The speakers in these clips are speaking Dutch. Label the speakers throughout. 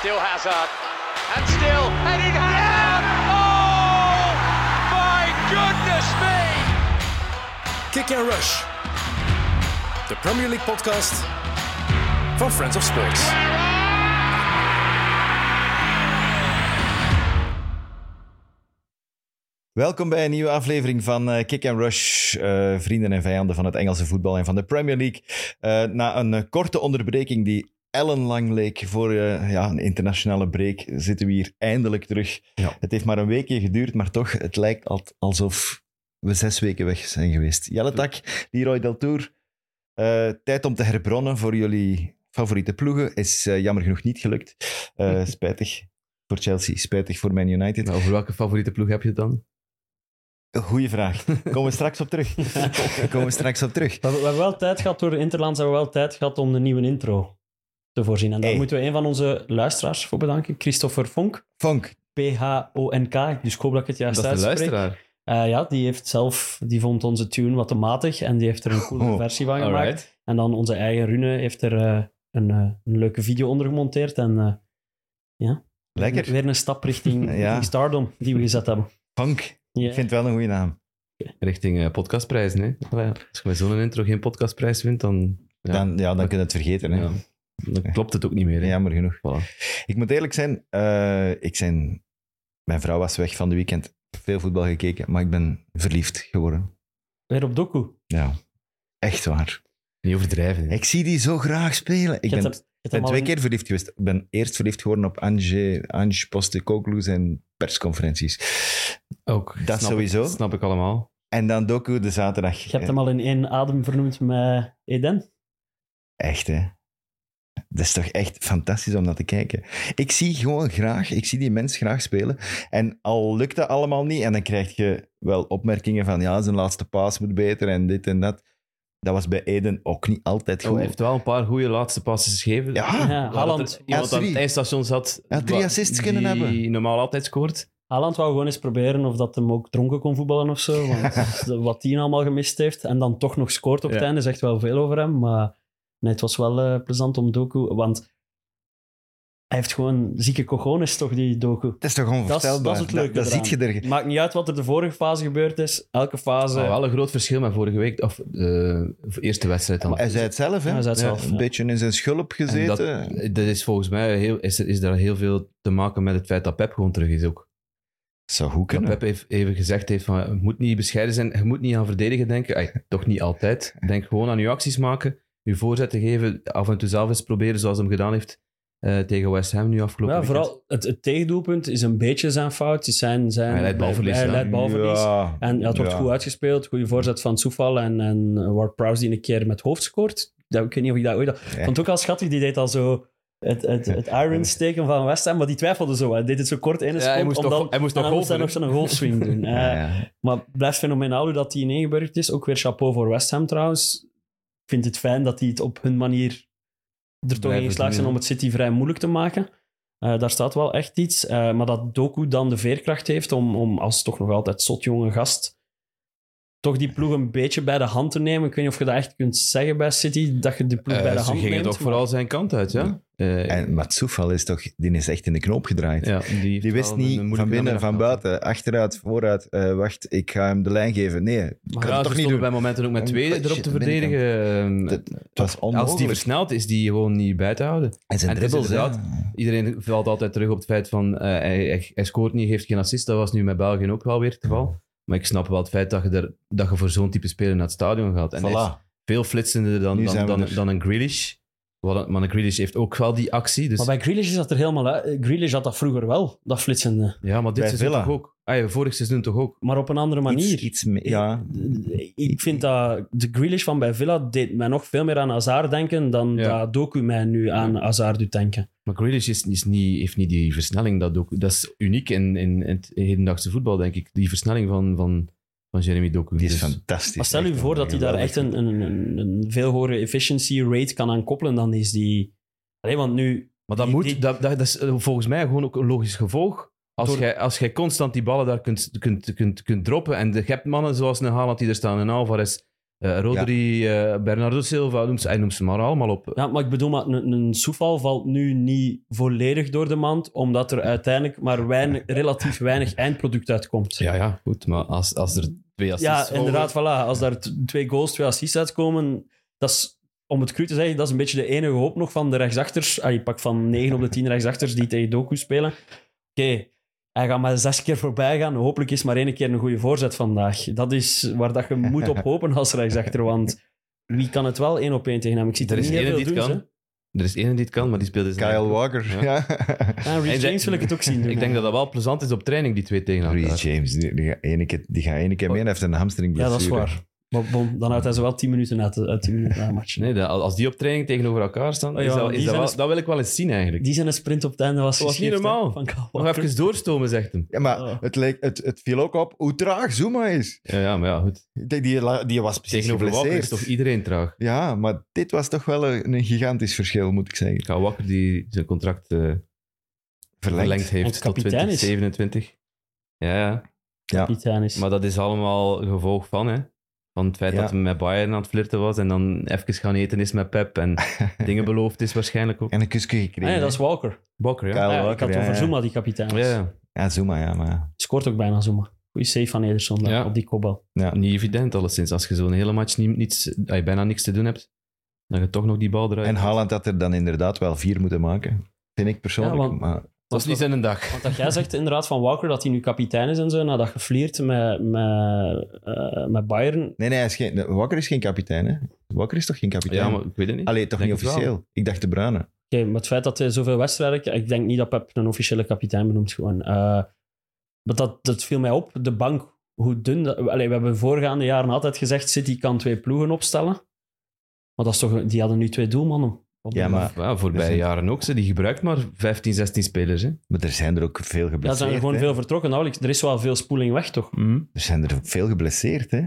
Speaker 1: Still Hazard. And still headed Hazard. Oh my goodness me.
Speaker 2: Kick and Rush. De Premier League podcast van Friends of Sports.
Speaker 3: Welkom bij een nieuwe aflevering van eh, Kick and Rush, eh, vrienden en vijanden van het Engelse voetbal en van de Premier League. Eh, na een eh, korte onderbreking die ellenlang leek voor eh, ja, een internationale break, zitten we hier eindelijk terug. Het heeft maar een weekje geduurd, maar toch, het lijkt al- alsof we zes weken weg zijn geweest. Jelle Tak, Leroy Deltour, eh, tijd om te herbronnen voor jullie favoriete ploegen. Is eh, jammer genoeg niet gelukt. Eh, spijtig voor Chelsea, spijtig voor Man United.
Speaker 4: Maar over Nou, welke favoriete ploeg heb je het dan?
Speaker 3: Goeie vraag. Komen we straks op terug. Komen we straks op terug.
Speaker 5: We hebben, we hebben wel tijd gehad door de Interlands, hebben we wel tijd gehad om een nieuwe intro te voorzien. En daar
Speaker 3: Hey.
Speaker 5: moeten we een van onze luisteraars voor bedanken, Christopher Vonk,
Speaker 3: Fonk,
Speaker 5: P-H-O-N-K, dus ik hoop dat ik
Speaker 4: Dat
Speaker 5: het juist
Speaker 4: is de
Speaker 5: uitspreek.
Speaker 4: luisteraar.
Speaker 5: Eh, ja, die heeft zelf, die vond onze tune wat te matig en die heeft er een coole
Speaker 3: Oh,
Speaker 5: versie van gemaakt.
Speaker 4: Alright.
Speaker 5: En dan onze eigen Rune heeft er eh, een, eh, een leuke video onder gemonteerd en eh,
Speaker 3: lekker.
Speaker 5: weer een stap richting,
Speaker 3: Ja.
Speaker 5: richting stardom die we gezet hebben.
Speaker 3: Fonk.
Speaker 5: Ja.
Speaker 3: Ik vind het wel een goede naam.
Speaker 4: Richting eh, podcastprijzen, hè? Allee, Als je met zo'n intro geen podcastprijs wint, dan, ja,
Speaker 3: Dan, ja, dan kun je het vergeten. Hè.
Speaker 4: ja, dan klopt het ook niet meer. Hè?
Speaker 3: Jammer genoeg.
Speaker 4: Voilà.
Speaker 3: Ik moet eerlijk zijn, eh, ik zijn. Mijn vrouw was weg van de weekend. Veel voetbal gekeken, maar ik ben verliefd geworden.
Speaker 5: Weer op doku.
Speaker 3: Ja, echt waar.
Speaker 4: Niet overdrijven. hè.
Speaker 3: Ik zie die zo graag spelen. Ik
Speaker 5: Je hebt
Speaker 3: ben,
Speaker 5: hem- je hebt hem
Speaker 3: ben
Speaker 5: al
Speaker 3: twee
Speaker 5: in-
Speaker 3: keer verliefd geweest. Ik ben eerst verliefd geworden op Ange, Ange Postekoglu's en persconferenties.
Speaker 4: Ook.
Speaker 3: Dat
Speaker 4: Snap
Speaker 3: sowieso.
Speaker 4: Ik, snap ik allemaal.
Speaker 3: En dan Doku de zaterdag.
Speaker 5: Je hebt hem al in één adem vernoemd met Eden.
Speaker 3: Echt, hè? Dat is toch echt fantastisch om naar te kijken. Ik zie gewoon graag, ik zie die mens graag spelen. En al lukt dat allemaal niet, en dan krijg je wel opmerkingen van ja, zijn laatste paas moet beter en dit en dat. Dat was bij Eden ook niet altijd
Speaker 4: Oh,
Speaker 3: goed.
Speaker 4: hij heeft wel een paar goede laatste passes gegeven.
Speaker 3: Ja,
Speaker 5: Ja,
Speaker 4: Waar dat
Speaker 5: Haaland.
Speaker 4: er Iemand
Speaker 3: Ja,
Speaker 4: aan
Speaker 3: drie.
Speaker 4: het eindstation zat.
Speaker 3: Ja, drie
Speaker 4: wa-
Speaker 3: assists kunnen
Speaker 4: die
Speaker 3: hebben.
Speaker 4: normaal altijd scoort.
Speaker 5: Haaland wou gewoon eens proberen of dat hem ook dronken kon voetballen of zo. Want de- wat hij allemaal gemist heeft. En dan toch nog scoort op het
Speaker 4: Ja.
Speaker 5: einde, zegt wel veel over hem. Maar nee, het was wel eh, plezant om Doku. Want hij heeft gewoon zieke cojones toch, die Doku.
Speaker 3: dat is toch
Speaker 5: Dat is,
Speaker 3: onvoorstelbaar.
Speaker 5: dat is het leuke
Speaker 3: Dat,
Speaker 5: eraan.
Speaker 3: ziet je er.
Speaker 5: Maakt niet uit wat er de vorige fase gebeurd is. Elke fase...
Speaker 4: Maar wel een groot verschil met vorige week. Of de eerste wedstrijd dan.
Speaker 3: Hij zei het zelf, hè?
Speaker 5: Ja, hij zei het zelf,
Speaker 3: een
Speaker 5: ja.
Speaker 3: beetje in zijn schulp
Speaker 4: En dat,
Speaker 3: gezeten.
Speaker 4: dat is volgens mij heel, is, er- is daar heel veel te maken met het feit dat Pep gewoon terug is ook.
Speaker 3: Zou goed
Speaker 4: Dat
Speaker 3: kunnen.
Speaker 4: Pep heeft even gezegd heeft van, je moet niet bescheiden zijn, je moet niet aan verdedigen denken. Ay, toch niet altijd. Denk gewoon aan je acties maken, je voorzetten geven, af en toe zelf eens proberen zoals hij hem gedaan heeft eh, tegen West Ham nu afgelopen
Speaker 5: ja,
Speaker 4: weekend.
Speaker 5: vooral het, het tegendoelpunt is een beetje zijn fout. Het is zijn, zijn,
Speaker 4: Hij leidt balverlies,
Speaker 5: hij
Speaker 4: ja.
Speaker 5: leidt balverlies.
Speaker 3: Ja,
Speaker 5: En ja, het wordt
Speaker 3: ja.
Speaker 5: goed uitgespeeld. Goede voorzet van Soefal en, en Ward Prowse die een keer met hoofd scoort. Dat, ik weet niet of ik dat ooit... had- Ik
Speaker 3: Ja.
Speaker 5: vond het ook al schattig. Die deed al zo het, het, het iron steken van West Ham, maar die twijfelde zo. Hij deed het zo kort in.
Speaker 4: Ja,
Speaker 5: en
Speaker 4: hij moest nog- hij moest nog
Speaker 5: dan moest hij
Speaker 4: golven,
Speaker 5: nog zo'n golfswing doen. Eh,
Speaker 3: Ja, ja.
Speaker 5: Maar het blijft fenomenaal hoe dat hij ingeburgd is. Ook weer chapeau voor West Ham trouwens. Ik vind het fijn dat hij het op hun manier er toch in
Speaker 4: Blijven
Speaker 5: geslaagd zijn
Speaker 4: doen.
Speaker 5: om het City vrij moeilijk te maken. Eh, daar staat wel echt iets. Eh, maar dat Doku dan de veerkracht heeft om, om als toch nog altijd zot jonge gast toch die ploeg een beetje bij de hand te nemen. Ik weet niet of je dat echt kunt zeggen bij City, dat je de ploeg
Speaker 4: Eh,
Speaker 5: bij de
Speaker 4: ze
Speaker 5: hand
Speaker 4: gingen
Speaker 5: neemt.
Speaker 4: toch
Speaker 5: maar-
Speaker 4: vooral zijn kant uit, ja? Eh,
Speaker 3: En, maar het toeval is toch, die is echt in de knoop gedraaid.
Speaker 4: ja, die, heeft
Speaker 3: Die wist
Speaker 4: wel
Speaker 3: niet
Speaker 4: een moeilijke
Speaker 3: van binnen,
Speaker 4: namiddag
Speaker 3: van
Speaker 4: gehad.
Speaker 3: buiten, achteruit, vooruit. eh, wacht, ik ga hem de lijn geven. Nee, ik
Speaker 4: Maar
Speaker 3: kan het
Speaker 4: ja,
Speaker 3: toch
Speaker 4: ze
Speaker 3: niet
Speaker 4: stonden
Speaker 3: doen.
Speaker 4: bij momenten ook met
Speaker 3: En
Speaker 4: tweede
Speaker 3: shit,
Speaker 4: erop te
Speaker 3: de binnenkant.
Speaker 4: verdedigen.
Speaker 3: Dat- Het was onmogelijk.
Speaker 4: Als die versneld is, die gewoon niet buiten houden.
Speaker 3: en zijn
Speaker 4: en het is
Speaker 3: dribbels, hè.
Speaker 4: Iedereen valt altijd terug op het feit van eh, hij, hij, hij scoort niet, geeft geen assist. Dat was nu met België ook wel weer het geval. Maar ik snap wel het feit dat je, er, dat je voor zo'n type speler naar het stadion gaat. En hij is
Speaker 3: Voilà.
Speaker 4: veel flitsender dan,
Speaker 3: Nu
Speaker 4: dan,
Speaker 3: zijn we
Speaker 4: dan,
Speaker 3: er.
Speaker 4: dan een Grealish. Wat een- Maar een Grealish heeft ook wel die actie. Dus,
Speaker 5: Maar bij Grealish is dat er helemaal uit. Grealish had dat vroeger wel, dat flitsende.
Speaker 4: ja, maar dit
Speaker 3: bij
Speaker 4: seizoen
Speaker 3: Villa.
Speaker 4: toch ook. Ah, ja, vorig seizoen toch ook.
Speaker 5: Maar op een andere
Speaker 3: Iets,
Speaker 5: manier.
Speaker 3: iets meer. Ja.
Speaker 5: Ik vind dat de Grealish van bij Villa deed mij nog veel meer aan Hazard denken dan
Speaker 4: Ja.
Speaker 5: dat Doku mij nu aan Hazard doet denken.
Speaker 4: Maar Grealish is, is niet, heeft niet die versnelling. Dat, ook, dat is uniek in, in, in het hedendaagse voetbal, denk ik. Die versnelling van, van, van Jeremy Doku.
Speaker 3: Die is
Speaker 4: Dus-
Speaker 3: fantastisch.
Speaker 5: Maar stel
Speaker 3: Echt
Speaker 5: u voor dat hij daar echt een, een, een, een veel hogere efficiency rate kan aan koppelen dan is die... Allee, want nu...
Speaker 4: Maar dat,
Speaker 5: Die-
Speaker 4: moet,
Speaker 5: die-
Speaker 4: dat, dat, dat is eh, volgens mij gewoon ook een logisch gevolg. Als
Speaker 5: Door-
Speaker 4: jij als jij constant die ballen daar kunt, kunt, kunt, kunt droppen en de, je hebt mannen zoals een Haaland die er staan, een Alvarez, Eh Rodri, eh, Bernardo Silva, noemt ze, hij noemt ze maar allemaal op.
Speaker 5: Ja, maar ik bedoel, maar een, een soefal valt nu niet volledig door de mand, omdat er uiteindelijk maar weinig, relatief weinig eindproduct uitkomt.
Speaker 4: Ja, ja, goed. Maar als, als er twee assists
Speaker 5: Ja,
Speaker 4: volgen-
Speaker 5: inderdaad, voilà. Als daar t- twee goals, twee assists uitkomen, dat is, om het cru te zeggen, dat is een beetje de enige hoop nog van de rechtsachters. Ah, je pak van 9 op de 10 rechtsachters die tegen Doku spelen. Oké, hij gaat maar zes keer voorbij gaan. Hopelijk is maar één keer een goede voorzet vandaag. Dat is waar dat je moet op hopen als rechtsachter, want wie kan het wel één op één tegen hem? Ik zie er,
Speaker 4: Er is
Speaker 5: niet
Speaker 4: één
Speaker 5: heel
Speaker 4: die
Speaker 5: veel
Speaker 4: het
Speaker 5: doen,
Speaker 4: kan.
Speaker 5: hè.
Speaker 4: Er is één die het kan, maar die speelt dus...
Speaker 3: Kyle Walker.
Speaker 4: Ja.
Speaker 3: Ja.
Speaker 5: Ja, Reece
Speaker 4: En ze-
Speaker 5: James wil ik het ook zien doen.
Speaker 4: Ik denk dat dat wel plezant is op training, die twee tegen elkaar.
Speaker 3: Reece James, die, die gaat één keer, die gaat één keer mee en heeft een hamstring
Speaker 5: ja, dat is waar. Maar bon, dan houdt hij ze wel 10 minuten uit de, uit de minuten na de match.
Speaker 4: Nee, dat- als die op training tegenover elkaar staan,
Speaker 5: Oh ja,
Speaker 4: is dat, is
Speaker 5: die
Speaker 4: dat,
Speaker 5: zijn
Speaker 4: wel-
Speaker 5: eens-
Speaker 4: dat wil ik wel eens zien eigenlijk.
Speaker 5: Die zijn een sprint op het einde was
Speaker 4: Dat was niet
Speaker 5: geschift, hè,
Speaker 4: normaal.
Speaker 5: van Kyle
Speaker 4: Nog
Speaker 5: Walker.
Speaker 4: even doorstomen, zegt hem.
Speaker 3: Ja, maar
Speaker 5: Oh.
Speaker 3: het, leek, het, het viel ook op hoe traag Zuma is.
Speaker 4: Ja, ja maar ja, goed.
Speaker 3: Ik denk, die, la- die was precies
Speaker 4: Tegenover Walker is
Speaker 3: geblesseerd.
Speaker 4: toch iedereen traag.
Speaker 3: Ja, maar dit was toch wel een, een gigantisch verschil, moet ik zeggen.
Speaker 4: Kyle Walker die zijn contract eh,
Speaker 3: Verlengd.
Speaker 4: verlengd heeft
Speaker 5: En
Speaker 4: tot
Speaker 5: kapitein is.
Speaker 4: 2027. Ja, ja,
Speaker 5: kapitein is.
Speaker 4: maar dat is allemaal gevolg van, hè. Van het feit
Speaker 3: Ja.
Speaker 4: dat hij met Bayern aan het flirten was en dan even gaan eten is met Pep en dingen beloofd is waarschijnlijk ook.
Speaker 3: En een kusje
Speaker 5: Ah,
Speaker 3: gekregen.
Speaker 5: nee, dat is Walker. Ah
Speaker 4: Bakker, ja.
Speaker 3: Kyle
Speaker 5: Ja, ik
Speaker 3: Walker,
Speaker 5: had het
Speaker 3: ja,
Speaker 5: over
Speaker 3: ja.
Speaker 5: Zuma, die kapitein.
Speaker 4: Ja,
Speaker 5: is.
Speaker 4: ja.
Speaker 3: Ja, Zuma, ja, maar...
Speaker 5: Scoort ook bijna Zuma. Goeie save van Ederson daar,
Speaker 4: Ja.
Speaker 5: op die kopbal.
Speaker 4: Niet evident alleszins. Als je zo'n hele match niet, niets, dat je bijna niks te doen hebt, dan je toch nog die bal eruit.
Speaker 3: En Haaland had er dan inderdaad wel vier moeten maken. Vind ik persoonlijk.
Speaker 5: Ja, want-
Speaker 3: maar
Speaker 4: dat is niet zijn een dag.
Speaker 5: Want dat jij zegt inderdaad van Walker dat hij nu kapitein is en zo, nadat gefliert met, met, eh, met Bayern.
Speaker 3: Nee, nee, hij is geen, Walker is geen kapitein, hè? Walker is toch geen kapitein?
Speaker 4: Ja, maar ik weet het niet.
Speaker 3: Allee, toch
Speaker 4: Denk
Speaker 3: niet
Speaker 4: het wel.
Speaker 3: officieel? Ik dacht de Bruyne.
Speaker 5: Oké, maar het feit dat hij zoveel wedstrijden... Ik denk niet dat Pep een officiële kapitein benoemt gewoon. Eh, maar dat, dat viel mij op. De bank, hoe dun... Dat, allee, we hebben voorgaande jaren altijd gezegd, City kan twee ploegen opstellen. Maar dat is toch, die hadden nu twee doelmannen. op de
Speaker 3: Ja,
Speaker 5: bank.
Speaker 3: maar,
Speaker 4: Ja, voorbije
Speaker 3: Dus-
Speaker 4: jaren ook. Ze, die gebruikt maar 15, 16 spelers. Hè.
Speaker 3: maar er zijn er ook veel
Speaker 5: Ja, er
Speaker 3: geblesseerd.
Speaker 5: zijn er gewoon
Speaker 3: hè? Mhm.
Speaker 5: veel vertrokken. Nou, er is wel veel spoeling weg, toch?
Speaker 3: Er zijn er veel geblesseerd, hè?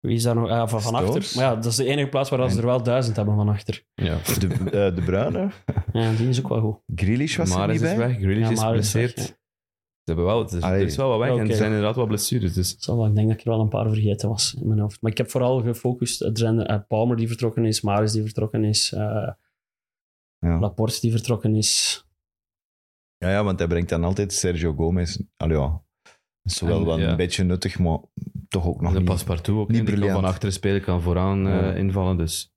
Speaker 5: Wie is daar nog? Ah, van, van
Speaker 3: Stones.
Speaker 5: achter. Maar ja, dat is de enige plaats waar dat ze er wel duizend hebben van achter.
Speaker 4: Ja.
Speaker 3: De, eh, de Bruyne.
Speaker 5: Ja, die is ook wel goed.
Speaker 3: Grealish was er
Speaker 4: Maris
Speaker 3: niet
Speaker 4: is
Speaker 3: bij.
Speaker 4: weg, Grealish
Speaker 5: Ja,
Speaker 4: is
Speaker 5: Maris is
Speaker 4: geblesseerd.
Speaker 5: weg,
Speaker 4: Ze hebben wel, het is, er
Speaker 3: Allee.
Speaker 4: is wel wat weg
Speaker 5: Ja,
Speaker 4: en
Speaker 5: oké.
Speaker 4: er zijn inderdaad wat blessures. Dus.
Speaker 5: Het zal wel, ik denk dat ik er wel een paar vergeten was in mijn hoofd. Maar ik heb vooral gefocust. Er zijn eh, Palmer die vertrokken is, Maris die vertrokken is, eh,
Speaker 3: Ja.
Speaker 5: Laporte die vertrokken is.
Speaker 3: Ja, ja, want hij brengt dan altijd Sergio Gomez. Allee, ja. Dat is wel,
Speaker 4: En,
Speaker 3: wel
Speaker 4: ja.
Speaker 3: een beetje nuttig, maar toch ook nog
Speaker 4: En
Speaker 3: niet.
Speaker 4: Paspartout ook.
Speaker 3: niet
Speaker 4: Niet kan
Speaker 3: briljant.
Speaker 4: van achteren spelen, kan vooraan eh,
Speaker 3: Ja.
Speaker 4: invallen. Dus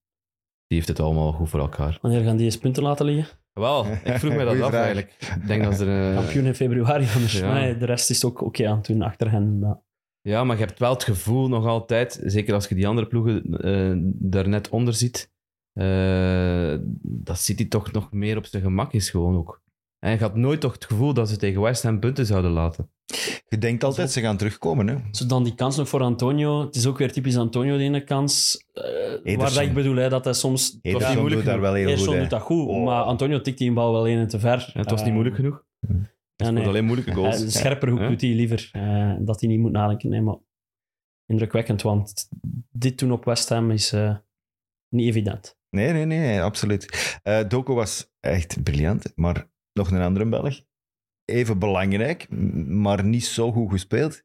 Speaker 4: die heeft het allemaal goed voor elkaar.
Speaker 5: Wanneer gaan die eens punten laten liggen?
Speaker 4: Wel, ik vroeg mij dat
Speaker 3: Goeie
Speaker 4: af
Speaker 3: vraag.
Speaker 4: eigenlijk. Ik denk dat ze er... eh,
Speaker 5: Kampioen in februari anders.
Speaker 4: ja.
Speaker 5: Maar nee, de rest is ook oké aan het doen achter hen. Maar
Speaker 4: Ja, maar je hebt wel het gevoel nog altijd, zeker als je die andere ploegen eh daar net onder ziet, eh, dat City toch nog meer op zijn gemak is gewoon ook. En je had nooit toch het gevoel dat ze tegen West Ham punten zouden laten.
Speaker 3: Je denkt altijd, ze gaan terugkomen, hè?
Speaker 5: Zo dan die kans nog voor Antonio. Het is ook weer typisch Antonio, die ene kans. eh, waar
Speaker 3: Ederson.
Speaker 5: dat ik bedoel, hè, dat hij soms...
Speaker 3: Ederson
Speaker 5: Ja,
Speaker 3: doet daar wel heel
Speaker 5: Ederson
Speaker 3: goed, hè.
Speaker 5: doet dat goed,
Speaker 3: Oh.
Speaker 5: maar Antonio tikt die een bal wel één en te ver.
Speaker 4: En het was
Speaker 5: Eh,
Speaker 4: niet moeilijk genoeg.
Speaker 5: ja,
Speaker 4: Het
Speaker 5: nee.
Speaker 4: was alleen moeilijke
Speaker 5: Ja,
Speaker 4: goals.
Speaker 5: een scherper hoek
Speaker 4: Ja.
Speaker 5: doet hij liever. eh, dat hij niet moet nadenken. Nee, maar indrukwekkend, want dit toen op West Ham is eh, niet evident.
Speaker 3: Nee, nee, nee, absoluut. Eh Doko was echt briljant, maar nog een andere Belg. Even belangrijk, m- maar niet zo goed gespeeld.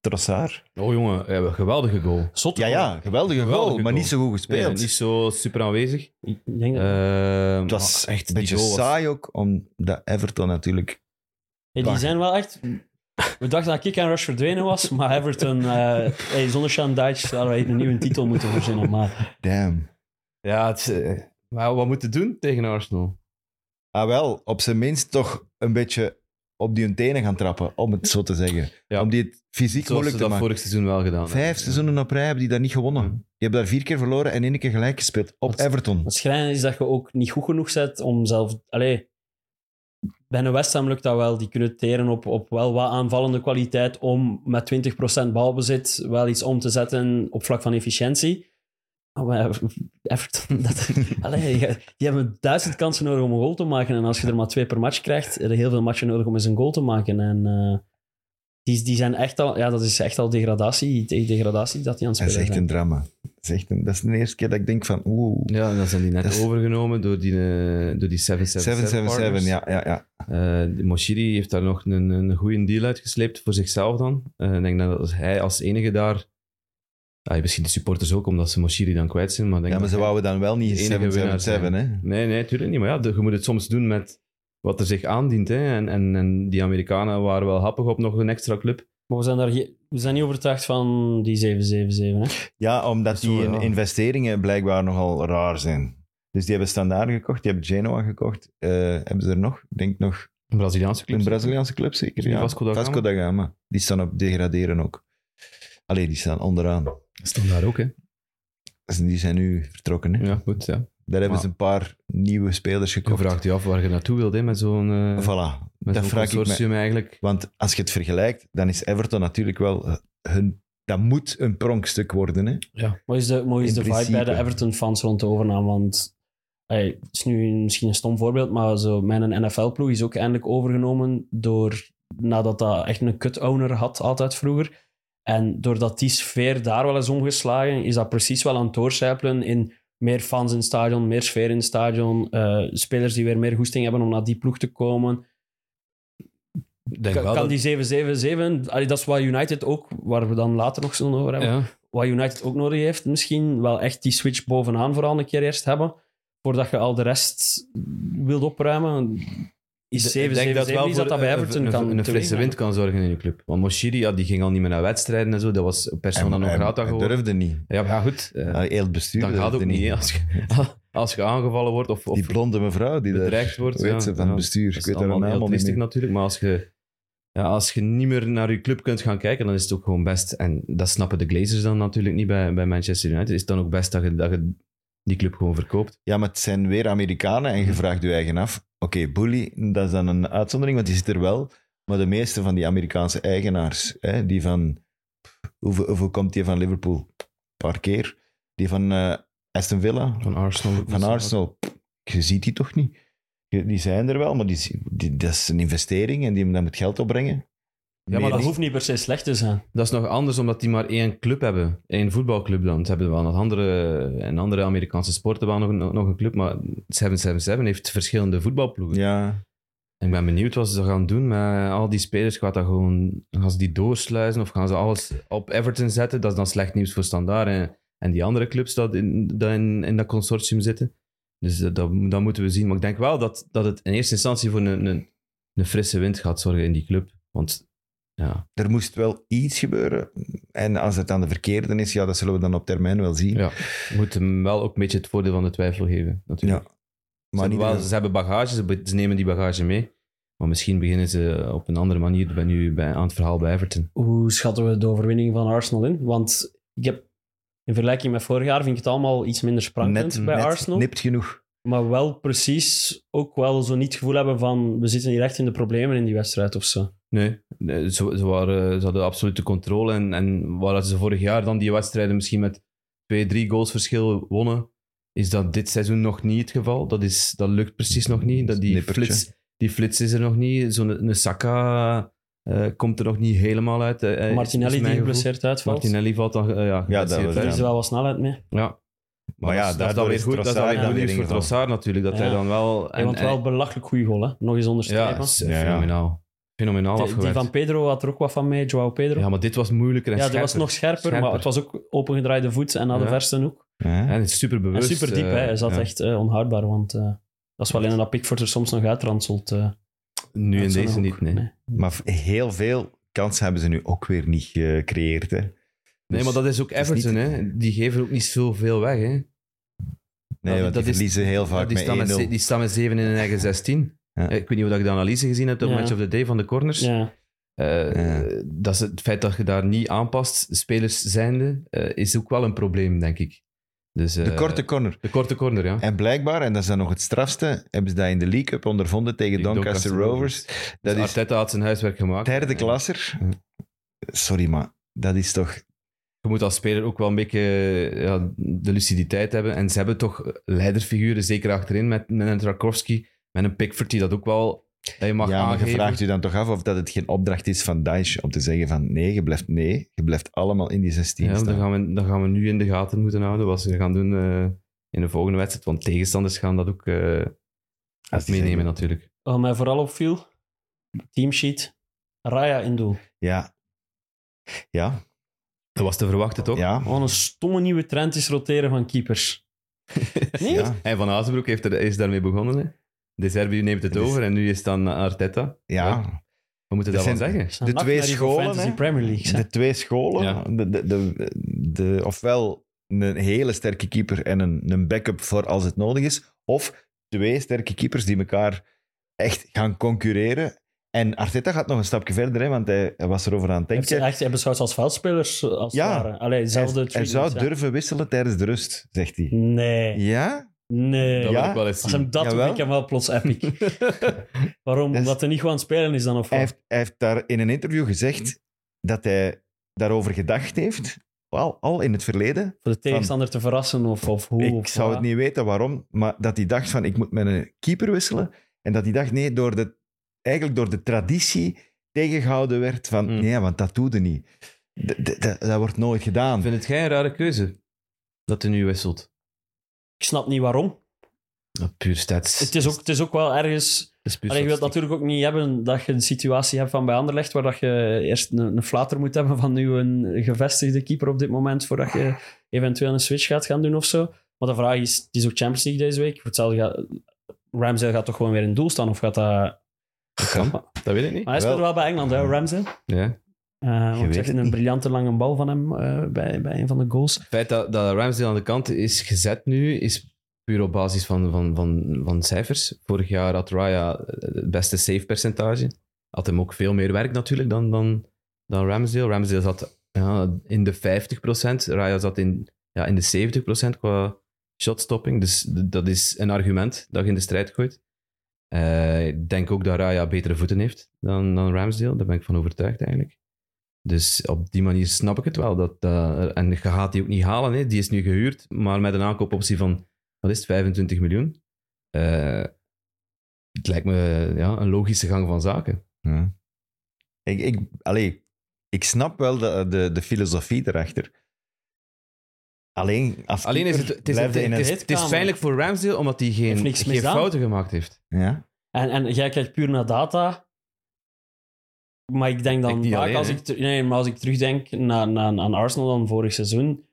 Speaker 3: Trossard.
Speaker 4: Oh jongen, ja, een geweldige goal.
Speaker 5: Zot,
Speaker 3: Ja, ja, geweldige goal,
Speaker 4: Geweldige
Speaker 3: maar
Speaker 4: goal.
Speaker 3: niet zo goed
Speaker 4: Nee,
Speaker 3: gespeeld.
Speaker 4: niet zo super aanwezig.
Speaker 5: Ik denk dat-
Speaker 4: Eh,
Speaker 3: het was
Speaker 4: maar
Speaker 3: echt een
Speaker 4: die
Speaker 3: beetje
Speaker 4: goal was-
Speaker 3: saai ook, omdat Everton natuurlijk...
Speaker 5: Hey, die
Speaker 3: wacht.
Speaker 5: zijn wel echt... We dachten dat Kick and Rush verdwenen was, maar Everton... eh hey, zonder Sean Dyche zouden wij hier een nieuwe titel moeten verzinnen. Maar
Speaker 3: Damn.
Speaker 4: Ja, het, eh, maar wat moeten doen tegen Arsenal?
Speaker 3: Ah wel, op zijn minst toch een beetje op die hun tenen gaan trappen, om het zo te zeggen.
Speaker 4: Ja.
Speaker 3: Om die het fysiek
Speaker 4: Zoals ze
Speaker 3: moeilijk te
Speaker 4: dat Mm.
Speaker 3: maken.
Speaker 4: vorig seizoen wel gedaan hebben.
Speaker 3: Vijf seizoenen op rij hebben die dat niet gewonnen. Die hebben daar vier keer verloren en één keer gelijk gespeeld. Op
Speaker 5: Wat-
Speaker 3: Everton.
Speaker 5: het schrijnend is dat je ook niet goed genoeg bent om zelf... Allee, bij een West Ham lukt dat wel. Die kunnen teren op, op wel wat aanvallende kwaliteit om met 20% balbezit wel iets om te zetten op vlak van efficiëntie. Oh, maar Everton, dat, allee, je- die hebben duizend kansen nodig om een goal te maken. En als je er maar twee per match krijgt, er heel veel matchen nodig om eens een goal te maken. En eh, die, die zijn echt al, ja, dat is echt al degradatie, tegen degradatie dat die aan het
Speaker 3: Dat is
Speaker 5: spelen
Speaker 3: echt
Speaker 5: zijn.
Speaker 3: een drama. Dat is, echt een, dat is de eerste keer dat ik denk van oeh.
Speaker 4: Ja, en dan zijn die net
Speaker 3: Dat is-
Speaker 4: overgenomen door die, eh, door die 777
Speaker 3: 777,
Speaker 4: partners.
Speaker 3: ja, ja, ja.
Speaker 4: Eh, de Moshiri heeft daar nog een, een goede deal uitgesleept voor zichzelf dan. Eh, ik denk dat hij als enige daar Ah, misschien de supporters ook, omdat ze Moshiri dan kwijt zijn. Maar, denk
Speaker 3: Ja, maar
Speaker 4: dat
Speaker 3: ze
Speaker 4: hij-
Speaker 3: wouden dan wel niet
Speaker 4: de enige
Speaker 3: 777, hè?
Speaker 4: Nee, nee, tuurlijk niet. Maar ja, de- je moet het soms doen met wat er zich aandient. Hè. En, en, en die Amerikanen waren wel happig op nog een extra club.
Speaker 5: Maar we zijn, daar ge- we zijn niet overtuigd van die 777. Hè?
Speaker 3: Ja, omdat
Speaker 4: Zo,
Speaker 3: die
Speaker 4: ja.
Speaker 3: investeringen blijkbaar nogal raar zijn. Dus die hebben Standaard gekocht, die hebben Genoa gekocht. Eh, hebben ze er nog? Ik denk nog
Speaker 4: Een Braziliaanse club.
Speaker 3: een Braziliaanse club zeker.
Speaker 4: Die
Speaker 3: Ja.
Speaker 4: Vasco da Gama?
Speaker 3: Gama. Die staan op degraderen ook. Allee, die staan onderaan.
Speaker 4: Staan daar ook, hè?
Speaker 3: Dus Die zijn nu vertrokken. Hè?
Speaker 4: Ja, goed. Ja.
Speaker 3: Daar hebben
Speaker 4: Maar-
Speaker 3: ze een paar nieuwe spelers
Speaker 4: Je
Speaker 3: gekocht.
Speaker 4: vraagt je af waar je naartoe wilt hè, met zo'n eh,
Speaker 3: Voilà,
Speaker 4: met
Speaker 3: dat
Speaker 4: zo'n
Speaker 3: vraag ik me.
Speaker 4: consortium eigenlijk.
Speaker 3: Want als je het vergelijkt, dan is Everton natuurlijk wel eh, hun... Dat moet een pronkstuk worden, hè?
Speaker 5: Wat is de, wat is
Speaker 3: In
Speaker 5: de vibe bij de
Speaker 3: principe.
Speaker 5: Everton-fans rond de overname? Want ey, het is nu een- misschien een stom voorbeeld, maar zo, mijn NFL-ploeg is ook eindelijk overgenomen door... Nadat dat echt een cut-owner had, altijd vroeger. En doordat die sfeer daar wel is omgeslagen, is dat precies wel aan het doorcijpelen in meer fans in het stadion, meer sfeer in het stadion, eh, spelers die weer meer goesting hebben om naar die ploeg te komen.
Speaker 4: Ik Denk
Speaker 5: Kan,
Speaker 4: wel
Speaker 5: kan
Speaker 4: dat-
Speaker 5: die 777, allee, dat is wat United ook, waar we dan later nog zullen over hebben,
Speaker 4: Ja.
Speaker 5: wat United ook nodig heeft misschien, wel echt die switch bovenaan vooral een keer eerst hebben, voordat je al de rest wilt opruimen, is 777 iets dat dat bij
Speaker 4: een-
Speaker 5: Everton
Speaker 4: een,
Speaker 5: kan
Speaker 4: een, frisse
Speaker 5: teweegbrengen.
Speaker 4: wind kan zorgen in je club. Want Moshiri, ja, die ging al niet meer naar wedstrijden en zo. Dat was persona non grata
Speaker 3: Hij
Speaker 4: geworden.
Speaker 3: durfde niet.
Speaker 4: Ja, maar goed. eh,
Speaker 3: Ah, Heel het bestuur
Speaker 4: dat gaat
Speaker 3: durfde
Speaker 4: ook niet. hè, Als, je, als je aangevallen wordt of, of
Speaker 3: die blonde mevrouw die
Speaker 4: bedreigd
Speaker 3: daar,
Speaker 4: wordt.
Speaker 3: weet
Speaker 4: ja,
Speaker 3: ze, van
Speaker 4: ja.
Speaker 3: het bestuur.
Speaker 4: Dat
Speaker 3: Ik
Speaker 4: is
Speaker 3: weet haar
Speaker 4: allemaal
Speaker 3: naam
Speaker 4: heel
Speaker 3: al niet
Speaker 4: triestig
Speaker 3: meer.
Speaker 4: natuurlijk, maar als je, ja, als je niet meer naar je club kunt gaan kijken, dan is het ook gewoon best. En dat snappen de Glazers dan natuurlijk niet bij, bij Manchester United. Is het dan ook best dat je, dat je die club gewoon verkoopt?
Speaker 3: Ja, maar het zijn weer Amerikanen
Speaker 4: Mm.
Speaker 3: en je vraagt je eigen af. Oké, Bully, dat is dan een uitzondering, want die zit er wel. Maar de meeste van die Amerikaanse eigenaars, hè, die van... pff, Hoeveel, hoeveel komt die van Liverpool? Een paar keer. Die van eh, Aston Villa?
Speaker 4: Van Arsenal.
Speaker 3: Van Arsenal? Pff, Je ziet die toch niet? Je- Die zijn er wel, maar die, die- dat is een investering en die, dat moet geld opbrengen.
Speaker 4: Ja,
Speaker 5: Maar
Speaker 3: Meer
Speaker 5: dat
Speaker 3: niet.
Speaker 5: hoeft niet per se slecht te zijn.
Speaker 4: Dat is nog anders, omdat die maar één club hebben. Één voetbalclub dan. Ze hebben wel nog andere, en andere Amerikaanse sporten wel nog, een- nog een club, maar 777 heeft verschillende voetbalploegen.
Speaker 3: Ja,
Speaker 4: En Ik ben benieuwd wat ze gaan doen met al die spelers. Gaat dat gewoon, gaan ze die doorsluizen of gaan ze alles op Everton zetten? Dat is dan slecht nieuws voor Standaard en, en die andere clubs dat in, dat in, in dat consortium zitten. Dus dat, dat, dat moeten we zien. Maar ik denk wel dat, dat het in eerste instantie voor een, een, een frisse wind gaat zorgen in die club. Want ja,
Speaker 3: er moest wel iets gebeuren. En als het aan de verkeerde is, ja, dat zullen we dan op termijn wel zien.
Speaker 4: Ja, we moeten hem wel ook een beetje het voordeel van de twijfel geven. Natuurlijk.
Speaker 3: maar
Speaker 4: ze,
Speaker 3: niet
Speaker 4: hebben wel- ze hebben bagage, ze, be- ze nemen die bagage mee. Maar misschien beginnen ze op een andere manier bij nu bij, aan het verhaal bij Everton.
Speaker 5: Hoe schatten we de overwinning van Arsenal in? Want ik heb, in vergelijking met vorig jaar vind ik het allemaal iets minder sprankelend
Speaker 3: net,
Speaker 5: bij
Speaker 3: net
Speaker 5: Arsenal.
Speaker 3: nipt genoeg.
Speaker 5: Maar wel precies ook wel zo niet het gevoel hebben van we zitten hier echt in de problemen in die wedstrijd of zo.
Speaker 4: Nee, nee, ze, ze, waren, ze hadden absolute controle. En, en waar ze vorig jaar dan die wedstrijden misschien met twee, drie goals verschil wonnen, is dat dit seizoen nog niet het geval. Dat, is, dat lukt precies nog niet. Dat die,
Speaker 3: Snippertje.
Speaker 4: flits, die flits is er nog niet. Zo'n een Saka eh, komt er nog niet helemaal uit. eh, eh, is- is
Speaker 5: Martinelli
Speaker 4: mijn
Speaker 5: die
Speaker 4: gevoel.
Speaker 5: geblesseerd uitvalt.
Speaker 4: Martinelli valt dan... eh, ja,
Speaker 3: dat
Speaker 4: geblesseerd
Speaker 3: was-
Speaker 5: Daar
Speaker 4: uit.
Speaker 5: is er wel wat snelheid mee.
Speaker 4: Ja. Maar,
Speaker 3: ja,
Speaker 4: ja, dat is
Speaker 3: daardoor
Speaker 4: dan weer
Speaker 3: is
Speaker 4: goed, dat is dan
Speaker 3: Trossard
Speaker 4: weer
Speaker 3: dan
Speaker 4: goed nieuws
Speaker 3: weer
Speaker 4: voor
Speaker 3: ingevallen.
Speaker 4: Trossard natuurlijk. Dat
Speaker 5: Ja.
Speaker 4: hij dan wel...
Speaker 5: Ja, want wel een belachelijk goede goal, hè? nog eens
Speaker 4: ja,
Speaker 5: onderstrepen.
Speaker 4: het is, eh,
Speaker 3: Ja, ja.
Speaker 4: fenomenaal. Fenomenaal
Speaker 5: Die- die
Speaker 4: afgewerkt.
Speaker 5: van Pedro had er ook wat van mee, Joao Pedro.
Speaker 4: Ja, maar dit was moeilijker en
Speaker 5: Ja, die
Speaker 4: scherper.
Speaker 5: was nog scherper, maar
Speaker 4: Scherper.
Speaker 5: het was ook opengedraaide voet en naar de
Speaker 4: Ja.
Speaker 5: verste hoek.
Speaker 3: Hè?
Speaker 4: En het is super
Speaker 5: En
Speaker 4: bewust.
Speaker 5: super diep, hè? hij zat echt eh, onhoudbaar, want eh, dat is wel in dat Pickford er soms nog uitranselt. eh,
Speaker 4: Nu in
Speaker 5: uit zo'n
Speaker 4: deze
Speaker 5: hoek.
Speaker 4: niet, nee. nee.
Speaker 3: Maar v- heel veel kansen hebben ze nu ook weer niet gecreëerd. Hè? Dus-
Speaker 4: maar dat is ook
Speaker 3: is niet-
Speaker 4: Everton, hè? Die geven ook niet zoveel weg, hè?
Speaker 3: nee,
Speaker 4: dat-
Speaker 3: want
Speaker 4: dat
Speaker 3: die
Speaker 4: is-
Speaker 3: verliezen heel vaak
Speaker 4: die,
Speaker 3: met 1-0.
Speaker 4: staan ze- die staan met 7 in hun eigen 16.
Speaker 3: Ja.
Speaker 4: Eh, Ik weet niet of dat je de analyse gezien hebt op
Speaker 5: Ja.
Speaker 4: Match of the Day van de corners.
Speaker 5: Ja.
Speaker 4: Eh,
Speaker 3: Ja.
Speaker 4: dat is het feit dat je daar niet aanpast, spelers zijnde, eh, is ook wel een probleem, denk ik. Dus, eh,
Speaker 3: De korte corner.
Speaker 4: de korte corner, ja.
Speaker 3: En blijkbaar, en dat is dan nog het strafste, hebben ze dat in de League Cup ondervonden tegen
Speaker 4: Die
Speaker 3: Doncaster Rovers.
Speaker 4: Dus
Speaker 3: Dat is
Speaker 4: Arteta had zijn huiswerk gemaakt.
Speaker 3: derde
Speaker 4: Eh,
Speaker 3: klasser. Sorry, maar dat is toch...
Speaker 4: je moet als speler ook wel een beetje eh, ja, de luciditeit hebben. En ze hebben toch leiderfiguren, zeker achterin, met, met een Trakowski, met een Pickford, die dat ook wel dat je mag
Speaker 3: ja, maar je
Speaker 4: aangeven.
Speaker 3: vraagt je dan toch af of dat het geen opdracht is van Daesh om te zeggen van nee, je blijft, nee, je blijft allemaal in die 16
Speaker 4: ja,
Speaker 3: staan.
Speaker 4: dan, gaan we, dan gaan we nu in de gaten moeten houden wat ze gaan doen eh, in de volgende wedstrijd. Want tegenstanders gaan dat ook eh,
Speaker 3: Als die
Speaker 4: meenemen
Speaker 3: zeggen-
Speaker 4: natuurlijk.
Speaker 5: Wat mij vooral opviel, teamsheet, Raya in doel.
Speaker 3: Ja. Ja.
Speaker 4: Dat was te verwachten, toch?
Speaker 3: Ja.
Speaker 5: Wat een stomme nieuwe trend is roteren van keepers. Nee?
Speaker 3: Ja.
Speaker 4: En Van Azenbroek heeft er, is daarmee begonnen. Hè? De Serbië neemt het
Speaker 3: Dus-
Speaker 4: over en nu is het dan Arteta.
Speaker 3: ja.
Speaker 4: We moeten
Speaker 3: Dus
Speaker 4: dat wel
Speaker 3: zijn-
Speaker 4: zeggen.
Speaker 5: Zijn
Speaker 3: De
Speaker 5: nacht
Speaker 3: twee
Speaker 5: naar die
Speaker 3: scholen,
Speaker 5: Fantasy
Speaker 3: hè?
Speaker 5: Premier League. hè.
Speaker 3: De twee scholen,
Speaker 4: Ja.
Speaker 3: de, de, de, de- ofwel een hele sterke keeper en een, een backup voor als het nodig is, of twee sterke keepers die elkaar echt gaan concurreren. En Arteta gaat nog een stapje verder, hè, want hij hij was erover aan het
Speaker 5: Heeft ze
Speaker 3: denken.
Speaker 5: echt, hij beschouwt ze als veldspelers, eh, als
Speaker 3: Ja.
Speaker 5: het ware. Allee,
Speaker 3: Hij,
Speaker 5: zelfde
Speaker 3: hij
Speaker 5: treatment,
Speaker 3: zou
Speaker 5: ja.
Speaker 3: durven wisselen tijdens de rust, zegt hij.
Speaker 5: Nee,
Speaker 3: Ja?
Speaker 5: nee.
Speaker 4: Dat
Speaker 3: Ja.
Speaker 4: wil ik wel eens
Speaker 5: Als
Speaker 4: zien.
Speaker 5: hem dat doet,
Speaker 3: Jawel.
Speaker 5: ik hem wel plots epic. Waarom?
Speaker 3: Dat is-
Speaker 5: Omdat hij niet gewoon aan het spelen is dan, of
Speaker 3: Hij
Speaker 5: wat?
Speaker 3: heeft, hij heeft daar in een interview gezegd dat hij daarover gedacht heeft, wel, al in het verleden,
Speaker 5: Voor de tegenstander te verrassen, of, of hoe?
Speaker 3: Ik
Speaker 5: of
Speaker 3: zou
Speaker 5: wat.
Speaker 3: het niet weten waarom, maar dat hij dacht van ik moet met een keeper wisselen. En dat hij dacht nee, door de, eigenlijk door de traditie tegengehouden werd van
Speaker 4: Hmm.
Speaker 3: nee, want dat doe je niet. D- d- d- dat wordt nooit gedaan.
Speaker 4: Vindt jij een rare keuze dat hij nu wisselt?
Speaker 5: Ik snap niet waarom.
Speaker 4: Ja, Puur stats.
Speaker 5: Het is ook, het is ook wel ergens...
Speaker 4: Het is
Speaker 3: Dus
Speaker 4: puur
Speaker 5: Allee, je wilt
Speaker 4: statistiek.
Speaker 5: natuurlijk ook niet hebben dat je een situatie hebt van bij Anderlecht waar dat je eerst een, een flater moet hebben van nu een gevestigde keeper op dit moment voordat je eventueel een switch gaat gaan doen of zo. Maar de vraag is, het is ook Champions League deze week. Voor hetzelfde gaat, Ramsey gaat toch gewoon weer in het doel staan of gaat dat...
Speaker 4: kan. Dat weet ik niet.
Speaker 5: Maar hij speelt
Speaker 3: Wel.
Speaker 5: wel bij Engeland, hè, Ramsey.
Speaker 4: Ja.
Speaker 5: Eh
Speaker 3: weet
Speaker 5: want ik
Speaker 3: het
Speaker 5: zag een
Speaker 3: niet.
Speaker 5: briljante lange bal van hem eh, bij, bij een van de goals.
Speaker 4: Het feit dat, dat Ramsdale aan de kant is gezet nu, is puur op basis van, van, van, van cijfers. Vorig jaar had Raya het beste save percentage. Had hem ook veel meer werk natuurlijk dan, dan, dan Ramsdale. Ramsdale zat ja, in de 50%, Raya zat in, ja, in de 70% qua shotstopping. Dus d- dat is een argument dat je in de strijd gooit. Eh, ik denk ook dat Raya betere voeten heeft dan, dan Ramsdale. Daar ben ik van overtuigd eigenlijk. Dus op die manier snap ik het wel. Dat, eh, en je gaat die ook niet halen. Hè. Die is nu gehuurd, maar met een aankoopoptie van wat is het, 25 miljoen. Eh, het lijkt me ja, een logische gang van zaken.
Speaker 3: Ja. Ik, ik, allee, ik snap wel de, de, de filosofie erachter. Alleen, als
Speaker 4: Alleen is het,
Speaker 3: keeper
Speaker 4: het, is,
Speaker 3: blijf
Speaker 4: het,
Speaker 3: je in
Speaker 4: is,
Speaker 3: een-
Speaker 4: het is pijnlijk voor Ramsdale omdat hij
Speaker 5: Heeft
Speaker 4: geen,
Speaker 5: niks
Speaker 4: geen
Speaker 5: misdaan.
Speaker 4: fouten gemaakt heeft.
Speaker 3: Ja?
Speaker 5: En, en jij kijkt puur naar data. Maar ik denk
Speaker 4: Ik
Speaker 5: dan
Speaker 4: niet
Speaker 5: vaak,
Speaker 4: alleen,
Speaker 5: als
Speaker 4: hè.
Speaker 5: ik, ter- nee, maar als ik terugdenk naar, naar, aan Arsenal dan vorig seizoen.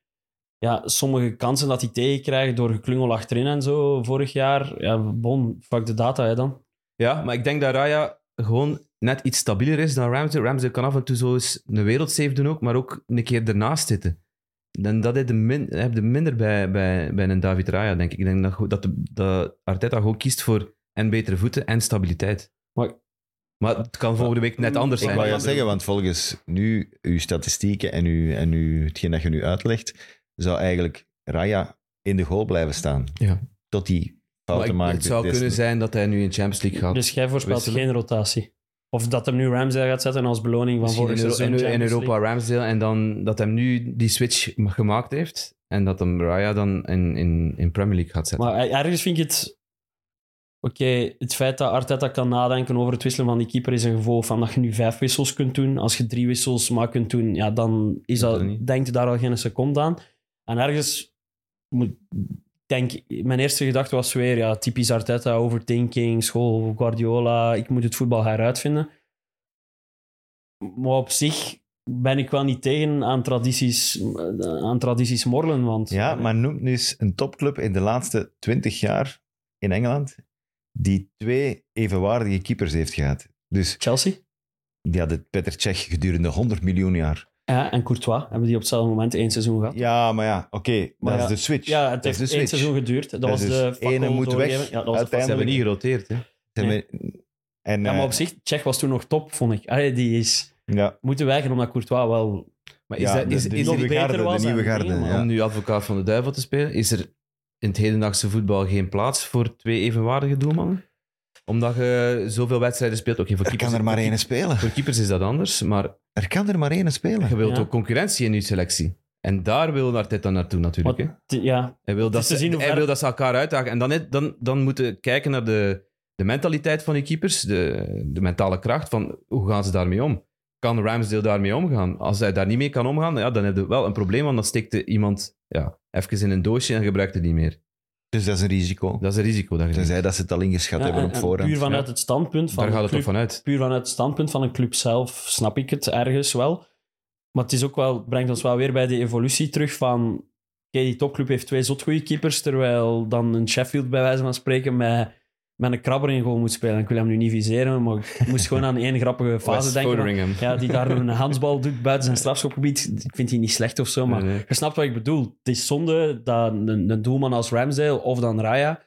Speaker 5: Ja, sommige kansen dat die tegenkrijgen door geklungel achterin en zo vorig jaar. Ja, bon, fuck de data hè, dan.
Speaker 4: Ja, maar ik denk dat Raya gewoon net iets stabieler is dan Ramsey. Ramsey kan af en toe zo eens een wereldsave doen ook, maar ook een keer ernaast zitten. En dat heb je, min- heb je minder bij, bij, bij een David Raya, denk ik. Ik denk dat, go- dat, de- dat Arteta gewoon kiest voor en betere voeten en stabiliteit.
Speaker 5: Maar-
Speaker 4: maar het kan volgende week net anders
Speaker 3: Ik
Speaker 4: zijn.
Speaker 3: wou je zeggen, want volgens nu uw statistieken en, uw, en uw, hetgeen dat je nu uitlegt, zou eigenlijk Raya in de goal blijven staan.
Speaker 4: Ja.
Speaker 3: Tot die
Speaker 4: Maar
Speaker 3: fouten
Speaker 4: ik-
Speaker 3: maakt.
Speaker 4: het zou
Speaker 3: dit
Speaker 4: kunnen
Speaker 3: is-
Speaker 4: zijn dat hij nu in Champions League gaat.
Speaker 5: Dus jij voorspelt
Speaker 4: wisselen.
Speaker 5: geen rotatie. Of dat hem nu Ramsey gaat zetten als beloning van
Speaker 4: Misschien
Speaker 5: vorig
Speaker 4: in, Euro-
Speaker 5: seizoen.
Speaker 4: in- in
Speaker 5: Champions League.
Speaker 4: Europa Ramsdale en dan dat hem nu die switch gemaakt heeft en dat hem Raya dan in, in, in Premier League gaat zetten.
Speaker 5: Maar eh, ergens vind ik het... Oké, het feit dat Arteta kan nadenken over het wisselen van die keeper is een gevolg van dat je nu vijf wissels kunt doen. Als je drie wissels maar kunt doen, ja, dan is
Speaker 4: Dat
Speaker 5: dat,
Speaker 4: niet.
Speaker 5: denkt je daar al geen seconde aan. En ergens... Moet, denk, mijn eerste gedachte was weer, ja, typisch Arteta, overthinking, school, Guardiola, ik moet het voetbal heruitvinden. Maar op zich ben ik wel niet tegen aan tradities, eh, aan tradities morrelen, want...
Speaker 3: Ja, maar noem nu eens een topclub in de laatste twintig jaar in Engeland die twee evenwaardige keepers heeft gehad. Dus
Speaker 5: Chelsea?
Speaker 3: die hadden Peter Cech gedurende 100 miljoen jaar.
Speaker 5: Ja, Eh, en Courtois hebben die op hetzelfde moment één seizoen gehad.
Speaker 3: Ja, maar ja, oké,
Speaker 5: Maar
Speaker 3: dat
Speaker 5: ja,
Speaker 3: is de switch.
Speaker 5: Ja,
Speaker 3: Dat
Speaker 5: het
Speaker 3: is
Speaker 5: heeft
Speaker 3: de
Speaker 5: één
Speaker 3: switch.
Speaker 5: seizoen geduurd. Dat
Speaker 3: Dat
Speaker 5: was
Speaker 3: is
Speaker 5: de
Speaker 3: dus ene
Speaker 5: fakkel
Speaker 3: moet weg,
Speaker 5: doorgeven. Ja, dat was de
Speaker 4: Ze
Speaker 3: uiteindelijk-
Speaker 4: hebben niet geroteerd, hè?
Speaker 3: Ze
Speaker 5: Nee.
Speaker 3: hebben- En,
Speaker 5: fakkel. Ja, maar op
Speaker 3: eh,
Speaker 5: zich, Tsjech was toen nog top, vond ik. Allee, die is
Speaker 3: ja,
Speaker 5: moeten wijken omdat Courtois wel...
Speaker 4: Maar is
Speaker 3: ja,
Speaker 4: dat, is,
Speaker 3: de, de
Speaker 4: is
Speaker 5: nog
Speaker 3: nieuwe
Speaker 5: beter
Speaker 3: garde,
Speaker 5: was
Speaker 3: de nieuwe
Speaker 5: dan
Speaker 3: garde.
Speaker 5: Neymar.
Speaker 3: ja.
Speaker 4: om nu advocaat van de duivel te spelen, is er in het hedendaagse voetbal geen plaats voor twee evenwaardige doelmannen? Omdat je zoveel wedstrijden speelt. Oké, voor,
Speaker 3: Er
Speaker 4: keepers-
Speaker 3: kan er maar één spelen.
Speaker 4: voor keepers is dat anders, maar
Speaker 3: Er kan er maar één spelen.
Speaker 4: je wilt
Speaker 5: Ja.
Speaker 4: ook concurrentie in je selectie. En daar wil Arteta naartoe natuurlijk.
Speaker 5: Wat,
Speaker 4: hè.
Speaker 5: ja,
Speaker 4: Hij wil, dat
Speaker 5: is te
Speaker 4: ze,
Speaker 5: zien hoe
Speaker 4: hij
Speaker 5: ver-
Speaker 4: wil dat ze elkaar uitdagen. En dan, dan, dan moeten we kijken naar de, de mentaliteit van die keepers, de, de mentale kracht van hoe gaan ze daarmee om? Kan Ramsdale daarmee omgaan? Als hij daar niet mee kan omgaan, ja, dan heb je wel een probleem, want dan steekt er iemand ja, even in een doosje en gebruikt het niet meer.
Speaker 3: Dus dat is een risico.
Speaker 4: Dat is een risico. Dat je
Speaker 3: Tenzij dat ze het al ingeschat
Speaker 5: ja,
Speaker 3: hebben
Speaker 5: en-
Speaker 3: op
Speaker 5: en
Speaker 3: voorhand.
Speaker 5: puur vanuit
Speaker 4: Ja.
Speaker 5: het standpunt van
Speaker 4: daar
Speaker 5: de
Speaker 4: gaat het
Speaker 5: club
Speaker 4: ook vanuit.
Speaker 5: puur vanuit het standpunt van een club zelf snap ik het ergens wel. Maar het is ook wel, brengt ons wel weer bij die evolutie terug van... Oké, die topclub heeft twee zotgoeie keepers, terwijl dan een Sheffield bij wijze van spreken met, met een krabber in goal moet spelen. Ik wil hem nu niet viseren, maar ik moest gewoon aan één grappige fase
Speaker 4: West
Speaker 5: denken.
Speaker 4: Fotheringham.
Speaker 5: Ja, die daar een handsbal doet buiten zijn strafschopgebied. Ik vind die niet slecht of zo, maar
Speaker 4: Nee, nee.
Speaker 5: je snapt wat ik bedoel. Het is zonde dat een, een doelman als Ramsdale of dan Raya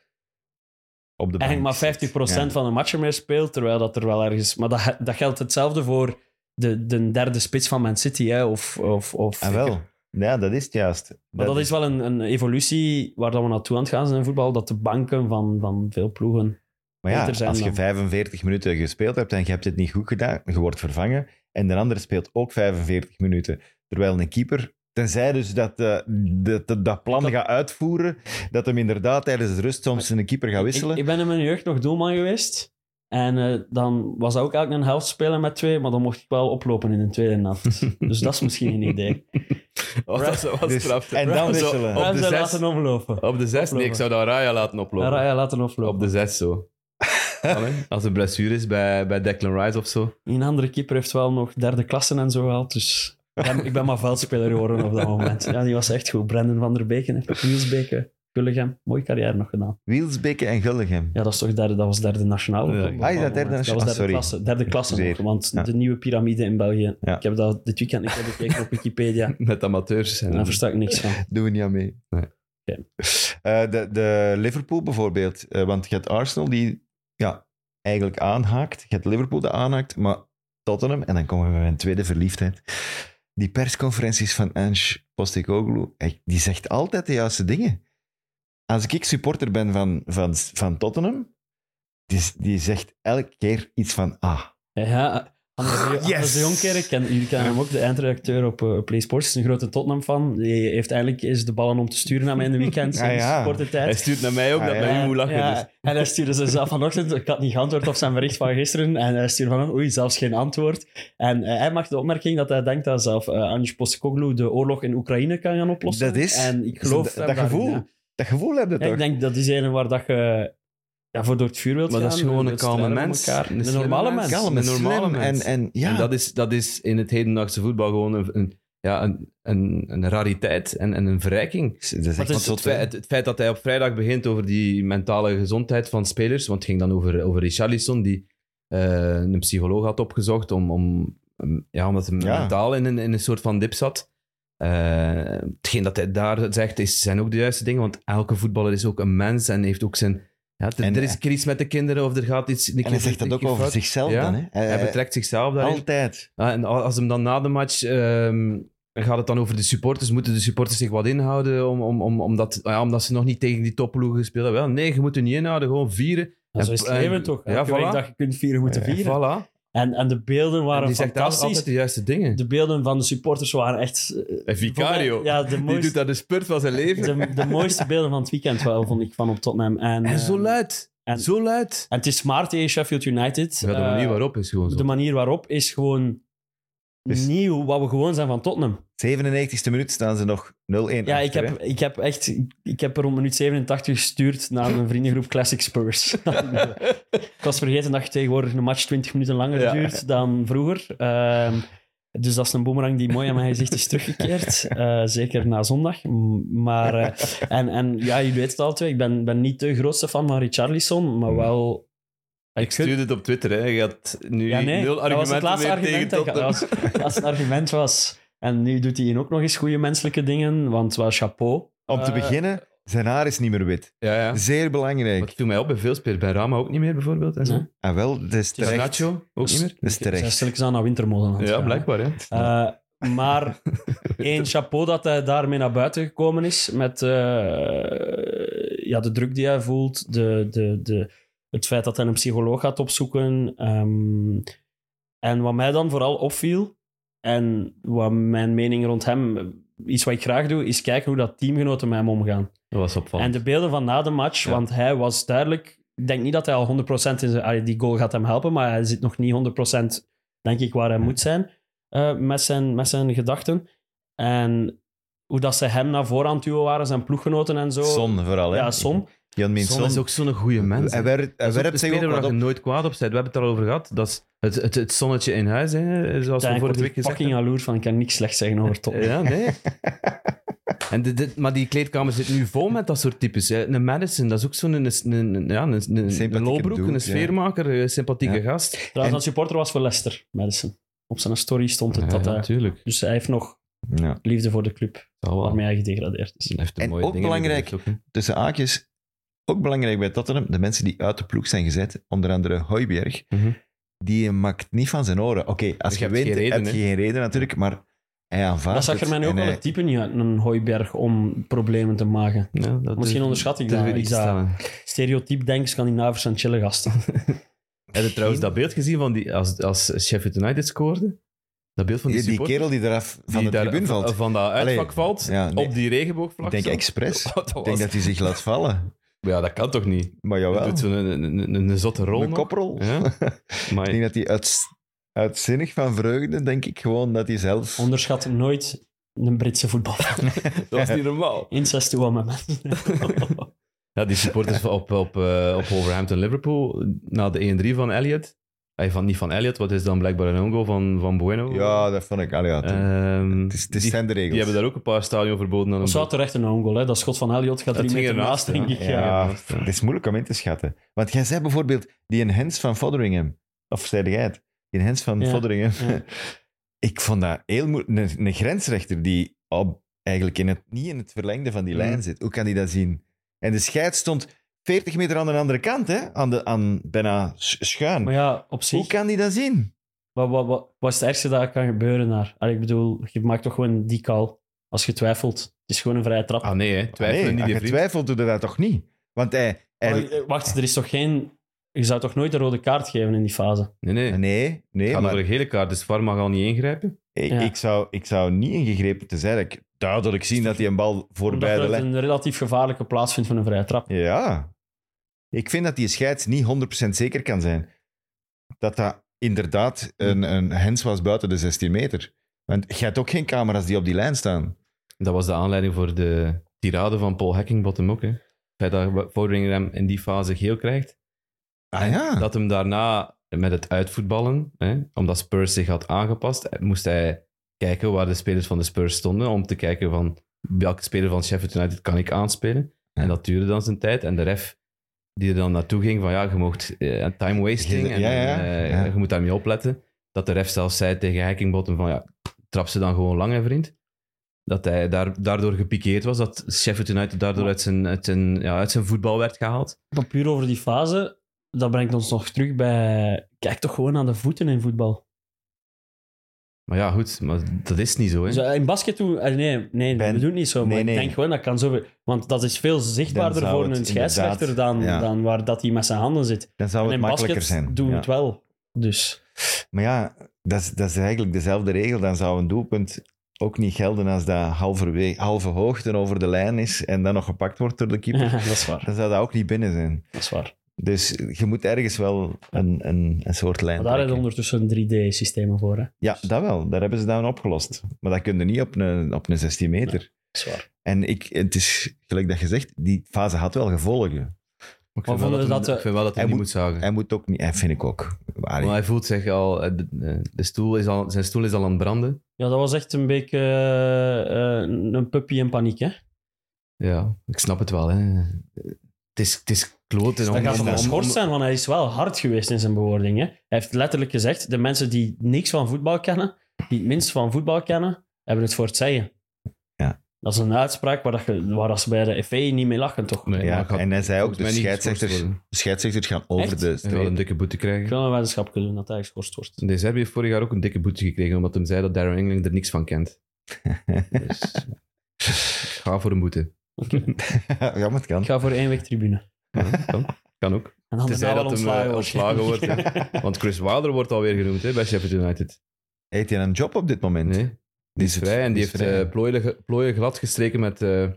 Speaker 3: Op de bank
Speaker 5: eigenlijk maar 50%
Speaker 3: zit. Ja.
Speaker 5: van de matchen meer speelt, terwijl dat er wel ergens... Maar dat, dat geldt hetzelfde voor de, de derde spits van Man City, hè, of... of, of
Speaker 3: Ah, wel. Ja, dat is het juist.
Speaker 5: Maar dat is wel een, een evolutie waar dat we naartoe aan het gaan zijn in voetbal, dat de banken van, van veel ploegen...
Speaker 3: Maar ja,
Speaker 5: beter zijn
Speaker 3: als je
Speaker 5: dan.
Speaker 3: 45 minuten gespeeld hebt en je hebt het niet goed gedaan, je wordt vervangen. En de andere speelt ook 45 minuten. Terwijl een keeper, tenzij dus dat eh, dat, dat, dat plan gaat uitvoeren, dat hem inderdaad tijdens de rust soms een keeper gaat wisselen.
Speaker 5: Ik, ik ben in mijn jeugd nog doelman geweest. En eh, dan was dat ook eigenlijk een helft spelen met twee, maar dan mocht ik wel oplopen in de tweede helft. dus dat is misschien een idee.
Speaker 4: Oh, dat is- dat was
Speaker 3: Dus-
Speaker 4: straf.
Speaker 3: en dan
Speaker 4: Zo,
Speaker 3: wisselen.
Speaker 4: Op
Speaker 5: Ramsdale
Speaker 4: de zes.
Speaker 5: laten omlopen.
Speaker 4: Op de zes? Nee, ik zou dat Raya laten oplopen.
Speaker 5: Ja, ja, laten
Speaker 4: Op
Speaker 5: omlopen.
Speaker 4: de zes zo. Allee, Als een blessure is bij, bij Declan Rice of zo.
Speaker 5: Een andere keeper heeft wel nog derde klassen en zo wel, dus... ik ben- Ik ben maar veldspeler geworden op dat moment. Ja, die was echt goed. Brendan van der Beken, hè. Nielsbeke, Gulligem. Mooie carrière nog gedaan.
Speaker 3: Wielsbeke en Gulligem.
Speaker 5: Ja, dat, is toch derde, dat was derde nationale.
Speaker 4: Ja,
Speaker 5: op
Speaker 4: ja.
Speaker 5: een
Speaker 3: Ah, is dat
Speaker 5: bepaald
Speaker 3: derde
Speaker 5: moment.
Speaker 3: nationale?
Speaker 5: Dat was derde
Speaker 3: Sorry.
Speaker 5: klasse. Derde klasse nog,
Speaker 3: Zeer.
Speaker 5: want
Speaker 3: Ja.
Speaker 5: de nieuwe piramide in België.
Speaker 3: Ja.
Speaker 5: Ik heb dat dit weekend ik heb gekeken op Wikipedia. En
Speaker 4: Met amateurs. En,
Speaker 5: daar versta ik niks van.
Speaker 3: Doen we niet aan mee.
Speaker 4: Nee.
Speaker 5: Oké.
Speaker 3: Eh, de, de Liverpool bijvoorbeeld. eh, want je hebt Arsenal die ja, eigenlijk aanhaakt. Je hebt Liverpool die aanhaakt. Maar Tottenham, en dan komen we bij mijn tweede verliefdheid. Die persconferenties van Ange Postecoglou, echt, die zegt altijd de juiste dingen. Als ik supporter ben van, van, van Tottenham, die, die zegt elke keer iets van ah.
Speaker 5: Eh, Ja, Anders de, Anders de
Speaker 3: Yes!
Speaker 5: Jonkerk, ken- jullie kennen hem ook, de eindredacteur op eh, PlaySports, is een grote Tottenham-fan. Die heeft eindelijk eens de ballen om te sturen aan mij in de weekend,
Speaker 3: Ah,
Speaker 5: sinds
Speaker 3: ja.
Speaker 5: korte tijd.
Speaker 4: Hij stuurt naar mij ook
Speaker 3: Ah,
Speaker 4: dat
Speaker 3: ja.
Speaker 4: bij u
Speaker 5: En,
Speaker 4: moet lachen.
Speaker 5: ja,
Speaker 4: dus.
Speaker 5: En hij stuurde ze zelf vanochtend, ik had niet geantwoord op zijn bericht van gisteren, en hij stuurde van, oei, zelfs geen antwoord. En eh, hij maakte de opmerking dat hij denkt dat zelf eh Ange Postecoglou de oorlog in Oekraïne kan gaan oplossen.
Speaker 3: Dat is-
Speaker 5: En ik geloof...
Speaker 3: dat,
Speaker 5: hem
Speaker 3: dat
Speaker 5: daarin,
Speaker 3: gevoel,
Speaker 5: ja.
Speaker 3: dat gevoel heb je
Speaker 5: Ja,
Speaker 3: toch?
Speaker 5: ik denk dat is een waar dat je ja, voor door het vuur wilt
Speaker 4: Maar
Speaker 5: gaan.
Speaker 4: dat is gewoon een
Speaker 5: wilt
Speaker 4: kalme
Speaker 5: strijden met
Speaker 4: mens.
Speaker 5: elkaar.
Speaker 4: Een
Speaker 5: Een
Speaker 4: slimme
Speaker 5: normale
Speaker 4: mens.
Speaker 5: mens.
Speaker 3: Kalm
Speaker 4: een
Speaker 3: en slim
Speaker 4: normale mens.
Speaker 3: En, en, ja,
Speaker 4: En dat is, dat is in het hedendaagse voetbal gewoon een, een, ja, een, een, een rariteit en, en een verrijking.
Speaker 3: dat is echt
Speaker 4: Want
Speaker 3: zot,
Speaker 4: het,
Speaker 3: hè.
Speaker 4: feit, het, het feit dat hij op vrijdag begint over die mentale gezondheid van spelers, want het ging dan over, over Richarlison, die eh, een psycholoog had opgezocht om, om, om- ja, omdat hij
Speaker 3: Ja.
Speaker 4: mentaal in een, in een soort van dip zat. Eh, hetgeen dat hij daar zegt, is, zijn ook de juiste dingen, want elke voetballer is ook een mens en heeft ook zijn... Ja, er,
Speaker 3: En-
Speaker 4: er is een keer iets met de kinderen of er gaat iets... een
Speaker 3: En
Speaker 4: keer
Speaker 3: hij zegt dat
Speaker 4: goed, een
Speaker 3: ook
Speaker 4: keer
Speaker 3: over eh,
Speaker 4: fout.
Speaker 3: zichzelf
Speaker 4: Ja.
Speaker 3: dan. Hè? Hij-
Speaker 4: Hij
Speaker 3: hij-
Speaker 4: betrekt zichzelf daarin.
Speaker 3: altijd.
Speaker 4: Ja, Ah, en al- als hem dan na de match ehm, gaat het dan over de supporters, moeten de supporters zich wat inhouden om, om, om, omdat, ja, omdat ze nog niet tegen die topploegen gespeeld hebben? Wel, nee, je moet er niet inhouden, gewoon vieren.
Speaker 5: Ja, zo is het
Speaker 4: En-
Speaker 5: leven toch.
Speaker 4: Eh, ja,
Speaker 5: Elke
Speaker 4: voilà.
Speaker 5: werkdag je kunt vieren, moeten
Speaker 4: En
Speaker 5: vieren.
Speaker 4: voilà.
Speaker 5: En, en de beelden
Speaker 4: En
Speaker 5: waren
Speaker 4: die zegt daar
Speaker 5: fantastisch.
Speaker 4: altijd de juiste dingen.
Speaker 5: De beelden van de supporters waren echt... eh,
Speaker 4: en Vicario,
Speaker 5: Ja, de
Speaker 4: die doet
Speaker 5: mooiste,
Speaker 4: daar de spurt van zijn leven.
Speaker 5: de, de mooiste beelden van het weekend wel, vond ik, van op Tottenham. En,
Speaker 4: en zo
Speaker 5: eh,
Speaker 4: luid,
Speaker 5: en-
Speaker 4: zo luid.
Speaker 5: en het is maar tegen Sheffield United.
Speaker 4: Ja, de
Speaker 5: Eh,
Speaker 4: manier waarop is gewoon zo.
Speaker 5: de manier waarop is gewoon
Speaker 3: Dus-
Speaker 5: nieuw, wat we gewoon zijn van Tottenham.
Speaker 3: 97e minuut staan ze nog 0-1
Speaker 5: Ja, ik
Speaker 3: achter, hè.
Speaker 5: heb, ik heb echt... Ik heb er om minuut 87 gestuurd naar mijn vriendengroep Classic Spurs. ik was vergeten dat je tegenwoordig een match 20 minuten langer
Speaker 4: Ja.
Speaker 5: duurt dan vroeger. Ehm, dus dat is een boemerang die mooi aan mijn gezicht is teruggekeerd. Eh, zeker na zondag. M- Maar, eh, en, en ja, jullie weten het al twee. Ik ben, ben niet de grootste fan van Richarlison,
Speaker 3: Hmm.
Speaker 5: maar wel...
Speaker 4: Ik stuurde het op Twitter, hè. je had nu
Speaker 5: Ja, nee,
Speaker 4: nul
Speaker 5: dat was het
Speaker 4: argumenten
Speaker 5: laatste
Speaker 4: meer
Speaker 5: argument.
Speaker 4: tegen
Speaker 5: Dat, ik- dat
Speaker 4: Tottenham.
Speaker 5: was, het laatste argument was... En nu doet hij hier ook nog eens goede menselijke dingen, want wel chapeau.
Speaker 3: Om te
Speaker 5: Eh,
Speaker 3: beginnen, zijn haar is niet meer wit.
Speaker 4: Ja, ja.
Speaker 3: Zeer
Speaker 4: Maar
Speaker 3: belangrijk.
Speaker 4: het viel mij op bij veel spelers, bij Rama ook niet meer bijvoorbeeld. En zo.
Speaker 5: Nee.
Speaker 3: En wel, dat is
Speaker 4: Bij
Speaker 3: terecht.
Speaker 4: Nacho ook niet meer.
Speaker 3: Dat is
Speaker 5: Zij
Speaker 3: terecht.
Speaker 5: stel ik ze aan naar wintermode aan het
Speaker 4: Ja,
Speaker 5: gaan, hè.
Speaker 4: blijkbaar. Hè.
Speaker 5: Eh, maar één chapeau dat hij daarmee naar buiten gekomen is. Met eh, ja, de druk die hij voelt, de, de, de, het feit dat hij een psycholoog gaat opzoeken. ehm, en wat mij dan vooral opviel, en wat mijn mening rond hem, eh, iets wat ik graag doe, is kijken hoe dat teamgenoten met hem omgaan.
Speaker 4: Dat was opvallend.
Speaker 5: En de beelden van na de match,
Speaker 4: Ja.
Speaker 5: want hij was duidelijk. Ik denk niet dat hij al 100% in zijn. allee, Die goal gaat hem helpen, maar hij zit nog niet 100%, denk ik, waar hij moet zijn eh, met zijn, met zijn gedachten. En hoe dat ze hem naar voren aan het duwen waren, zijn ploeggenoten en zo.
Speaker 3: Zon vooral, hè.
Speaker 5: Ja, Son.
Speaker 3: Jan
Speaker 4: Son is
Speaker 3: Minson.
Speaker 4: ook zo'n goede mens.
Speaker 3: Hij werpt hij
Speaker 4: Dat is ook
Speaker 3: werpt
Speaker 4: de
Speaker 3: zich ook
Speaker 4: speler waar
Speaker 3: wat
Speaker 4: je
Speaker 3: op.
Speaker 4: nooit kwaad op bent. We hebben het daarover gehad. Dat is het, het, het zonnetje in huis, hè, zoals we
Speaker 5: Daar word
Speaker 4: vorige
Speaker 5: ik
Speaker 4: week gezegd
Speaker 5: fucking jaloers van. Ik kan niks slecht zeggen over Tottenham.
Speaker 4: Ja, nee. en dit- dit- maar die kleedkamer zit nu vol met dat soort types. hè. Een Madison, dat is ook zo'n een, een, een, ja, een, een,
Speaker 3: Sympathieke
Speaker 4: een lolbroek,
Speaker 3: dude, ja.
Speaker 4: een sfeermaker, een sympathieke gast.
Speaker 5: Trouwens, dat supporter was voor Leicester, Madison. Op zijn story stond het dat
Speaker 4: ja,
Speaker 5: hij...
Speaker 4: natuurlijk.
Speaker 5: Dus hij heeft nog
Speaker 3: Ja.
Speaker 5: liefde voor de club
Speaker 4: Dat wel.
Speaker 5: waarmee hij gedegradeerd is.
Speaker 4: Hij heeft een
Speaker 3: En
Speaker 4: mooie
Speaker 3: ook
Speaker 4: dingen
Speaker 3: belangrijk-
Speaker 4: bedacht ook, hè.
Speaker 3: Tussen haakjes, ook belangrijk bij Tottenham, de mensen die uit de ploeg zijn gezet, onder andere Hooiberg,
Speaker 4: Mhm.
Speaker 3: die maakt niet van zijn oren. Oké, als
Speaker 4: Je
Speaker 3: je,
Speaker 4: hebt
Speaker 3: wint,
Speaker 4: geen reden,
Speaker 3: heb je
Speaker 4: hè.
Speaker 3: geen reden natuurlijk, maar hij aanvaardt
Speaker 5: Dat zag er
Speaker 3: het
Speaker 5: mij nu
Speaker 3: en
Speaker 5: ook wel
Speaker 3: hij-
Speaker 5: het type niet uit, een hooiberg, om problemen te maken.
Speaker 4: Ja, dat
Speaker 5: Misschien
Speaker 4: durf-
Speaker 5: onderschat ik
Speaker 4: durf
Speaker 5: dat.
Speaker 4: niet
Speaker 5: Ik
Speaker 4: te
Speaker 5: zou-
Speaker 4: stellen.
Speaker 5: Stereotyp denk Scandinavers zijn chille gasten.
Speaker 4: Heb je trouwens dat beeld gezien van die, als, als Sheffield United scoorde? Dat beeld van die,
Speaker 3: Die, die
Speaker 4: supporter
Speaker 3: kerel die eraf van
Speaker 4: die
Speaker 3: de
Speaker 4: daar-
Speaker 3: tribune valt.
Speaker 4: Van, van dat uitvak
Speaker 3: Allee,
Speaker 4: valt,
Speaker 3: ja, nee.
Speaker 4: op die regenboogvlak.
Speaker 3: ik denk
Speaker 4: zo.
Speaker 3: expres.
Speaker 4: Dat was-
Speaker 3: Ik denk dat hij zich laat vallen.
Speaker 4: Ja, dat kan toch niet?
Speaker 3: Maar
Speaker 4: Dat
Speaker 3: jawel,
Speaker 4: doet zo'n een, een, een, een zotte rol
Speaker 3: een
Speaker 4: nog.
Speaker 3: koprol.
Speaker 4: Ja. Maar
Speaker 3: Ik denk dat hij uit, uitzinnig van vreugde, denk ik gewoon dat hij zelf...
Speaker 4: Oh,
Speaker 5: Onderschat nooit een Britse voetballer.
Speaker 4: dat was niet normaal.
Speaker 5: Incest to woman.
Speaker 4: Ja, die supporters van- op, op, eh, op Wolverhampton-Liverpool, na de 1-3 van Elliot. Ay, van, niet van Elliot, wat is dan blijkbaar een ongo van, van Bueno.
Speaker 3: Ja, dat vond ik. Allee, ja, het-
Speaker 4: Ehm,
Speaker 3: het is, het is
Speaker 4: die,
Speaker 3: zijn de regels.
Speaker 4: die hebben daar ook een paar stadion verboden aan
Speaker 5: Dat zou terecht een own goal, hè. Dat schot van Elliot gaat
Speaker 4: Dat
Speaker 5: drie
Speaker 4: ging
Speaker 5: meter naast,
Speaker 4: ernaast,
Speaker 5: denk ik.
Speaker 3: ja.
Speaker 5: Ja.
Speaker 3: Het is moeilijk om in te schatten. Want jij zei bijvoorbeeld die een Hens van Fodderingham. Of zei jij het? Die een Hens van
Speaker 5: Ja,
Speaker 3: Fodderingham.
Speaker 5: ja.
Speaker 3: Ik vond dat heel moeilijk. Een, een grensrechter die op, eigenlijk in het, niet in het verlengde van die
Speaker 4: Mm.
Speaker 3: lijn zit. Hoe kan die dat zien? En de scheid stond 40 meter aan de andere kant, hè? Aan de, aan, bijna s- schuin.
Speaker 5: Maar ja, op zich,
Speaker 3: Hoe kan die dat zien?
Speaker 5: wat, wat, wat, wat is het ergste dat kan gebeuren daar? Allee, ik bedoel, je maakt toch gewoon die call als je twijfelt. Het is gewoon een vrije trap.
Speaker 4: Ah nee, hè. twijfelen
Speaker 3: nee,
Speaker 4: niet,
Speaker 3: als
Speaker 4: die
Speaker 3: je
Speaker 4: vriend.
Speaker 3: twijfelt, doe je dat toch niet? Want hij. hij-
Speaker 5: Maar, eh, Wacht, er is toch geen... Je zou toch nooit een rode kaart geven in die fase?
Speaker 4: Nee, nee. Het
Speaker 3: Ah, nee, nee.
Speaker 4: gaat
Speaker 3: maar-
Speaker 4: over een gele kaart, dus VAR mag al niet ingrijpen.
Speaker 3: Ik,
Speaker 5: Ja.
Speaker 3: ik, zou, ik zou niet ingegrepen te zijn. Ik duidelijk zien dat hij een bal
Speaker 5: Omdat
Speaker 3: voorbij de
Speaker 5: het
Speaker 3: lijn...
Speaker 5: een relatief gevaarlijke plaats vindt van een vrije trap.
Speaker 3: Ja. Ik vind dat die scheids niet 100% zeker kan zijn. Dat dat inderdaad
Speaker 5: Hm.
Speaker 3: een, een hens was buiten de 16 meter. Want je hebt ook geen camera's die op die lijn staan.
Speaker 4: Dat was de aanleiding voor de tirade van Paul Hackingbottom ook. Hè. Het feit dat Vordering hem in die fase geel krijgt.
Speaker 3: Ah ja.
Speaker 4: dat hem daarna met het uitvoetballen, hè, omdat Spurs zich had aangepast, eh, moest hij kijken waar de spelers van de Spurs stonden, om te kijken van welke speler van Sheffield United kan ik aanspelen. En dat duurde dan zijn tijd. En de ref die er dan naartoe ging van ja, je mocht eh, time wasting en
Speaker 3: Ja, ja,
Speaker 4: eh,
Speaker 3: ja.
Speaker 4: je moet daarmee opletten. Dat de ref zelf zei tegen Hackingbottom van ja, trap ze dan gewoon lang hè vriend. Dat hij daar, daardoor gepikeerd was, dat Sheffield United daardoor uit zijn, uit zijn, ja, uit zijn voetbal werd gehaald.
Speaker 5: Maar puur over die fase, dat brengt ons nog terug bij... Kijk toch gewoon aan de voeten in voetbal.
Speaker 4: Maar ja, goed, maar dat is niet zo. Hè.
Speaker 5: Dus eh, in basket toen... eh, Nee, nee
Speaker 3: Ben-
Speaker 5: we doen het niet zo. Maar
Speaker 3: nee, nee.
Speaker 5: ik denk gewoon, dat kan zo... Want dat is veel zichtbaarder
Speaker 3: Dan zou
Speaker 5: voor
Speaker 3: het
Speaker 5: een scheidsrechter dan,
Speaker 3: inderdaad, ja.
Speaker 5: dan waar dat hij met zijn handen zit.
Speaker 3: Dan zou
Speaker 5: En
Speaker 3: het
Speaker 5: in
Speaker 3: makkelijker
Speaker 5: basket
Speaker 3: zijn.
Speaker 5: doen we
Speaker 3: Ja.
Speaker 5: het wel. Dus
Speaker 3: Maar ja, dat is, dat is eigenlijk dezelfde regel. Dan zou een doelpunt ook niet gelden als dat halverwege- halve hoogte over de lijn is en dan nog gepakt wordt door de keeper.
Speaker 5: dat is waar.
Speaker 3: Dan zou dat ook niet binnen zijn.
Speaker 5: Dat is waar.
Speaker 3: Dus je moet ergens wel een, een, een soort lijn
Speaker 5: Maar daar hebben
Speaker 3: trekken.
Speaker 5: we ondertussen 3D-systemen voor. Hè.
Speaker 3: Ja,
Speaker 4: Dus-
Speaker 3: dat wel. Daar hebben ze dan opgelost. Maar dat kun je niet op een, op een 16 meter.
Speaker 5: Dat is waar.
Speaker 3: En ik, het is, gelijk dat je zegt, die fase had wel gevolgen.
Speaker 4: Maar
Speaker 5: Maar
Speaker 4: ik vind, wel
Speaker 5: vonden
Speaker 4: dat,
Speaker 5: dat
Speaker 4: hem-
Speaker 5: de-
Speaker 4: ik vind wel dat hij,
Speaker 3: Hij
Speaker 4: niet
Speaker 3: moet-
Speaker 4: moet zagen.
Speaker 3: Hij moet ook niet... Hij vind ik ook. Maar
Speaker 4: Maar hij voelt zich al... eh, De, de stoel is al zijn stoel is al aan het branden.
Speaker 5: Ja, dat was echt een beetje eh, eh, een puppy in paniek, hè?
Speaker 4: Ja, ik snap het wel. Hè. Het is, het is kloten.
Speaker 5: Dat
Speaker 4: om-
Speaker 5: gaat
Speaker 4: om-
Speaker 5: toch
Speaker 4: om-
Speaker 5: geschorst zijn, want hij is wel hard geweest in zijn bewoording. Hè? Hij heeft letterlijk gezegd, de mensen die niks van voetbal kennen, die het minst van voetbal kennen, hebben het voor het zeggen.
Speaker 3: Ja.
Speaker 5: Dat is een uitspraak waar, dat je, waar dat ze bij de FA niet mee lachen, toch?
Speaker 4: Nee,
Speaker 3: Ja,
Speaker 4: maar gaat
Speaker 3: en hij zei ook,
Speaker 4: volgens mij
Speaker 3: de
Speaker 4: niet geschorst
Speaker 3: scheidsrechters-
Speaker 4: worden.
Speaker 3: de scheidsrechters gaan over
Speaker 5: Echt?
Speaker 3: de
Speaker 4: Hij wil
Speaker 3: streep.
Speaker 4: een dikke boete
Speaker 5: Ik
Speaker 4: krijgen.
Speaker 5: wil een wetenschap kunnen doen dat hij geschorst wordt.
Speaker 4: De Serbië heeft vorig jaar ook een dikke boete gekregen, omdat hij zei dat Darren Engling er niks van kent. Dus, ik ga voor een boete.
Speaker 3: ja, maar het
Speaker 5: Ik
Speaker 3: kan.
Speaker 5: ga voor één week tribune.
Speaker 4: Ja, kan, kan ook.
Speaker 5: En dan
Speaker 4: Tenzij
Speaker 5: daarna wel
Speaker 4: dat hem,
Speaker 5: ontslagen
Speaker 4: eh,
Speaker 5: wordt.
Speaker 4: ontslagen wordt, Want Chris Wilder wordt alweer genoemd hè, bij Sheffield United.
Speaker 3: Heeft hij een job op dit moment?
Speaker 4: Nee. Die is
Speaker 3: het-
Speaker 4: vrij en die
Speaker 3: is
Speaker 4: heeft
Speaker 3: vrij.
Speaker 4: eh, plooien, ge- plooien glad gestreken met eh, eh,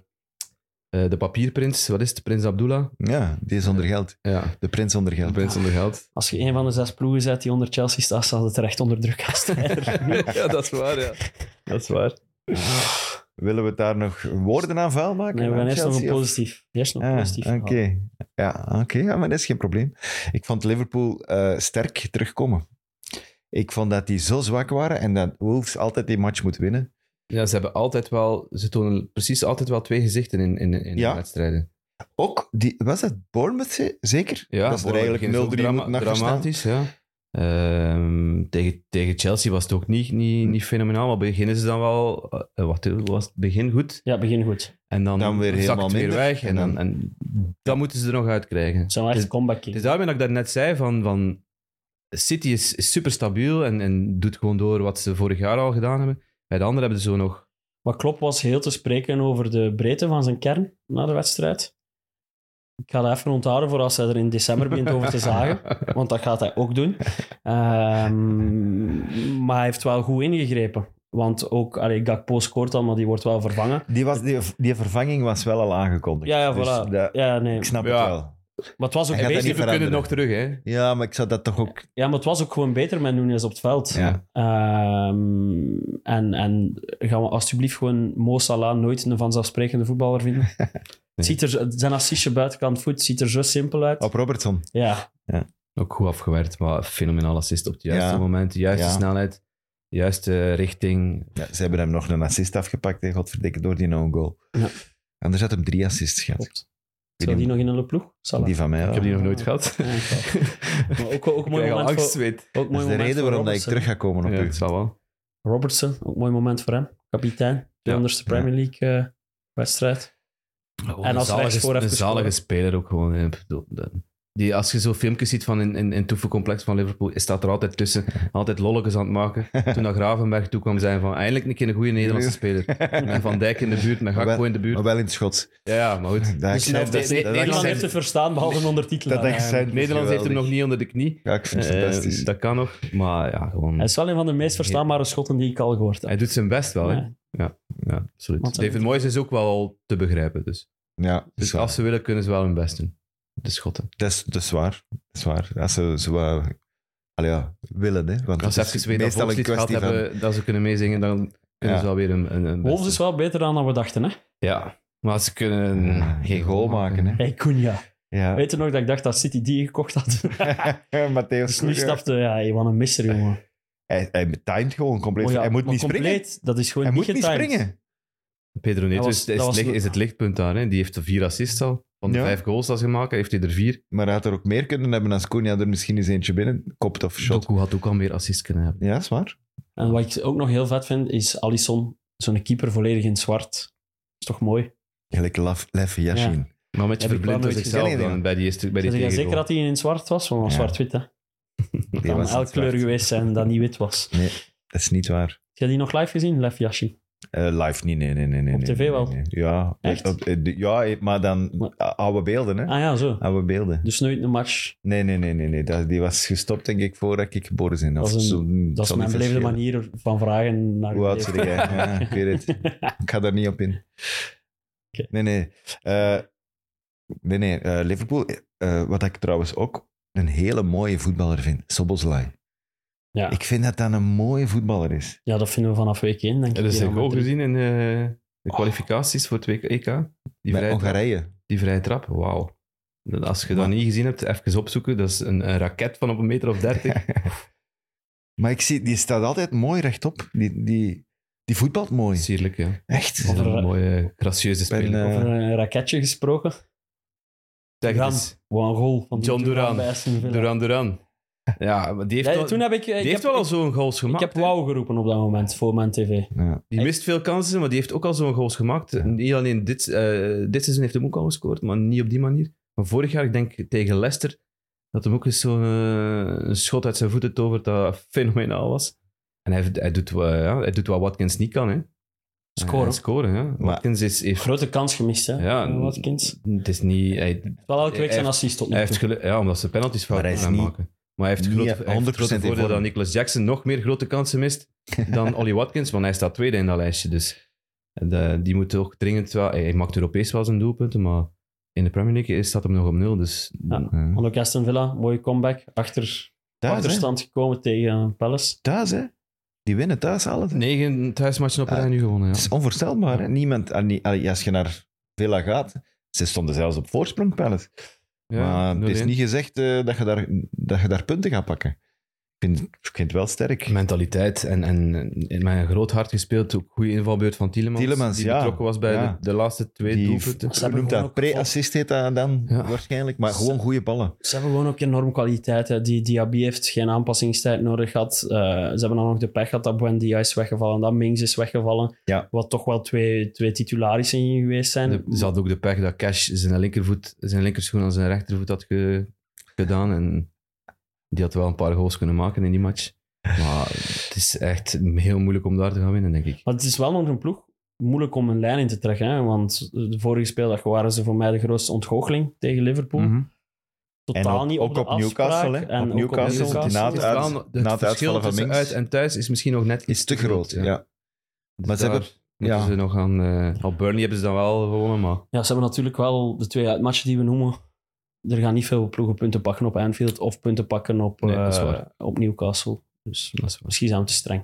Speaker 4: de papierprins. Wat is het? Prins Abdullah?
Speaker 3: Ja, die is onder geld.
Speaker 4: Ja,
Speaker 3: De prins onder
Speaker 4: eh, de
Speaker 3: geld.
Speaker 4: prins onder geld.
Speaker 5: Als je een van de zes ploegen zet die onder Chelsea staat, staat het terecht onder druk als strijder.
Speaker 4: ja, dat is waar, ja. Dat is waar.
Speaker 3: Willen we het daar nog woorden aan vuil maken?
Speaker 5: Nee, we gaan
Speaker 3: Aan
Speaker 5: eerst nog een
Speaker 3: Chelsea, of-
Speaker 5: positief. Eerst nog een
Speaker 3: Ah,
Speaker 5: positief.
Speaker 3: Oké,
Speaker 5: verhaal.
Speaker 3: ja, oké, ja, maar dat is geen probleem. Ik vond Liverpool eh, sterk terugkomen. Ik vond dat die zo zwak waren en dat Wolves altijd die match moet winnen.
Speaker 4: Ja, ze hebben altijd wel... Ze tonen precies altijd wel twee gezichten in, in, in
Speaker 3: Ja.
Speaker 4: de wedstrijden.
Speaker 3: Ook, die, was dat Bournemouth ze- zeker?
Speaker 4: Ja,
Speaker 3: dat ze er
Speaker 4: Bournemouth
Speaker 3: eigenlijk 0-3
Speaker 4: begint ook
Speaker 3: moeten
Speaker 4: drama-
Speaker 3: achter staan.
Speaker 4: Dramatisch, ja. Ehm, tegen, tegen Chelsea was het ook niet, niet, niet fenomenaal, maar beginnen ze dan wel... eh, wat was het begin goed?
Speaker 5: Ja, begin goed.
Speaker 4: En dan,
Speaker 3: Dan weer
Speaker 4: zakt
Speaker 3: helemaal
Speaker 4: het weer
Speaker 3: minder.
Speaker 4: weg. En,
Speaker 3: En
Speaker 4: dan, en dat moeten ze er nog uit krijgen.
Speaker 5: Het zijn wel echt
Speaker 4: Dus-
Speaker 5: comeback
Speaker 4: Het
Speaker 5: kings.
Speaker 4: is daarmee dat ik daarnet zei van... van City is, is super stabiel en, en doet gewoon door wat ze vorig jaar al gedaan hebben. Bij de anderen hebben ze zo nog...
Speaker 5: Maar Klopp was heel te spreken over de breedte van zijn kern na de wedstrijd. Ik ga dat even onthouden voor als hij er in december begint over te zagen. Want dat gaat hij ook doen. Ehm, maar hij heeft wel goed ingegrepen. Want ook allee, Gakpo scoort al, maar die wordt wel vervangen.
Speaker 3: Die, was, die, die vervanging was wel al aangekondigd.
Speaker 5: Ja, ja,
Speaker 3: Dus
Speaker 5: voilà.
Speaker 3: dat-
Speaker 5: ja, nee.
Speaker 3: Ik snap
Speaker 4: Ja.
Speaker 3: het wel.
Speaker 5: Maar het was ook
Speaker 3: Hij gaat dat
Speaker 5: beter.
Speaker 3: niet
Speaker 4: We kunnen
Speaker 3: veranderen.
Speaker 4: nog terug, hè.
Speaker 3: Ja, maar ik zou dat toch ook...
Speaker 5: Ja, maar het was ook gewoon beter met Nunes op het veld.
Speaker 3: Ja.
Speaker 5: Ehm, en, en gaan we alsjeblieft gewoon Mo Salah nooit een vanzelfsprekende voetballer vinden? Het ziet er, zijn assistje buitenkant voet ziet er zo simpel uit.
Speaker 3: Op Robertson.
Speaker 5: Ja,
Speaker 4: Ook goed afgewerkt, maar een fenomenaal assist op het juiste
Speaker 3: Ja.
Speaker 4: moment, de juiste
Speaker 3: Ja.
Speaker 4: snelheid, de juiste richting.
Speaker 3: Ja, ze hebben hem nog een assist afgepakt, hè, godverdikke, door die no-goal.
Speaker 5: Ja.
Speaker 3: Anders had hem drie assists gehad.
Speaker 5: klopt. Zou die nog in de ploeg? Salah.
Speaker 3: Die van mij
Speaker 4: Ik
Speaker 3: wel.
Speaker 4: heb die nog nooit gehad.
Speaker 5: Ja, ik wel. maar ook, ook
Speaker 4: Ik
Speaker 5: mooi
Speaker 4: krijg al
Speaker 5: moment voor,
Speaker 4: angstzweet.
Speaker 5: ook
Speaker 3: Dat
Speaker 5: mooi
Speaker 3: is de
Speaker 5: moment
Speaker 3: reden
Speaker 5: voor
Speaker 3: waarom dat ik
Speaker 5: Robertson.
Speaker 3: terug ga komen op
Speaker 4: Ja,
Speaker 3: u.
Speaker 4: het zal wel.
Speaker 5: Robertson, ook mooi moment voor hem. Kapitein, de
Speaker 4: Ja.
Speaker 5: onderste Premier League eh, wedstrijd.
Speaker 4: Oh, Een
Speaker 5: als
Speaker 4: zalige,
Speaker 5: rechtsvoor even
Speaker 4: een zalige speler ook gewoon. hè. Ik bedoel, dat- Die, als je zo filmpjes ziet van in, in, in het oefencomplex van Liverpool, hij staat er altijd tussen, altijd lolletjes aan het maken. Toen naar Gravenberg toe kwam, zijn van eindelijk een keer een goede Nederlandse speler. Met Van Dijk in de buurt, met
Speaker 3: Maar
Speaker 4: Gakpo
Speaker 3: wel-
Speaker 4: in de buurt.
Speaker 3: Maar wel in het Schots.
Speaker 4: Ja, ja, maar goed.
Speaker 3: Dat,
Speaker 5: Dus
Speaker 3: ik snap
Speaker 5: niemand
Speaker 4: dat-
Speaker 3: dat,
Speaker 4: nee,
Speaker 3: dat,
Speaker 4: Nederland
Speaker 5: heeft het
Speaker 4: heeft-
Speaker 5: verstaan, behalve een ondertitelaar.
Speaker 3: dat dacht zij.
Speaker 5: eigenlijk.
Speaker 4: Nederlands heeft hem nog niet onder de knie.
Speaker 3: Ja, ik vind het
Speaker 4: Eh,
Speaker 3: fantastisch.
Speaker 4: dat kan nog, maar ja, gewoon...
Speaker 5: Hij is wel een van de meest verstaanbare schotten die ik al gehoord heb.
Speaker 4: Hij doet zijn best wel, hè?
Speaker 5: Ja.
Speaker 4: Ja, ja absoluut.
Speaker 5: Want hij
Speaker 4: David
Speaker 5: moet-
Speaker 4: Moyes is ook wel te begrijpen, dus.
Speaker 3: ja, dat is
Speaker 4: Dus
Speaker 3: waar.
Speaker 4: als ze willen, kunnen ze wel hun best doen. De schotten.
Speaker 3: Dat is, dat is waar. Dat is waar. Als ze zo eh, allee, ja, willen, hè. Want
Speaker 4: Als
Speaker 3: het
Speaker 4: ze
Speaker 3: is
Speaker 4: even weten
Speaker 3: meestal
Speaker 4: dat
Speaker 3: een
Speaker 4: volkslied gehad
Speaker 3: kwestie van...
Speaker 4: hebben, dat ze kunnen meezingen, dan
Speaker 3: Ja.
Speaker 4: kunnen ze wel weer een... een, een best
Speaker 5: Wolves is wel beter dan dat we dachten, hè?
Speaker 4: doen. Ja, maar ze kunnen
Speaker 3: Ja,
Speaker 4: geen goal maken.
Speaker 3: hè.
Speaker 5: Hey, Cunha.
Speaker 3: Ja.
Speaker 5: Weet je nog dat ik dacht dat City die gekocht had?
Speaker 3: Matteo
Speaker 5: dus nu
Speaker 3: Cunha.
Speaker 5: snapte ja, hey, wat een misser, jongen.
Speaker 3: Hij, hij timed gewoon compleet.
Speaker 5: Oh ja,
Speaker 3: hij moet
Speaker 5: maar
Speaker 3: niet springen.
Speaker 5: compleet, Dat is gewoon
Speaker 3: Hij
Speaker 5: niet
Speaker 3: moet niet
Speaker 5: getimed.
Speaker 3: springen.
Speaker 4: Pedro
Speaker 5: Dat
Speaker 4: Neto
Speaker 5: was-
Speaker 4: is,
Speaker 5: dat
Speaker 4: is
Speaker 5: was
Speaker 4: licht-
Speaker 5: goed.
Speaker 4: is het lichtpunt daar. Hè. Die heeft er vier assists al. Van de
Speaker 3: Ja.
Speaker 4: vijf goals dat ze gemaakt heeft hij er vier.
Speaker 3: Maar hij had er ook meer kunnen hebben als Cunha er misschien eens eentje binnen kopt of shot.
Speaker 4: Doku had ook al meer assists kunnen hebben.
Speaker 3: Ja, is waar.
Speaker 5: En wat ik ook nog heel vet vind, is Alisson, zo'n keeper volledig in zwart. is toch mooi?
Speaker 3: Gelijk Laf- Lef
Speaker 5: Ja.
Speaker 3: Yashin.
Speaker 4: Maar met je
Speaker 5: Heb ik wel
Speaker 4: verblind door
Speaker 5: nooit
Speaker 4: zichzelf
Speaker 3: gezien.
Speaker 4: dan bij die, eerste- bij die
Speaker 5: Zijn jij
Speaker 4: tegengoal.
Speaker 5: zeker dat hij in het zwart was? Want hij was
Speaker 3: Ja.
Speaker 5: zwart-wit, hè?
Speaker 3: Die
Speaker 5: kan
Speaker 3: was in
Speaker 5: elk
Speaker 3: het
Speaker 5: kleur
Speaker 3: zwart.
Speaker 5: geweest zijn dat niet wit was. Heb
Speaker 3: Nee, dat is niet waar.
Speaker 5: jij die nog live gezien? Lef Yashi.
Speaker 3: Eh, live niet, nee, nee, nee. nee
Speaker 5: Op
Speaker 3: nee,
Speaker 5: tv
Speaker 3: nee,
Speaker 5: wel?
Speaker 3: nee. Ja,
Speaker 5: Echt?
Speaker 3: op- eh, de- ja, maar dan
Speaker 5: Maar-
Speaker 3: eh, oude beelden, hè?
Speaker 5: Ah ja, zo.
Speaker 3: Oude beelden.
Speaker 5: Dus nooit een match.
Speaker 3: Nee, nee, nee, nee. nee. Dat, die was gestopt, denk ik, voordat ik geboren ben. Of
Speaker 5: Dat is een-
Speaker 3: zo, het
Speaker 5: Dat is
Speaker 3: zal
Speaker 5: mijn
Speaker 3: niet
Speaker 5: beleefde
Speaker 3: verschillen.
Speaker 5: manier van vragen naar
Speaker 3: Hoe
Speaker 5: uw
Speaker 3: oud zit
Speaker 5: leven.
Speaker 3: jij? Ja, ik weet het. Ik ga daar niet op in.
Speaker 5: Oké.
Speaker 3: Nee, nee. Eh, nee, nee. eh, Liverpool, eh, wat ik trouwens ook een hele mooie voetballer vind, Soboslai.
Speaker 5: Ja.
Speaker 3: Ik vind dat dat een mooie voetballer is.
Speaker 5: Ja, dat vinden we vanaf week 1, denk
Speaker 4: Ja,
Speaker 5: ik.
Speaker 4: dat is
Speaker 5: Hier
Speaker 4: een
Speaker 5: aan
Speaker 4: goal
Speaker 5: de drie.
Speaker 4: gezien in eh, de kwalificaties voor het WK, EK. Die
Speaker 3: Bij
Speaker 4: vrije, trap,
Speaker 3: Hongarije.
Speaker 4: die vrije trap, wauw. Dat- Als je dat
Speaker 3: Maar-
Speaker 4: niet gezien hebt, even opzoeken. Dat is een, een raket van op een meter of dertig.
Speaker 3: Maar ik zie, die staat altijd mooi rechtop. Die, die, die voetbalt mooi.
Speaker 4: Sierlijk, ja.
Speaker 3: Echt.
Speaker 4: Dat is
Speaker 5: Over-
Speaker 4: een mooie, gracieuze
Speaker 3: ben,
Speaker 4: speler.
Speaker 3: eh,
Speaker 5: Over een raketje gesproken.
Speaker 4: Zeg
Speaker 5: Duran.
Speaker 4: het eens.
Speaker 5: Wat een goal van die
Speaker 4: John Duran.
Speaker 5: bij Aston Villa.
Speaker 4: Duran Duran. Ja, maar die heeft,
Speaker 5: Ja,
Speaker 4: wel,
Speaker 5: toen heb ik... eh, ik
Speaker 4: die
Speaker 5: heb,
Speaker 4: heeft wel al zo'n goals
Speaker 5: ik
Speaker 4: gemaakt.
Speaker 5: heb
Speaker 4: hè.
Speaker 5: wauw geroepen op dat moment, voor mijn tv.
Speaker 3: Ja.
Speaker 4: Die mist veel kansen, maar die heeft ook al zo'n goals gemaakt.
Speaker 3: Ja.
Speaker 4: Niet alleen dit, eh, dit seizoen heeft hem ook al gescoord, maar niet op die manier. Maar vorig jaar, ik denk tegen Leicester, dat hem ook eens zo'n eh, een schot uit zijn voeten tovert dat fenomenaal was. En hij, hij, doet, wel- ja, hij doet wat Watkins niet kan, hè.
Speaker 5: Scoren.
Speaker 4: Hij scoren, ja. Watkins is... heeft-
Speaker 5: Grote kans gemist, hè?
Speaker 4: Ja,
Speaker 5: Watkins.
Speaker 4: het is niet... Hij,
Speaker 5: Wel elke week
Speaker 4: Hij
Speaker 5: zijn
Speaker 4: heeft-
Speaker 5: assist tot
Speaker 4: hij
Speaker 5: nu
Speaker 4: heeft
Speaker 5: toe.
Speaker 4: gelu- ja, omdat ze penalties fout
Speaker 3: Maar hij is
Speaker 4: gaan
Speaker 3: niet-
Speaker 4: maken. Maar hij heeft
Speaker 3: niet
Speaker 4: grote, hij heeft
Speaker 3: 100%
Speaker 4: grote
Speaker 3: in
Speaker 4: voordeel
Speaker 3: vorm.
Speaker 4: dat Nicolas Jackson nog meer grote kansen mist dan Ollie Watkins, want hij staat tweede in dat lijstje. Dus de- die moet ook dringend wel... Hij, hij maakt Europees wel zijn doelpunten, maar in de Premier League is- staat hem nog op nul. Dus
Speaker 5: Ja.
Speaker 3: Ja.
Speaker 5: Want ook Aston Villa, mooie comeback. Achter,
Speaker 3: Thuis, hè?
Speaker 5: achterstand gekomen tegen Palace.
Speaker 3: Thuis, hè? Die winnen thuis alle.
Speaker 4: Negen thuismatchen op
Speaker 3: Ah.
Speaker 4: rij nu gewonnen,
Speaker 3: Het
Speaker 4: ja.
Speaker 3: is onvoorstelbaar. Hè? Niemand, ah, niet- ah, als je naar Villa gaat, ze stonden zelfs op voorsprong, Palace.
Speaker 4: Ja,
Speaker 3: maar het is
Speaker 4: 0-1.
Speaker 3: niet gezegd eh, dat, je daar, dat je daar punten gaat pakken. Ik vind, ik vind het wel sterk.
Speaker 4: Mentaliteit en, en, en met een groot hart gespeeld. Ook goede invalbeurt van Tielemans.
Speaker 3: Tielemans,
Speaker 4: die
Speaker 3: ja.
Speaker 4: betrokken was bij
Speaker 3: Ja.
Speaker 4: de, de laatste twee
Speaker 3: Die-
Speaker 4: doelpunten.
Speaker 5: Ze
Speaker 3: Hoe
Speaker 5: hebben
Speaker 3: noemt
Speaker 5: gewoon ook
Speaker 3: dat? Pre-assist heet dat dan
Speaker 4: Ja.
Speaker 3: waarschijnlijk. Maar
Speaker 5: Ze-
Speaker 3: gewoon goede ballen.
Speaker 5: Ze hebben gewoon ook enorm kwaliteit. Hè. Die Diaby heeft geen aanpassingstijd nodig gehad. Eh, ze hebben dan nog de pech gehad dat Buendia is weggevallen, dat Mings is weggevallen.
Speaker 3: Ja.
Speaker 5: Wat toch wel twee, twee titularissen hier geweest zijn.
Speaker 4: De, ze had ook de pech dat Cash zijn, linkervoet, zijn linkerschoen aan zijn rechtervoet had ge- gedaan. En die had wel een paar goals kunnen maken in die match. Maar het is echt heel moeilijk om daar te gaan winnen, denk ik.
Speaker 5: Maar het is wel nog een ploeg moeilijk om een lijn in te trekken. Hè? Want de vorige speeldag waren ze voor mij de grootste ontgoocheling tegen Liverpool.
Speaker 4: Mhm.
Speaker 5: Totaal
Speaker 3: op-
Speaker 5: niet
Speaker 3: ook
Speaker 5: op, de
Speaker 3: op Newcastle,
Speaker 5: afspraak.
Speaker 3: hè.
Speaker 5: En
Speaker 3: Op
Speaker 5: ook
Speaker 3: Newcastle,
Speaker 5: op
Speaker 3: want die
Speaker 5: Newcastle.
Speaker 3: na
Speaker 4: Het,
Speaker 3: het
Speaker 4: is
Speaker 3: uit-
Speaker 4: wel- het
Speaker 3: na het
Speaker 4: verschil
Speaker 3: uitvallen van
Speaker 4: tussen
Speaker 3: Minks.
Speaker 4: uit en thuis is misschien nog net
Speaker 3: Is
Speaker 4: iets
Speaker 3: te groot, ja.
Speaker 4: Dus
Speaker 3: Maar ze
Speaker 4: daar
Speaker 3: hebben-
Speaker 4: moeten
Speaker 3: ja.
Speaker 4: ze nog aan... eh, op Burnley hebben ze dan wel gewonnen, maar...
Speaker 5: Ja, ze hebben natuurlijk wel de twee uitmatchen die we noemen. Er gaan niet veel ploegen punten pakken op Anfield of punten pakken op,
Speaker 4: Nee, dat is
Speaker 5: eh,
Speaker 4: waar.
Speaker 5: op Newcastle. Dus
Speaker 4: Dat is waar.
Speaker 5: misschien zijn we te streng.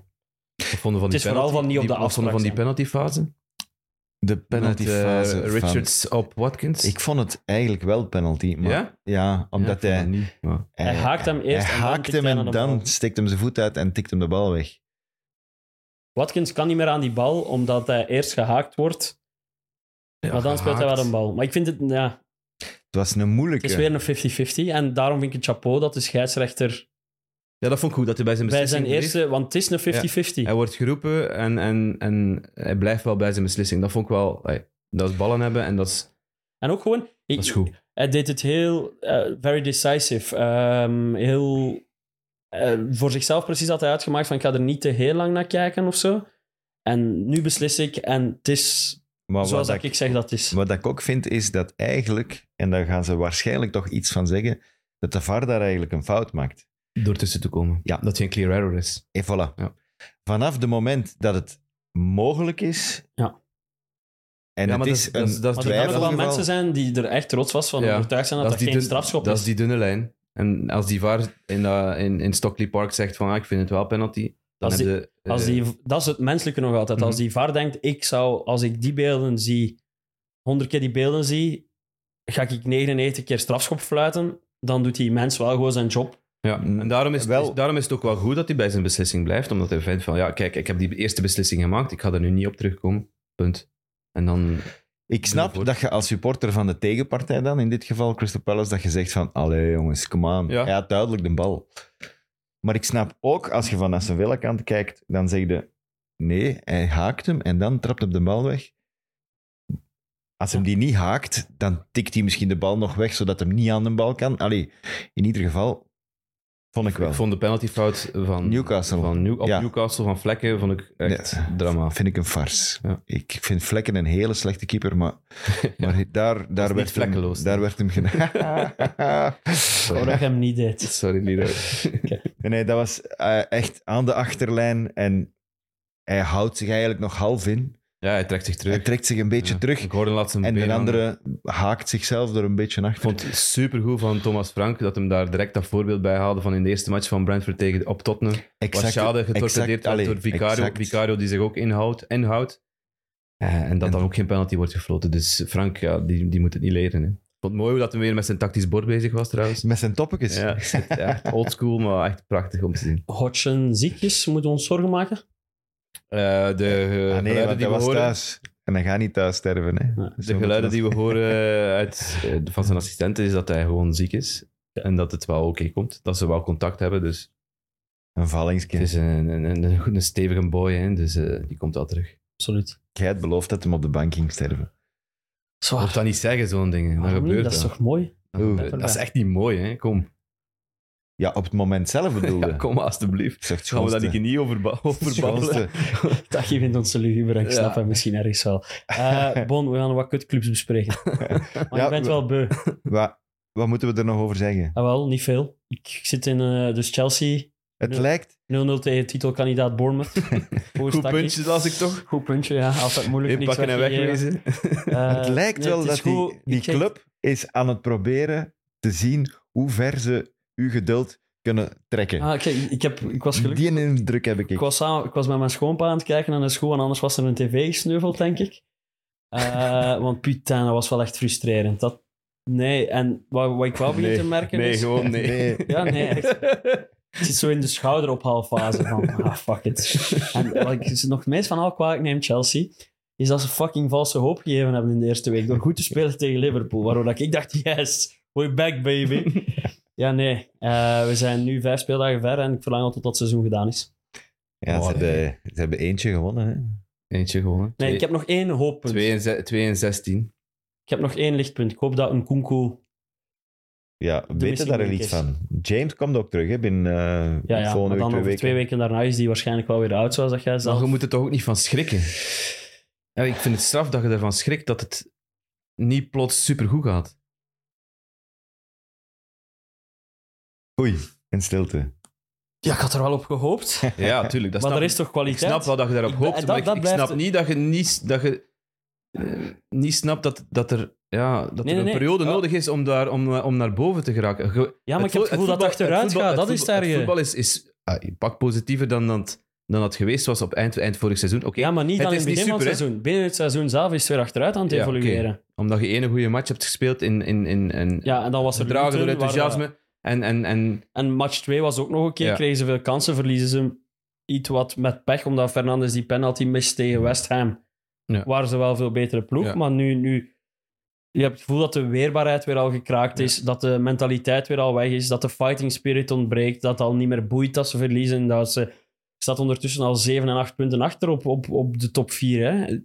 Speaker 4: Wat vonden van
Speaker 5: Het
Speaker 4: die
Speaker 5: is vooral
Speaker 4: penalty-
Speaker 5: van niet op
Speaker 4: die-
Speaker 5: de
Speaker 4: wat vonden van die
Speaker 5: afspraak
Speaker 4: penaltyfase?
Speaker 3: De
Speaker 4: Met, eh,
Speaker 3: penaltyfase. van-
Speaker 4: Richards op Watkins.
Speaker 3: Ik vond het eigenlijk wel penalty. Maar, ja?
Speaker 4: ja?
Speaker 3: omdat
Speaker 4: Ja, ik vond dat
Speaker 3: hij,
Speaker 4: niet, maar-
Speaker 5: Hij haakt hem eerst
Speaker 3: Hij
Speaker 5: en dan
Speaker 3: haakt
Speaker 5: tikt
Speaker 3: hem
Speaker 5: hij
Speaker 3: en
Speaker 5: naar de
Speaker 3: dan
Speaker 5: bal.
Speaker 3: steekt hem zijn voet uit en tikt hem de bal weg.
Speaker 5: Watkins kan niet meer aan die bal, omdat hij eerst gehaakt wordt.
Speaker 4: Ja,
Speaker 5: maar dan speelt hij
Speaker 4: gehaakt.
Speaker 5: wel een bal. Maar ik vind het, ja,
Speaker 3: Het was een
Speaker 5: het
Speaker 3: moeilijke.
Speaker 5: is weer een 50-50. En daarom vind ik het chapeau dat de scheidsrechter
Speaker 4: Ja, dat vond ik goed dat hij bij zijn
Speaker 5: bij
Speaker 4: beslissing
Speaker 5: zijn
Speaker 4: bleef.
Speaker 5: eerste... Want het is een 50-50.
Speaker 4: Hij wordt geroepen en, en, en hij blijft wel bij zijn beslissing. Dat vond ik wel... ey, dat is ballen hebben en dat is,
Speaker 5: En ook gewoon... ik-
Speaker 4: dat is goed.
Speaker 5: Hij deed het heel, eh, very decisive. Ehm, heel, eh, voor zichzelf precies had hij uitgemaakt van ik ga er niet te heel lang naar kijken of zo. En nu beslis ik en het is
Speaker 3: Maar wat
Speaker 5: zoals dat ik,
Speaker 3: ik-
Speaker 5: zeg dat het is.
Speaker 3: Wat ik ook vind is dat eigenlijk, en daar gaan ze waarschijnlijk toch iets van zeggen, dat de VAR daar eigenlijk een fout maakt.
Speaker 4: Door tussen te komen.
Speaker 3: Ja.
Speaker 4: Dat hij een clear error is.
Speaker 3: En voilà.
Speaker 4: Ja.
Speaker 3: Vanaf het moment dat het mogelijk is.
Speaker 5: Ja.
Speaker 3: En
Speaker 4: Ja,
Speaker 3: het
Speaker 4: maar
Speaker 3: is
Speaker 4: dat-
Speaker 3: een
Speaker 4: dat- dat-
Speaker 5: Maar er
Speaker 4: twijfel
Speaker 5: kunnen ook wel
Speaker 3: twijfelgeval.
Speaker 5: mensen zijn die er echt trots was van
Speaker 4: Ja.
Speaker 5: overtuigd zijn dat dat,
Speaker 4: die
Speaker 5: geen
Speaker 4: dun-
Speaker 5: strafschop
Speaker 4: dat
Speaker 5: is.
Speaker 4: is die dunne lijn. En als die VAR in, dat- in, in Stockley Park zegt van ah, ik vind het wel penalty, dan
Speaker 5: Als
Speaker 4: hebben
Speaker 5: die-
Speaker 4: ze... eh,
Speaker 5: Als die, dat is het menselijke nog altijd. Als
Speaker 4: Mhm.
Speaker 5: die VAR denkt, ik zou, als ik die beelden zie, honderd keer die beelden zie, ga ik 99 keer strafschop fluiten, dan doet die mens wel gewoon zijn job.
Speaker 4: Ja, en daarom is,
Speaker 3: Wel-
Speaker 4: is- daarom is het ook wel goed dat hij bij zijn beslissing blijft. Omdat hij vindt van, ja, kijk, ik heb die eerste beslissing gemaakt. Ik ga er nu niet op terugkomen. Punt. En dan...
Speaker 3: Ik snap
Speaker 4: Voort.
Speaker 3: dat je als supporter van de tegenpartij dan, in dit geval Crystal Palace, dat je zegt van, allee jongens, come on.
Speaker 4: Ja.
Speaker 3: Hij had duidelijk de bal. Maar ik snap ook, als je van Aston Villa kant kijkt, dan zeg je, nee, hij haakt hem en dan trapt hem de bal weg. Als hem die niet haakt, dan tikt hij misschien de bal nog weg, zodat hem niet aan de bal kan. Allee, in ieder geval, vond ik wel.
Speaker 4: Ik vond de penaltyfout van...
Speaker 3: Newcastle.
Speaker 4: Van New- op
Speaker 3: Ja.
Speaker 4: Newcastle van Vlekken vond ik echt
Speaker 3: Ja.
Speaker 4: drama.
Speaker 3: vind ik een farce.
Speaker 4: Ja.
Speaker 3: Ik vind Vlekken een hele slechte keeper, maar, maar daar, daar, werd
Speaker 4: niet
Speaker 3: hem,
Speaker 4: vlekkeloos.
Speaker 3: daar werd hem
Speaker 5: Omdat
Speaker 3: gedaan.
Speaker 5: ik hem niet deed.
Speaker 4: Sorry, Lido.
Speaker 3: Nee, nee, dat was eh, echt aan de achterlijn en hij houdt zich eigenlijk nog half in.
Speaker 4: Ja, hij trekt zich terug.
Speaker 3: Hij trekt zich een beetje
Speaker 4: Ja.
Speaker 3: terug
Speaker 4: Ik hoorde laatst een
Speaker 3: en
Speaker 4: been
Speaker 3: de
Speaker 4: aan.
Speaker 3: andere haakt zichzelf er een beetje
Speaker 4: Ik
Speaker 3: achter.
Speaker 4: vond het supergoed van Thomas Frank dat hem daar direct dat voorbeeld bij haalde van in de eerste match van Brentford tegen op Tottenham. Waar Schade getorpedeerd
Speaker 3: allee,
Speaker 4: werd door Vicario.
Speaker 3: exact.
Speaker 4: Vicario die zich ook inhoudt. inhoudt. Eh, en dat
Speaker 3: En-
Speaker 4: dan ook geen penalty wordt gefloten. Dus Frank, ja, die, die moet het niet leren. Hè. Ik vond het mooi hoe dat hij weer met zijn tactisch bord bezig was trouwens.
Speaker 3: Met zijn Ah, toppetjes.
Speaker 4: Ja, echt oldschool, maar echt prachtig om te zien.
Speaker 5: Hodgson ziekjes moeten we ons zorgen maken.
Speaker 4: Eh, de eh,
Speaker 3: ah, nee,
Speaker 4: geluiden,
Speaker 3: want hij
Speaker 4: die we
Speaker 3: was
Speaker 4: horen,
Speaker 3: thuis. En hij gaat niet thuis sterven. Hè.
Speaker 5: Ja,
Speaker 4: de geluiden die we horen uit, eh, van zijn assistenten is dat hij gewoon ziek is. En dat het wel oké komt. Dat ze wel contact hebben. Dus
Speaker 3: Een
Speaker 4: het
Speaker 3: vallingskind.
Speaker 4: is een, een, een, een, een stevige boy. Hè, dus eh, die komt wel terug.
Speaker 5: Absoluut.
Speaker 3: Jij had beloofd dat hem op de bank ging sterven.
Speaker 4: Mocht dat niet zeggen, zo'n dingen. Dat
Speaker 5: Waarom niet?
Speaker 4: gebeurt
Speaker 5: Ah. dat is
Speaker 4: wel.
Speaker 5: toch mooi?
Speaker 3: Oeh.
Speaker 4: Dat is echt niet mooi, hè? Kom.
Speaker 3: Ja, op het moment zelf bedoelde.
Speaker 4: Ja, kom alstublieft.
Speaker 3: Zegt
Speaker 4: Gaan we dat
Speaker 3: schoonste.
Speaker 4: hier niet over, ba- over babbelen?
Speaker 3: Schoonste.
Speaker 5: Dat geeft ons een luguber, ik snap
Speaker 4: Ja.
Speaker 5: hem misschien ergens wel. Eh, bon, we gaan wat kutclubs bespreken. Maar
Speaker 3: Ja,
Speaker 5: je bent
Speaker 3: we-
Speaker 5: wel beu.
Speaker 3: Wat, wat moeten we er nog over zeggen?
Speaker 5: Ah, wel, niet veel. Ik zit in eh, dus Chelsea, 0-0
Speaker 3: Het
Speaker 5: Ja.
Speaker 3: lijkt
Speaker 5: tegen titelkandidaat Bournemouth. Goed
Speaker 4: Goed puntje, las ik toch?
Speaker 5: Goed puntje, ja. Altijd moeilijk. niks
Speaker 4: Inpakken en
Speaker 5: weggegeven.
Speaker 4: wegwezen.
Speaker 5: Eh,
Speaker 3: Het lijkt
Speaker 5: nee,
Speaker 3: wel
Speaker 5: het is
Speaker 3: dat die,
Speaker 5: goed.
Speaker 3: die
Speaker 5: Ik geef-
Speaker 3: club is aan het proberen te zien hoe ver ze uw geduld kunnen trekken.
Speaker 5: Ah, kijk, ik, heb, ik was gelukkig.
Speaker 3: Die indruk heb ik.
Speaker 5: Ik was, samen, ik was met mijn schoonpa aan het kijken aan de school en anders was er een tv gesneuveld, denk ik. Eh, want putain, dat was wel echt frustrerend. Dat, nee, en wat, wat ik wel begin te merken
Speaker 4: nee,
Speaker 5: is...
Speaker 4: gewoon nee.
Speaker 3: Nee.
Speaker 5: Ja, nee, echt. Ik zit zo in de schouderophalfase van, ah, fuck it. En wat ik ze nog het meest van al kwalijk neem, Chelsea, is dat ze fucking valse hoop gegeven hebben in de eerste week door goed te spelen tegen Liverpool. Waardoor dat ik dacht, yes, we're back, baby. Ja, nee. eh, we zijn nu vijf speeldagen ver en ik verlang al tot dat seizoen gedaan is.
Speaker 3: Ja,
Speaker 4: Oh,
Speaker 3: ze, hebben, ze hebben eentje gewonnen. Hè.
Speaker 4: Eentje gewonnen.
Speaker 5: Nee, ik heb nog één hooppunt.
Speaker 4: 2 en, ze- twee en 16.
Speaker 5: Ik heb nog één lichtpunt. Ik hoop dat een Kunku...
Speaker 3: Ja, weten
Speaker 5: missing
Speaker 3: daar er
Speaker 5: link
Speaker 3: iets
Speaker 5: is.
Speaker 3: van. James komt ook terug hè, binnen eh,
Speaker 5: Ja, ja, maar
Speaker 3: volgende
Speaker 5: dan
Speaker 3: week
Speaker 5: over
Speaker 3: twee weken.
Speaker 5: twee weken daarna is die waarschijnlijk wel weer oud, zoals dat jij
Speaker 4: Maar
Speaker 5: zelf...
Speaker 4: je moet er toch ook niet van schrikken? Ja, ik vind het straf dat je ervan schrikt dat het niet plots supergoed gaat.
Speaker 3: Oei, in stilte.
Speaker 5: Ja, ik had er wel op gehoopt.
Speaker 4: Ja, tuurlijk. Dat
Speaker 5: maar
Speaker 4: snap
Speaker 5: er is toch
Speaker 4: ik. Ik
Speaker 5: kwaliteit?
Speaker 4: snap wel dat je daarop
Speaker 5: Ik-
Speaker 4: hoopt,
Speaker 5: dat-
Speaker 4: maar ik,
Speaker 5: dat
Speaker 4: ik
Speaker 5: blijft-
Speaker 4: snap niet dat je niet, dat je, eh, niet snapt dat, dat er, ja, dat
Speaker 5: nee,
Speaker 4: er een
Speaker 5: nee.
Speaker 4: periode
Speaker 5: Oh.
Speaker 4: nodig is om, daar, om, eh, om naar boven te geraken. Je-
Speaker 5: Ja, maar ik
Speaker 4: vo-
Speaker 5: heb het gevoel dat het
Speaker 4: voetbal-
Speaker 5: achteruit
Speaker 4: voetbal-
Speaker 5: gaat. Dat
Speaker 4: het
Speaker 5: is
Speaker 4: voetbal-
Speaker 5: daar
Speaker 4: Het
Speaker 5: je...
Speaker 4: voetbal is, is ah, een pak positiever dan dat, dan dat geweest was op eind, eind vorig seizoen. Oké,
Speaker 5: Ja, maar niet
Speaker 4: Het
Speaker 5: aan
Speaker 4: is
Speaker 5: het begin
Speaker 4: niet
Speaker 5: van het
Speaker 4: super, hè?
Speaker 5: seizoen. Binnen het seizoen zelf is het weer achteruit aan het
Speaker 4: Ja, oké.
Speaker 5: evolueren.
Speaker 4: omdat je één goede match hebt gespeeld in, in, in, in
Speaker 5: Ja, en dan was er
Speaker 4: gedragen door
Speaker 5: Luton, waar- eh,
Speaker 4: enthousiasme. En, en, en
Speaker 5: en match 2 was ook nog een keer.
Speaker 4: Ja.
Speaker 5: Kregen ze veel kansen, verliezen ze iets wat met pech, omdat Fernandes die penalty mist tegen West Ham.
Speaker 4: Ja.
Speaker 5: Waren ze wel veel betere ploeg,
Speaker 4: Ja.
Speaker 5: maar nu, nu... Je hebt het gevoel dat de weerbaarheid weer al gekraakt is, dat de mentaliteit weer al weg is, dat de fighting spirit ontbreekt, dat het al niet meer boeit dat ze verliezen, dat ze... staat ondertussen al 7 en 8 punten achter op, op, op de top 4. Hè.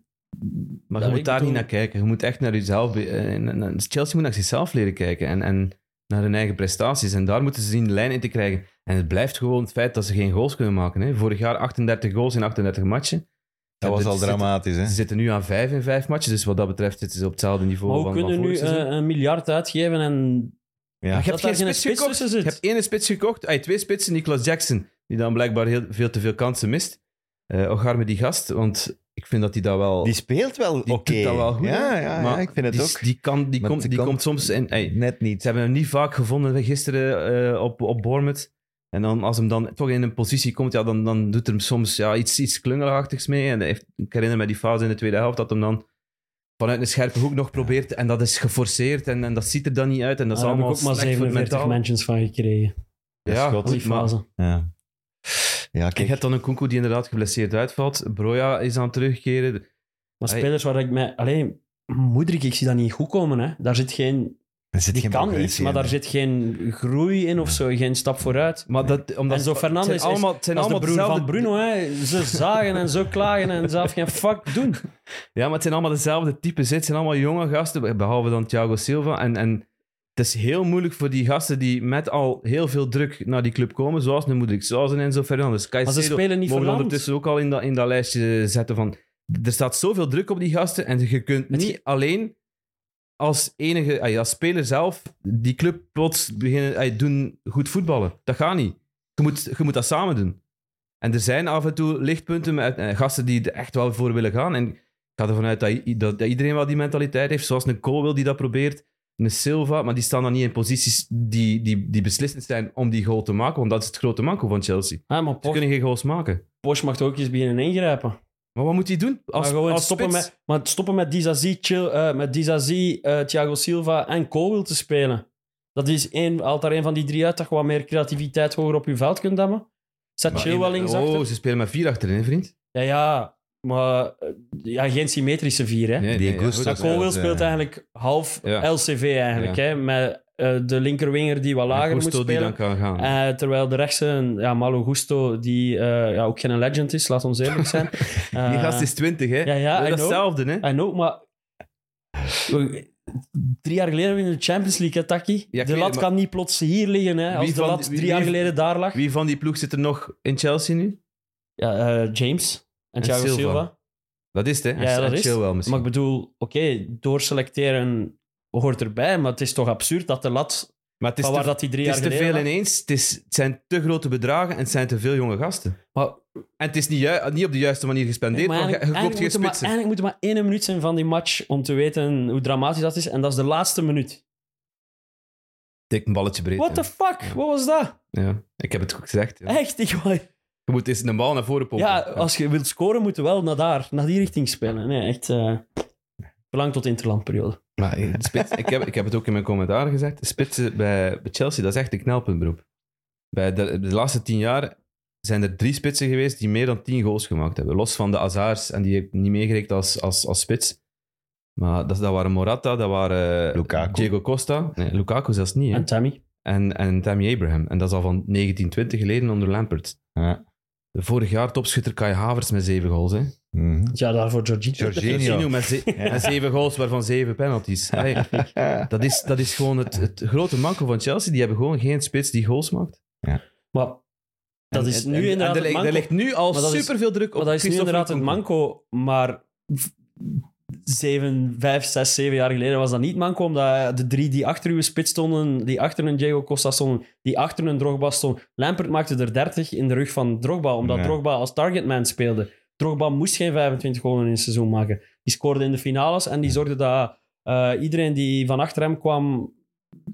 Speaker 4: Maar
Speaker 5: Ja,
Speaker 4: je
Speaker 5: ik
Speaker 4: moet daar
Speaker 5: bedoel-
Speaker 4: niet naar kijken. Je moet echt naar jezelf. be- eh, en- en- en Chelsea moet naar zichzelf leren kijken en, en naar hun eigen prestaties. En daar moeten ze zien de lijn in te krijgen. En het blijft gewoon het feit dat ze geen goals kunnen maken. Hè. Vorig jaar 38 goals in 38 matchen.
Speaker 3: Dat was
Speaker 4: Eh,
Speaker 3: al
Speaker 4: ze zitten-
Speaker 3: dramatisch, hè?
Speaker 4: Ze zitten nu aan 5 in 5 matchen. Dus wat dat betreft zitten ze op hetzelfde niveau.
Speaker 5: Maar hoe
Speaker 4: van,
Speaker 5: kunnen
Speaker 4: van
Speaker 5: nu
Speaker 4: vorig
Speaker 5: eh,
Speaker 4: seizoen.
Speaker 5: een miljard uitgeven en
Speaker 3: Ja,
Speaker 4: Maar je
Speaker 5: dat
Speaker 4: hebt
Speaker 5: daar
Speaker 4: geen
Speaker 5: geen
Speaker 4: spits,
Speaker 5: spits
Speaker 4: gekocht.
Speaker 5: tussen zit?
Speaker 4: Je hebt één spits gekocht. Ah, twee spitsen. Nicolas Jackson, die dan blijkbaar heel, veel te veel kansen mist. Eh Ogarme die gast, want ik vind dat hij dat wel...
Speaker 3: die speelt wel oké.
Speaker 4: die doet dat wel goed,
Speaker 3: ja,
Speaker 4: hè?
Speaker 3: ja,
Speaker 4: Maar
Speaker 3: ja, ik vind het
Speaker 4: die,
Speaker 3: ook.
Speaker 4: Die, kan, die,
Speaker 3: Maar
Speaker 4: komt,
Speaker 3: ze
Speaker 4: die
Speaker 3: kan-
Speaker 4: komt soms... En, ey,
Speaker 3: Net niet.
Speaker 4: Ze hebben hem niet vaak gevonden gisteren eh, op, op Bournemouth. En dan, als hem dan toch in een positie komt, ja, dan, dan doet er hem soms ja, iets, iets klungelachtigs mee. En hij heeft, ik herinner me die fase in de tweede helft dat hem dan vanuit een scherpe hoek nog probeert. En dat is geforceerd en, en dat ziet er dan niet uit. En dat
Speaker 5: Daar
Speaker 4: is
Speaker 5: Ah, heb ik
Speaker 4: allemaal
Speaker 5: ook maar
Speaker 4: slecht voor het
Speaker 5: 47
Speaker 4: mentaal.
Speaker 5: mentions van gekregen.
Speaker 4: Ja,
Speaker 3: Dat is
Speaker 5: Die
Speaker 4: goed, maar
Speaker 5: fase.
Speaker 3: Ja, ja
Speaker 4: je
Speaker 3: kijk.
Speaker 4: hebt dan een Kunku die inderdaad geblesseerd uitvalt. Broja is aan het terugkeren.
Speaker 5: Maar
Speaker 4: Hey.
Speaker 5: spelers waar ik mij... Alleen, Moedrik, ik zie dat niet goed komen. Hè. Daar zit geen...
Speaker 3: Er zit
Speaker 5: Die
Speaker 3: geen
Speaker 5: kan
Speaker 3: progressie
Speaker 5: iets, maar
Speaker 3: in,
Speaker 5: daar
Speaker 3: hè.
Speaker 5: zit geen groei in of zo. Geen stap vooruit.
Speaker 4: Maar dat, omdat
Speaker 5: En zo
Speaker 4: het
Speaker 5: Fernandes
Speaker 4: zijn
Speaker 5: is-
Speaker 4: allemaal, het zijn
Speaker 5: Dat is de
Speaker 4: allemaal
Speaker 5: broer van
Speaker 4: dezelfde-
Speaker 5: Bruno. Hè. Ze zagen en zo klagen en zelf geen fuck doen.
Speaker 4: Ja, maar het zijn allemaal dezelfde types. hè. Het zijn allemaal jonge gasten, behalve dan Thiago Silva. En, en het is heel moeilijk voor die gasten die met al heel veel druk naar die club komen, zoals nu Moedrik, zoals een Enzo Fernandes.
Speaker 5: Maar
Speaker 4: Caicedo
Speaker 5: ze spelen niet
Speaker 4: mogen we
Speaker 5: verlamd.
Speaker 4: ondertussen ook al in dat, in dat lijstje zetten van... Er staat zoveel druk op die gasten en je kunt
Speaker 5: Het
Speaker 4: niet
Speaker 5: ge-
Speaker 4: alleen als enige, ay, als speler zelf, die club plots beginnen ay, doen goed voetballen. Dat gaat niet. Je moet, je moet dat samen doen. En er zijn af en toe lichtpunten met eh, gasten die er echt wel voor willen gaan. En ik ga ervan uit dat, i- dat, dat iedereen wel die mentaliteit heeft. Zoals een Colwell die dat probeert, een Silva. Maar die staan dan niet in posities die, die, die beslissend zijn om die goal te maken. Want dat is het grote manco van Chelsea.
Speaker 5: Ah, maar
Speaker 4: Ze
Speaker 5: Poch,
Speaker 4: kunnen geen goals maken.
Speaker 5: Poch mag toch ook eens beginnen ingrijpen.
Speaker 4: Maar wat moet hij doen? Als,
Speaker 5: maar gewoon
Speaker 4: als
Speaker 5: stoppen,
Speaker 4: spits?
Speaker 5: met, maar stoppen met Dizazi, Chil, eh, met Dizazi eh, Thiago Silva en Cole te spelen. Dat is één, haalt daar één van die drie uit dat je wat meer creativiteit hoger op je veld kunt demmen. Zet
Speaker 4: Maar
Speaker 5: Chil
Speaker 4: in-
Speaker 5: wel links achter.
Speaker 4: Oh, ze spelen met vier achterin, hè, vriend.
Speaker 5: Ja, ja, maar eh, ja, geen symmetrische vier. Hè?
Speaker 4: Nee,
Speaker 3: Die
Speaker 4: nee, ja,
Speaker 3: Gusto-
Speaker 4: goed,
Speaker 5: dat
Speaker 4: dat-
Speaker 5: Colwell
Speaker 3: dat is, eh,
Speaker 5: speelt eigenlijk half
Speaker 4: Ja.
Speaker 5: LCV eigenlijk.
Speaker 4: Ja.
Speaker 5: Hè? Met eh, de linkerwinger die wat lager moet
Speaker 4: Gusto die
Speaker 5: spelen.
Speaker 4: dan kan gaan.
Speaker 5: Eh, terwijl de rechtse, een- ja, Malo Gusto, die eh, ja, ook geen legend is, laat ons eerlijk zijn.
Speaker 4: die
Speaker 5: Eh,
Speaker 4: gast is 20, hè?
Speaker 5: ja, ja, I
Speaker 4: dat is
Speaker 5: know.
Speaker 4: hetzelfde, hè?
Speaker 5: I know, maar... Drie jaar geleden in de Champions League, hè, Taki.
Speaker 4: Ja, ik
Speaker 5: de
Speaker 4: weet
Speaker 5: lat
Speaker 4: het, maar-
Speaker 5: kan niet plots hier liggen, hè. Als
Speaker 4: Wie
Speaker 5: de
Speaker 4: van
Speaker 5: lat
Speaker 4: die-
Speaker 5: drie
Speaker 4: wie-
Speaker 5: jaar
Speaker 4: wie-
Speaker 5: geleden daar lag.
Speaker 4: Wie van die ploeg zit er nog in Chelsea nu?
Speaker 5: Ja, eh, James en
Speaker 4: En
Speaker 5: Thiago Silva.
Speaker 4: Silva. Dat is het, hè?
Speaker 5: Ja,
Speaker 4: En
Speaker 5: dat is.
Speaker 4: Chilwell misschien.
Speaker 5: Maar ik bedoel, oké, doorselecteren hoort erbij, maar het is toch absurd dat de lat...
Speaker 4: Maar het is,
Speaker 5: Van
Speaker 4: te,
Speaker 5: waar dat die drie
Speaker 4: het
Speaker 5: jaar
Speaker 4: is te
Speaker 5: geleden...
Speaker 4: veel
Speaker 5: lag.
Speaker 4: ineens. Het, is, het zijn te grote bedragen en het zijn te veel jonge gasten.
Speaker 5: Maar-
Speaker 4: En het is niet, ju- niet op de juiste manier gespendeerd,
Speaker 5: Maar
Speaker 4: want je- je
Speaker 5: eigenlijk,
Speaker 4: koopt geen
Speaker 5: eigenlijk moet er maar,
Speaker 4: spitsen.
Speaker 5: eigenlijk moet er maar één minuut zijn van die match om te weten hoe dramatisch dat is. En dat is de laatste minuut.
Speaker 4: Dik een balletje breed.
Speaker 5: What
Speaker 4: ja.
Speaker 5: the fuck? Wat was dat?
Speaker 4: Ja, ik heb het goed gezegd. ja.
Speaker 5: Echt? Ik,
Speaker 4: Je moet eens een bal naar voren pompen.
Speaker 5: ja, als je wilt scoren, moet je wel naar daar, naar die richting spelen. Nee, echt. eh belang tot interlandperiode.
Speaker 4: Maar eh, de spits, ik, heb, ik heb het ook in mijn commentaar gezegd. de Spitsen bij, bij Chelsea, dat is echt een knelpuntberoep. Bij de, de laatste tien jaar zijn er drie spitsen geweest die meer dan tien goals gemaakt hebben. Los van de Azars en die heb ik niet meegerekend als, als, als spits. Maar dat, dat waren Morata, dat waren eh,
Speaker 3: Lukaku.
Speaker 4: Diego Costa. Nee, Lukaku zelfs niet. hè.
Speaker 5: En Tammy.
Speaker 4: En, en Tammy Abraham. En dat is al van 1920 geleden onder Lampert.
Speaker 3: Ja.
Speaker 4: Vorig jaar topschutter Kai Havers met zeven goals. Hè.
Speaker 3: Mhm.
Speaker 5: Ja, daarvoor Jorginho.
Speaker 4: Jorginho
Speaker 3: Jorginho.
Speaker 4: met, ze- met zeven goals, waarvan zeven penalties. Allee,
Speaker 3: Ja.
Speaker 4: dat, is, dat is gewoon het, het grote manco van Chelsea. Die hebben gewoon geen spits die goals maakt.
Speaker 5: Maar dat
Speaker 4: En-
Speaker 5: is
Speaker 4: en-
Speaker 5: nu
Speaker 4: en- en
Speaker 5: inderdaad
Speaker 4: er,
Speaker 5: het
Speaker 4: ligt-
Speaker 5: manco.
Speaker 4: er ligt nu al
Speaker 5: Maar dat is-
Speaker 4: superveel druk op
Speaker 5: Maar dat is nu
Speaker 4: Christophe
Speaker 5: inderdaad een
Speaker 4: Nkunku.
Speaker 5: manco. Maar v- zeven, vijf, zes, zeven jaar geleden was dat niet manco. Omdat de drie die achter uw spits stonden, die achter een Diego Costa stonden, die achter een Drogba stonden. Lampert maakte er 30 in de rug van Drogba, omdat
Speaker 3: Ja.
Speaker 5: Drogba als targetman speelde. Drogba moest geen 25 goals in een seizoen maken. Die scoorde in de finales en die zorgde dat eh, iedereen die van achter hem kwam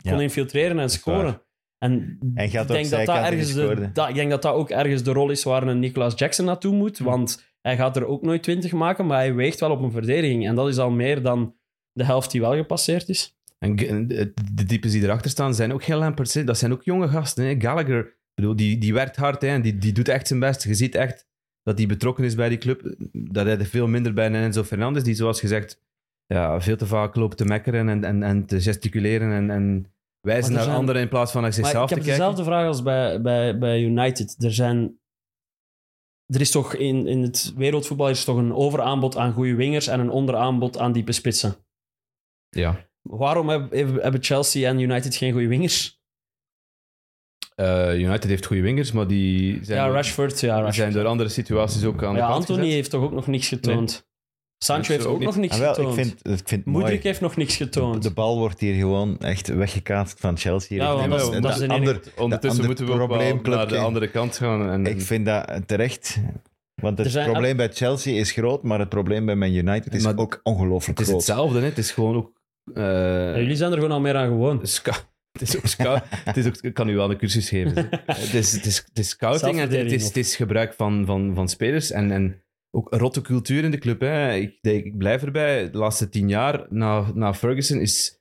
Speaker 5: kon
Speaker 3: Ja.
Speaker 5: infiltreren en scoren. En
Speaker 3: Hij gaat
Speaker 5: ik
Speaker 3: op
Speaker 5: denk dat dat,
Speaker 3: zijkant en
Speaker 5: ergens
Speaker 3: die
Speaker 5: de,
Speaker 3: scoorde.
Speaker 5: dat, ik denk dat dat ook ergens de rol is waar een Nicolas Jackson naartoe moet. Want hij gaat er ook nooit 20 maken, maar hij weegt wel op een verdediging. En dat is al meer dan de helft die wel gepasseerd is.
Speaker 4: En G- en de, de types die erachter staan zijn ook geen Lamperts. hè. Dat zijn ook jonge gasten. Hè. Gallagher, ik bedoel, die, die werkt hard hè, en die, die doet echt zijn best. Je ziet echt dat hij betrokken is bij die club. Dat hij er veel minder bij dan Enzo Fernandes, die zoals gezegd ja, veel te vaak loopt te mekkeren en, en, en te gesticuleren en, en wijzen
Speaker 5: er
Speaker 4: naar
Speaker 5: zijn-
Speaker 4: anderen in plaats van naar
Speaker 5: Maar ik
Speaker 4: zichzelf
Speaker 5: heb
Speaker 4: te kijken.
Speaker 5: dezelfde vraag als bij, bij, bij United. Er zijn... Er is toch in, in het wereldvoetbal is toch een overaanbod aan goede wingers en een onderaanbod aan diepe spitsen.
Speaker 4: Ja.
Speaker 5: Waarom heb- heb- hebben Chelsea en United geen goede wingers?
Speaker 4: Eh, United heeft goede wingers, maar die zijn,
Speaker 5: ja,
Speaker 4: door-
Speaker 5: Rashford. Ja,
Speaker 4: die
Speaker 5: Rashford.
Speaker 4: zijn door andere situaties ook aan
Speaker 5: Maar
Speaker 4: de
Speaker 5: ja,
Speaker 4: kant
Speaker 5: Anthony
Speaker 4: gezet.
Speaker 5: heeft toch ook nog niks getoond.
Speaker 4: Sancho
Speaker 5: Sancho heeft
Speaker 4: ook
Speaker 5: ook
Speaker 4: niet.
Speaker 5: nog niks
Speaker 3: Ah, wel, ik
Speaker 5: getoond.
Speaker 3: vind, ik vind het mooi.
Speaker 5: Moedrik heeft nog niks getoond.
Speaker 3: De bal wordt hier gewoon echt weggekaatst van Chelsea.
Speaker 5: Ja,
Speaker 3: Ik
Speaker 5: want
Speaker 3: vind
Speaker 5: dat is-
Speaker 3: het
Speaker 5: dat is
Speaker 3: een
Speaker 5: de enige-
Speaker 3: ander-
Speaker 4: Ondertussen
Speaker 3: de
Speaker 4: moeten we ook wel
Speaker 3: probleemclub
Speaker 4: naar de
Speaker 3: gaan.
Speaker 4: andere kant gaan. En,
Speaker 3: Ik vind dat terecht. Want
Speaker 5: Er
Speaker 3: het
Speaker 5: zijn-
Speaker 3: probleem bij Chelsea is groot, maar het probleem bij Man United is
Speaker 4: Maar-
Speaker 3: ook ongelooflijk
Speaker 4: Het is
Speaker 3: groot.
Speaker 4: hetzelfde, hè. het is gewoon ook. eh,
Speaker 5: Ja, jullie zijn er gewoon al meer aan gewoon.
Speaker 4: sca- het is ook scout. het is ook, ik kan u wel een cursus geven. zeg. het, is, het, is, het is scouting en het is,
Speaker 5: Zelfverdediging, of-
Speaker 4: het is gebruik van, van, van spelers. En, en ook een rotte cultuur in de club. Hè. Ik, denk- ik blijf erbij. De laatste tien jaar na, na Ferguson is,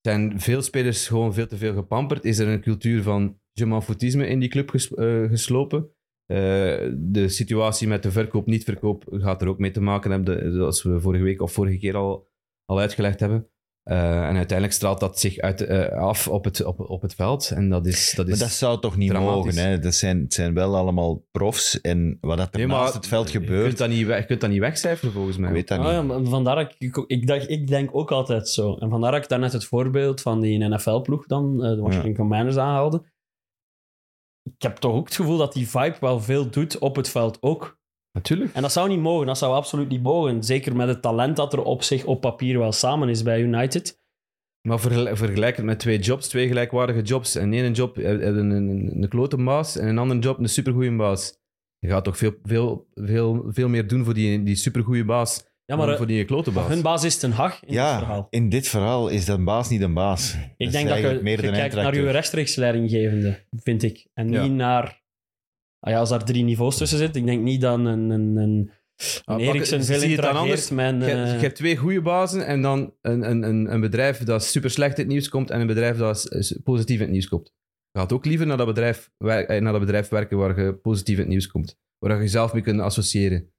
Speaker 4: zijn veel spelers gewoon veel te veel gepamperd. Is er een cultuur van je m'en foutisme in die club ges- eh, geslopen. Eh, de situatie met de verkoop, niet-verkoop gaat er ook mee te maken hebben, de- zoals we vorige week of vorige keer al, al uitgelegd hebben. Eh, en uiteindelijk straalt dat zich uit, eh, af op het, op, op het veld. En dat is, dat is,
Speaker 3: Maar dat zou toch niet
Speaker 4: dramatisch.
Speaker 3: mogen, hè? Dat zijn, het zijn wel allemaal profs. En wat dat er
Speaker 4: Nee, maar
Speaker 3: naast het veld
Speaker 4: Je
Speaker 3: gebeurt,
Speaker 4: kunt dat niet, weg- je kunt dat niet wegcijferen, volgens mij.
Speaker 3: ik weet dat
Speaker 5: Ah,
Speaker 3: niet.
Speaker 5: ja, maar vandaar dat ik, ik, ik dacht, ik denk ook altijd zo. En vandaar dat ik daarnet het voorbeeld van die NFL-ploeg dan, eh, de Washington Commanders, aanhaalde. Ik heb toch ook het gevoel dat die vibe wel veel doet op het veld ook.
Speaker 4: Natuurlijk.
Speaker 5: En dat zou niet mogen, dat zou absoluut niet mogen. Zeker met het talent dat er op zich op papier wel samen is bij United.
Speaker 4: Maar vergel- vergelijk het met twee jobs, twee gelijkwaardige jobs. En één job heb heb een, een, een klote baas en een andere job een supergoeie baas. Je gaat toch veel, veel, veel, veel meer doen voor die, die supergoeie baas
Speaker 5: Ja, maar
Speaker 4: dan
Speaker 5: eh,
Speaker 4: voor die klote baas.
Speaker 5: hun baas is Ten Hag in dit
Speaker 3: Ja,
Speaker 5: verhaal.
Speaker 3: in dit verhaal is dat baas niet een baas.
Speaker 4: Dus
Speaker 5: Ik denk dat je,
Speaker 3: eigenlijk meer
Speaker 5: je
Speaker 3: de
Speaker 5: kijkt naar
Speaker 3: eindtractor.
Speaker 5: je rechtstreeks leidinggevende, vind ik. En niet
Speaker 4: Ja.
Speaker 5: naar... Ah ja, als daar drie niveaus tussen zitten, ik denk niet dat een, een, een, een
Speaker 4: Ah, pak-
Speaker 5: Eriksen
Speaker 4: zie
Speaker 5: veel
Speaker 4: je het dan
Speaker 5: interageert met... een,
Speaker 4: Je, hebt- je
Speaker 5: eh,
Speaker 4: hebt twee goede bazen en dan een, een, een, een bedrijf dat super slecht in het nieuws komt en een bedrijf dat s- s- positief in het nieuws komt. Je gaat ook liever naar dat bedrijf, wer- eh, naar dat bedrijf werken waar je positief in het nieuws komt. Waar je jezelf mee kunt associëren.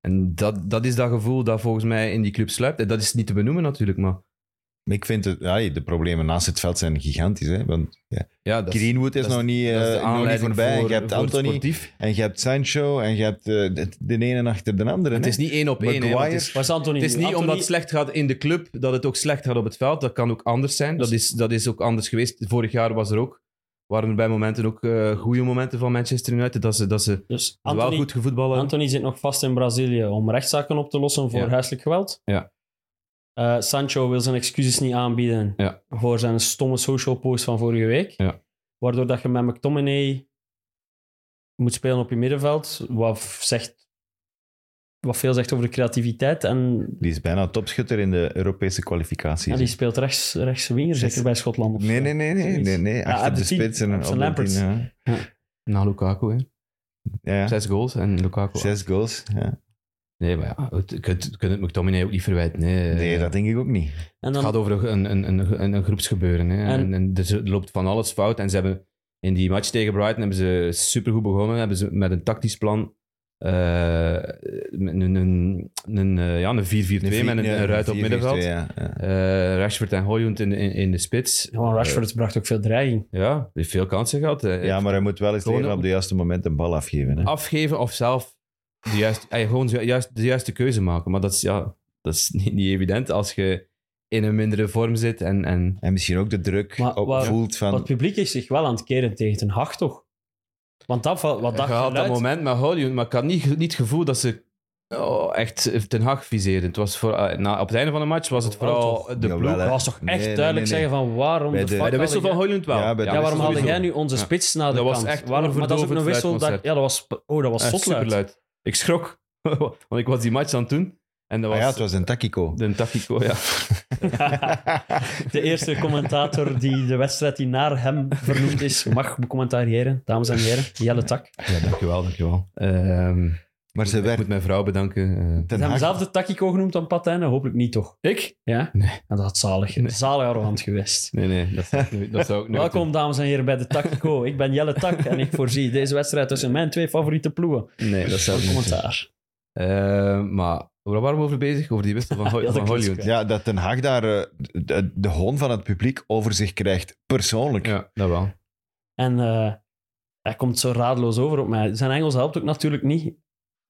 Speaker 4: En dat, dat is dat gevoel dat volgens mij in die club sluipt. En dat is niet te benoemen natuurlijk, maar...
Speaker 3: Ik vind het, ja, de problemen naast het veld zijn gigantisch. Hè? Want ja,
Speaker 4: Ja, dat
Speaker 3: Greenwood is,
Speaker 4: dat is-
Speaker 3: nog niet, eh,
Speaker 4: dat is de
Speaker 3: nog niet
Speaker 4: aanleiding
Speaker 3: voorbij.
Speaker 4: voor-
Speaker 3: je hebt
Speaker 4: voor het
Speaker 3: Anthony,
Speaker 4: sportief.
Speaker 3: en je hebt Sancho, en je hebt eh, de, de ene achter de andere.
Speaker 4: Het
Speaker 3: hè.
Speaker 4: is niet één op één. hè,
Speaker 3: Maguire.
Speaker 4: want het is-
Speaker 5: Waar is Anthony
Speaker 4: Het is
Speaker 5: nu?
Speaker 4: niet
Speaker 5: Anthony-
Speaker 4: omdat het slecht gaat in de club dat het ook slecht gaat op het veld. Dat kan ook anders zijn. Dat is, dat is ook anders geweest. Vorig jaar was er ook, waren er bij momenten ook eh, goede momenten van Manchester United. Dat ze, dat ze
Speaker 5: Dus
Speaker 4: wel
Speaker 5: Anthony,
Speaker 4: goed gevoetballen.
Speaker 5: Anthony zit nog vast in Brazilië om rechtszaken op te lossen voor
Speaker 4: Ja.
Speaker 5: huiselijk geweld.
Speaker 4: Ja.
Speaker 5: Eh, Sancho wil zijn excuses niet aanbieden
Speaker 4: Ja.
Speaker 5: voor zijn stomme social post van vorige week.
Speaker 4: Ja.
Speaker 5: Waardoor dat je met McTominay moet spelen op je middenveld. Wat zegt wat veel zegt over de creativiteit. En
Speaker 3: Die is bijna topschutter in de Europese kwalificaties.
Speaker 5: ja, die speelt rechts, rechts winger,
Speaker 3: Zes-
Speaker 5: zeker bij Schotland. of
Speaker 3: Nee,
Speaker 5: zo.
Speaker 3: nee, nee, nee,
Speaker 5: Zoiets.
Speaker 3: nee, nee.
Speaker 5: Ja,
Speaker 3: Achter
Speaker 5: op
Speaker 3: de
Speaker 5: de tien,
Speaker 3: spits en
Speaker 5: op
Speaker 3: op
Speaker 5: zijn
Speaker 3: de
Speaker 5: Lamperts.
Speaker 3: tien, ja.
Speaker 4: Na Lukaku, hè.
Speaker 3: Ja, ja.
Speaker 4: Zes goals en Lukaku.
Speaker 3: Zes goals. Ja.
Speaker 4: Nee, maar ja, goed, je kunt, je kunt het McTominay ook niet verwijten. Hè.
Speaker 3: Nee, dat denk ik ook niet.
Speaker 5: En
Speaker 4: Het
Speaker 5: dan,
Speaker 4: gaat over een, een, een, een, een groepsgebeuren. Hè.
Speaker 5: En-
Speaker 4: En, en er z- loopt van alles fout. En ze hebben in die match tegen Brighton hebben ze supergoed begonnen. Hebben ze met een tactisch plan eh, een, een, een, een, eh, ja, een 4-4-2 met een,
Speaker 3: Ja,
Speaker 4: een ruit op
Speaker 3: 4-4-2,
Speaker 4: middenveld.
Speaker 3: Ja, ja.
Speaker 4: Eh, Rashford en Hoyund in, in, in de spits.
Speaker 5: gewoon Rashford bracht ook veel dreiging.
Speaker 4: Ja, die heeft veel kansen gehad. Eh,
Speaker 3: ja, maar hij moet wel eens
Speaker 4: Gewoon
Speaker 3: leren
Speaker 4: ook-
Speaker 3: op de juiste moment een bal afgeven. Hè.
Speaker 4: Afgeven of zelf de juiste, eh, gewoon ju- juist, de juiste keuze maken. Maar dat is, ja, dat is niet, niet evident als je in een mindere vorm zit en, en
Speaker 3: En misschien ook de druk
Speaker 5: Maar
Speaker 3: op,
Speaker 5: wat-
Speaker 3: voelt van...
Speaker 5: Maar het publiek is zich wel aan het keren tegen Ten Hag, toch? Want dat, va- wat dat
Speaker 4: je had dat
Speaker 5: geluid-
Speaker 4: moment met Hollywood, maar ik had niet, niet het gevoel dat ze oh, echt Ten Hag viseerden. Het was voor, eh, na, op het einde van de match was het
Speaker 5: Wel
Speaker 4: vooral
Speaker 5: Oh, toch?
Speaker 4: de
Speaker 3: Jawel,
Speaker 4: ploeg.
Speaker 3: hè.
Speaker 5: Dat was toch echt
Speaker 3: Nee, nee,
Speaker 5: duidelijk
Speaker 3: nee, nee.
Speaker 5: zeggen van waarom
Speaker 3: Bij
Speaker 5: de,
Speaker 3: de- bij
Speaker 4: Bij
Speaker 5: fuck
Speaker 4: de
Speaker 5: hadden
Speaker 4: wissel van
Speaker 5: jij-
Speaker 4: Hollywood wel.
Speaker 3: Ja, bij de
Speaker 5: Ja,
Speaker 3: wissel
Speaker 5: waarom haalde
Speaker 4: sowieso.
Speaker 5: jij nu onze
Speaker 4: Ja.
Speaker 5: spits naar de
Speaker 4: Dat was
Speaker 5: kant?
Speaker 4: echt
Speaker 5: waarom, maar dat is ook een
Speaker 4: overdovend
Speaker 5: wissel dat...
Speaker 4: fluitconcert.
Speaker 5: Ja, dat was... Oh, dat was
Speaker 4: Eh,
Speaker 5: zot luid.
Speaker 4: superluid. Ik schrok, want ik was die match aan het doen. En dat
Speaker 3: Ah
Speaker 4: was,
Speaker 3: ja, het was een tactico.
Speaker 4: de Tachico, ja.
Speaker 5: De eerste commentator die de wedstrijd die naar hem vernoemd is, mag becommentariëren, dames en heren. Jelle Tak.
Speaker 4: ja, dankjewel, dankjewel. Ehm
Speaker 3: maar ze
Speaker 4: ik
Speaker 3: werd...
Speaker 4: moet mijn vrouw bedanken. eh.
Speaker 5: Ze
Speaker 3: Ten
Speaker 5: hebben
Speaker 3: Hag,
Speaker 5: zelf de Takiko genoemd aan Patijn, hopelijk niet toch?
Speaker 4: ik?
Speaker 5: Ja?
Speaker 4: Nee.
Speaker 5: En dat had zalig.
Speaker 4: Nee.
Speaker 5: Zalig arrogant geweest.
Speaker 4: Nee, nee, dat zou ik nooit- dat zou ik nooit
Speaker 5: Welkom, dames en heren, bij de Takiko. Ik ben Jelle Tak en ik voorzie deze wedstrijd tussen mijn twee favoriete ploegen.
Speaker 4: doen. Nee, dat zou ik
Speaker 5: Een
Speaker 4: nooit doen.
Speaker 5: commentaar.
Speaker 4: Eh, maar waar waren we over bezig? Over die wissel van, Ho-
Speaker 5: Ja, dat
Speaker 4: van
Speaker 5: klopt,
Speaker 4: Hollywood.
Speaker 3: ja, dat Ten Hag daar eh, de, de hoon van het publiek over zich krijgt, persoonlijk.
Speaker 4: Ja, dat wel.
Speaker 5: En eh, hij komt zo raadloos over op mij. Zijn Engels helpt ook natuurlijk niet.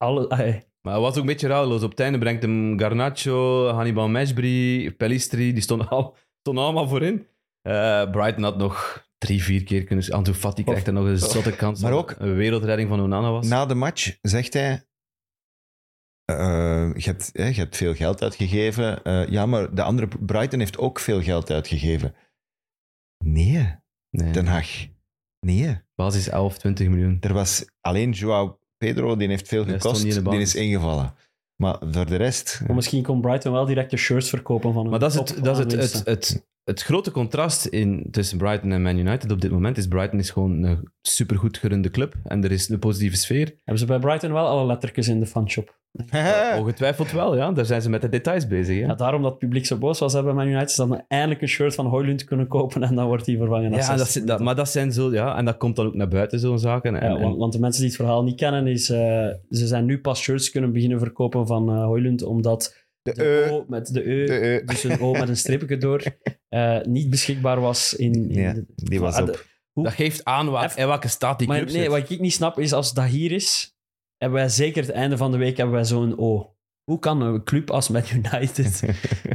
Speaker 5: Alle, ah,
Speaker 4: Maar hij was ook een beetje radeloos. Op het einde brengt hem Garnacho, Hannibal Meshbri, Pellistri. Die stonden, al, stonden allemaal voorin. Eh, Brighton had nog drie, vier keer kunnen... Ansu Fati krijgt er nog een zotte kans.
Speaker 3: Maar ook-
Speaker 4: Een wereldredding van Onana was.
Speaker 3: Na de match zegt hij... eh, je, hebt, hè, je hebt veel geld uitgegeven. Eh, ja, maar de andere... Brighton heeft ook veel geld uitgegeven. Nee,
Speaker 4: nee,
Speaker 3: Ten Hag. Nee.
Speaker 4: basis 11, 20 miljoen.
Speaker 3: Er was alleen Joao Pedro, die heeft veel
Speaker 4: Ja, stond
Speaker 3: gekost.
Speaker 4: niet in de
Speaker 3: die
Speaker 4: basis.
Speaker 3: is ingevallen. Maar voor de rest...
Speaker 5: Maar misschien kon Brighton wel direct de shirts verkopen van een
Speaker 4: Maar dat is, het,
Speaker 5: top-
Speaker 4: dat is het,
Speaker 5: aanwinsten.
Speaker 4: het, het, het grote contrast in, tussen Brighton en Man United op dit moment. is Brighton is gewoon een supergoed gerunde club. En er is een positieve sfeer.
Speaker 5: Hebben ze bij Brighton wel alle lettertjes in de fanshop?
Speaker 4: Ongetwijfeld wel, ja. Daar zijn ze met de details bezig. Hè?
Speaker 5: Ja, daarom dat het publiek zo boos was hebben bij Man United, is dat we eindelijk een shirt van Hoylund kunnen kopen en dan wordt die vervangen. na
Speaker 4: Ja,
Speaker 5: 60
Speaker 4: dat, zit- dat,
Speaker 5: minuten.
Speaker 4: maar dat zijn zo, ja, en dat komt dan ook naar buiten, zo'n zaken. En,
Speaker 5: ja, want, want de mensen die het verhaal niet kennen, is, eh, ze zijn nu pas shirts kunnen beginnen verkopen van eh Hoylund, omdat
Speaker 3: De,
Speaker 5: de
Speaker 3: eh,
Speaker 5: O met de E,
Speaker 3: de, eh.
Speaker 5: dus een O met een streepje door, eh, niet beschikbaar was in... in
Speaker 3: Nee,
Speaker 5: de-
Speaker 3: die was
Speaker 5: Ah,
Speaker 3: op.
Speaker 5: de-
Speaker 4: en dat geeft aan waar,
Speaker 5: Even-
Speaker 4: in welke staat die
Speaker 5: maar
Speaker 4: club
Speaker 5: nee,
Speaker 4: zit.
Speaker 5: wat ik niet snap is, als dat hier is, hebben wij zeker het einde van de week hebben wij zo'n O. Hoe kan een club als Man United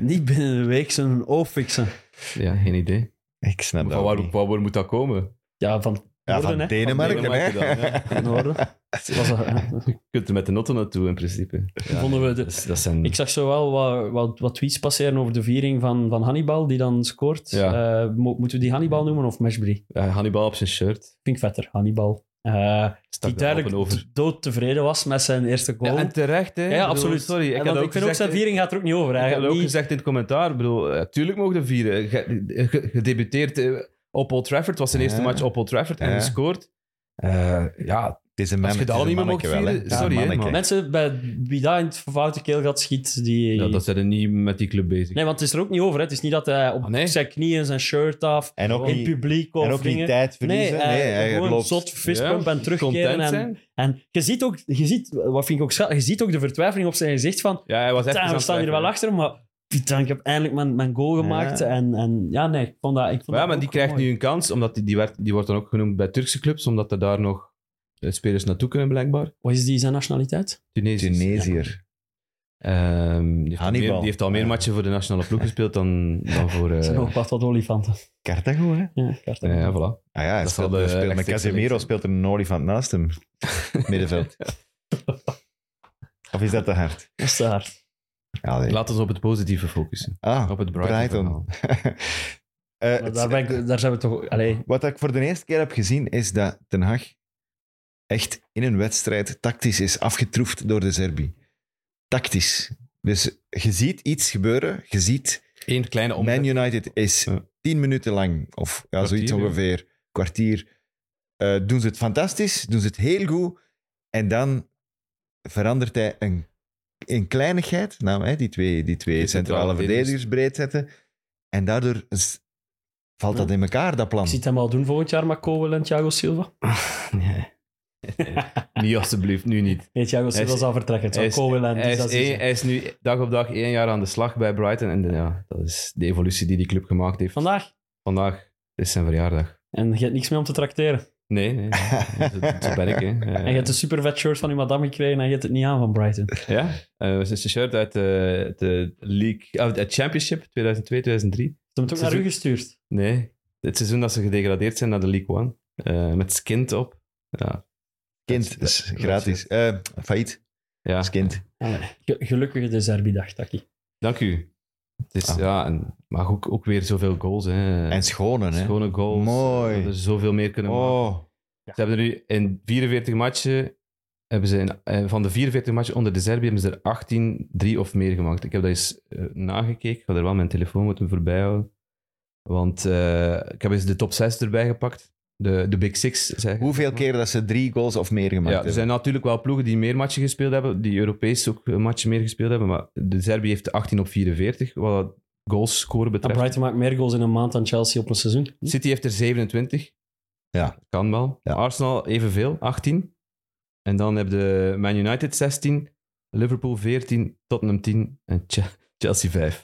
Speaker 5: niet binnen een week zo'n O fixen?
Speaker 4: Ja, geen idee.
Speaker 3: Ik snap
Speaker 4: Maar
Speaker 3: dat
Speaker 4: Van
Speaker 3: ook
Speaker 4: waar,
Speaker 3: niet.
Speaker 4: van waar moet dat komen?
Speaker 5: Ja, van het
Speaker 3: Ja,
Speaker 5: noorden, hè.
Speaker 3: van
Speaker 4: Van
Speaker 3: Denemarken, hè?
Speaker 4: Denemarken dan,
Speaker 5: Van het noorden. Het was, eh,
Speaker 4: Je kunt er met de auto naartoe, in principe. Ja,
Speaker 5: vonden we de-
Speaker 4: dat, dat zijn...
Speaker 5: Ik zag zo wel wat, wat, wat tweets passeren over de viering van, van Hannibal, die dan scoort.
Speaker 4: Ja.
Speaker 5: Eh, mo- moeten we die Hannibal noemen of Meshbury?
Speaker 4: Ja, Hannibal op zijn shirt.
Speaker 5: Vind ik vetter, Hannibal. Eh,
Speaker 4: Stak
Speaker 5: die
Speaker 4: de open
Speaker 5: duidelijk
Speaker 4: over.
Speaker 5: dood tevreden was met zijn eerste goal.
Speaker 4: Ja, en terecht, hè.
Speaker 5: Ja,
Speaker 4: Ik bedoel,
Speaker 5: absoluut.
Speaker 4: Sorry, ik,
Speaker 5: En
Speaker 4: had
Speaker 5: want
Speaker 4: dat
Speaker 5: ik vind ook,
Speaker 4: gezegd,
Speaker 5: zijn
Speaker 4: hè.
Speaker 5: viering gaat er ook niet
Speaker 4: Ik
Speaker 5: over.
Speaker 4: heb dat
Speaker 5: Eigenlijk.
Speaker 4: ook
Speaker 5: Niet-
Speaker 4: gezegd in het commentaar. Ik bedoel, eh, tuurlijk mogen we vieren. Ge- ge- ge- Gedebuteerd eh, op Old Trafford. Het was zijn eerste
Speaker 3: Ja.
Speaker 4: match op Old Trafford. En
Speaker 3: Ja.
Speaker 4: gescoord. Eh, ja,
Speaker 3: Het is een man,
Speaker 4: Als je
Speaker 3: het
Speaker 4: dat
Speaker 3: is
Speaker 4: al
Speaker 3: een
Speaker 4: niet meer mocht
Speaker 3: manneke wel, hè. Het is een
Speaker 4: vieren, sorry, hè,
Speaker 3: manneke.
Speaker 4: man.
Speaker 5: Mensen bij wie daar in het vervouwde keel gaat schiet, die...
Speaker 4: ja, dat zijn er niet met die club bezig.
Speaker 5: Nee, want het is er ook niet over. Hè. Het is niet dat hij op
Speaker 4: Ah, nee?
Speaker 5: zijn knieën zijn shirt af,
Speaker 3: En ook
Speaker 5: in
Speaker 3: niet-
Speaker 5: publiek of
Speaker 3: En ook niet
Speaker 5: dingen.
Speaker 3: tijd
Speaker 5: Nee,
Speaker 4: eh,
Speaker 3: verliezen. Nee,
Speaker 5: hij-
Speaker 3: hij
Speaker 5: gewoon
Speaker 3: loopt.
Speaker 5: zot fistpump
Speaker 4: Ja,
Speaker 5: en terugkeren.
Speaker 4: content
Speaker 5: En,
Speaker 4: zijn.
Speaker 5: en je ziet ook, je ziet, wat vind ik ook schattig, je ziet ook de vertwijfeling op zijn gezicht van,
Speaker 4: Ja, hij was echt.
Speaker 5: "Tja, we staan hier wel achter, maar putain, ik heb eindelijk mijn, mijn goal gemaakt.
Speaker 3: Ja.
Speaker 5: En, en ja, nee, ik vond dat, ik vond
Speaker 4: Maar ja,
Speaker 5: dat
Speaker 4: maar die
Speaker 5: ook
Speaker 4: krijgt
Speaker 5: mooi.
Speaker 4: nu een kans, omdat die, die, werd, die wordt dan ook genoemd bij Turkse clubs, omdat er daar nog eh, spelers naartoe kunnen, blijkbaar.
Speaker 5: Wat is die zijn nationaliteit?
Speaker 4: Tunesië.
Speaker 3: Tunesiër.
Speaker 4: Ehm, die, heeft al meer,
Speaker 3: Hannibal.
Speaker 4: die heeft al meer
Speaker 3: Ja.
Speaker 4: matchen voor de nationale ploeg gespeeld dan, dan voor. eh,
Speaker 5: Er zijn ook wat, wat olifanten.
Speaker 3: Carthago, hè?
Speaker 5: Ja, ik had dat-
Speaker 4: ja, voilà.
Speaker 3: Ah ja, hij
Speaker 4: Dat
Speaker 3: speelt,
Speaker 4: zal de
Speaker 3: speelt met
Speaker 4: rechtstreeks
Speaker 3: Casemiro
Speaker 4: link zijn.
Speaker 3: speelt er een olifant naast hem. Middenveld. of is dat te hard?
Speaker 5: Dat is te hard.
Speaker 3: Ja, nee.
Speaker 4: Laat ons op het positieve focussen.
Speaker 3: Ah,
Speaker 4: Op het
Speaker 3: Brighton.
Speaker 4: Brighton.
Speaker 3: Eh,
Speaker 5: Maar
Speaker 3: het-
Speaker 5: daar, ben ik- daar zijn we toch... Allee,
Speaker 3: Wat ik voor de eerste keer heb gezien, is dat Ten Hag echt in een wedstrijd tactisch is afgetroefd door de Serbi. tactisch. Dus je ziet iets gebeuren. Je ziet,
Speaker 4: Eén kleine omzet.
Speaker 3: Man United is
Speaker 4: Ja.
Speaker 3: tien minuten lang, of ja,
Speaker 4: Kwartier,
Speaker 3: zoiets
Speaker 4: ja.
Speaker 3: ongeveer, kwartier, eh, doen ze het fantastisch, doen ze het heel goed. En dan verandert hij een, in kleinigheid, namelijk hè, die twee, die twee
Speaker 4: Die
Speaker 3: centrale
Speaker 4: centrale
Speaker 3: verdedigers breed zetten. En daardoor is- valt dat in elkaar, dat plan.
Speaker 5: Ik zie het hem al doen volgend jaar met Cowell en Thiago Silva.
Speaker 4: Nee. niet alsjeblieft, nu niet.
Speaker 5: Nee, Thiago Silva
Speaker 4: is-
Speaker 5: zal vertrekken. Het
Speaker 4: Hij
Speaker 5: zou
Speaker 4: is,
Speaker 5: Cowell en
Speaker 4: hij,
Speaker 5: Dizazi
Speaker 4: is één-
Speaker 5: zijn.
Speaker 4: hij is nu dag op dag één jaar aan de slag bij Brighton. En de- ja, dat is de evolutie die die club gemaakt heeft.
Speaker 5: Vandaag.
Speaker 4: Vandaag is zijn verjaardag.
Speaker 5: En je hebt niks meer om te trakteren.
Speaker 4: Nee, nee. zo, zo ben ik. Hè. Eh,
Speaker 5: En je hebt een super vet shirt van uw madame gekregen en je hebt het niet aan van Brighton.
Speaker 4: Ja, eh, het is een shirt uit de, de league, ah, uit het Championship 2002-2003.
Speaker 5: Ze hebben het ook
Speaker 4: Ze
Speaker 5: naar u
Speaker 4: doen-
Speaker 5: gestuurd.
Speaker 4: Nee, het seizoen dat ze gedegradeerd zijn naar de League One. eh, met Skint op. Ja,
Speaker 3: Kind,
Speaker 4: dat Ah.
Speaker 3: is gratis. Eh, failliet,
Speaker 4: ja.
Speaker 3: is kind.
Speaker 5: Ge- Gelukkige de Zerbi-dag, Taki.
Speaker 4: Dank u. Het is,
Speaker 3: Ah.
Speaker 4: ja, en, maar ook, ook weer zoveel goals. Hè.
Speaker 3: En schonen, hè.
Speaker 4: Schone goals.
Speaker 3: Mooi.
Speaker 4: Ze hadden zoveel meer kunnen maken.
Speaker 3: Oh,
Speaker 4: Ze hebben er nu in 44 matchen. Hebben ze in- eh, van de 44 matchen onder de Serbië hebben ze er 18, drie of meer gemaakt. Ik heb dat eens eh, nagekeken. Ik had er wel mijn telefoon moeten voorbij houden. Want eh, ik heb eens de top 6 erbij gepakt. De, de Big Six. Zeg.
Speaker 3: hoeveel keer dat ze drie goals of meer gemaakt
Speaker 4: Ja, er
Speaker 3: hebben.
Speaker 4: zijn natuurlijk wel ploegen die meer matchen gespeeld hebben. Die Europees ook eh, matchen meer gespeeld hebben. Maar de Serbië heeft 18 op 44. Wat goals scoren
Speaker 5: En
Speaker 4: betreft.
Speaker 5: Brighton maakt meer goals in een maand dan Chelsea op een seizoen.
Speaker 4: City heeft er 27.
Speaker 3: Hm? Ja.
Speaker 4: Kan wel.
Speaker 3: Ja.
Speaker 4: Arsenal evenveel, 18. En dan heb je Man United 16, Liverpool 14, Tottenham 10 en Che- Chelsea 5.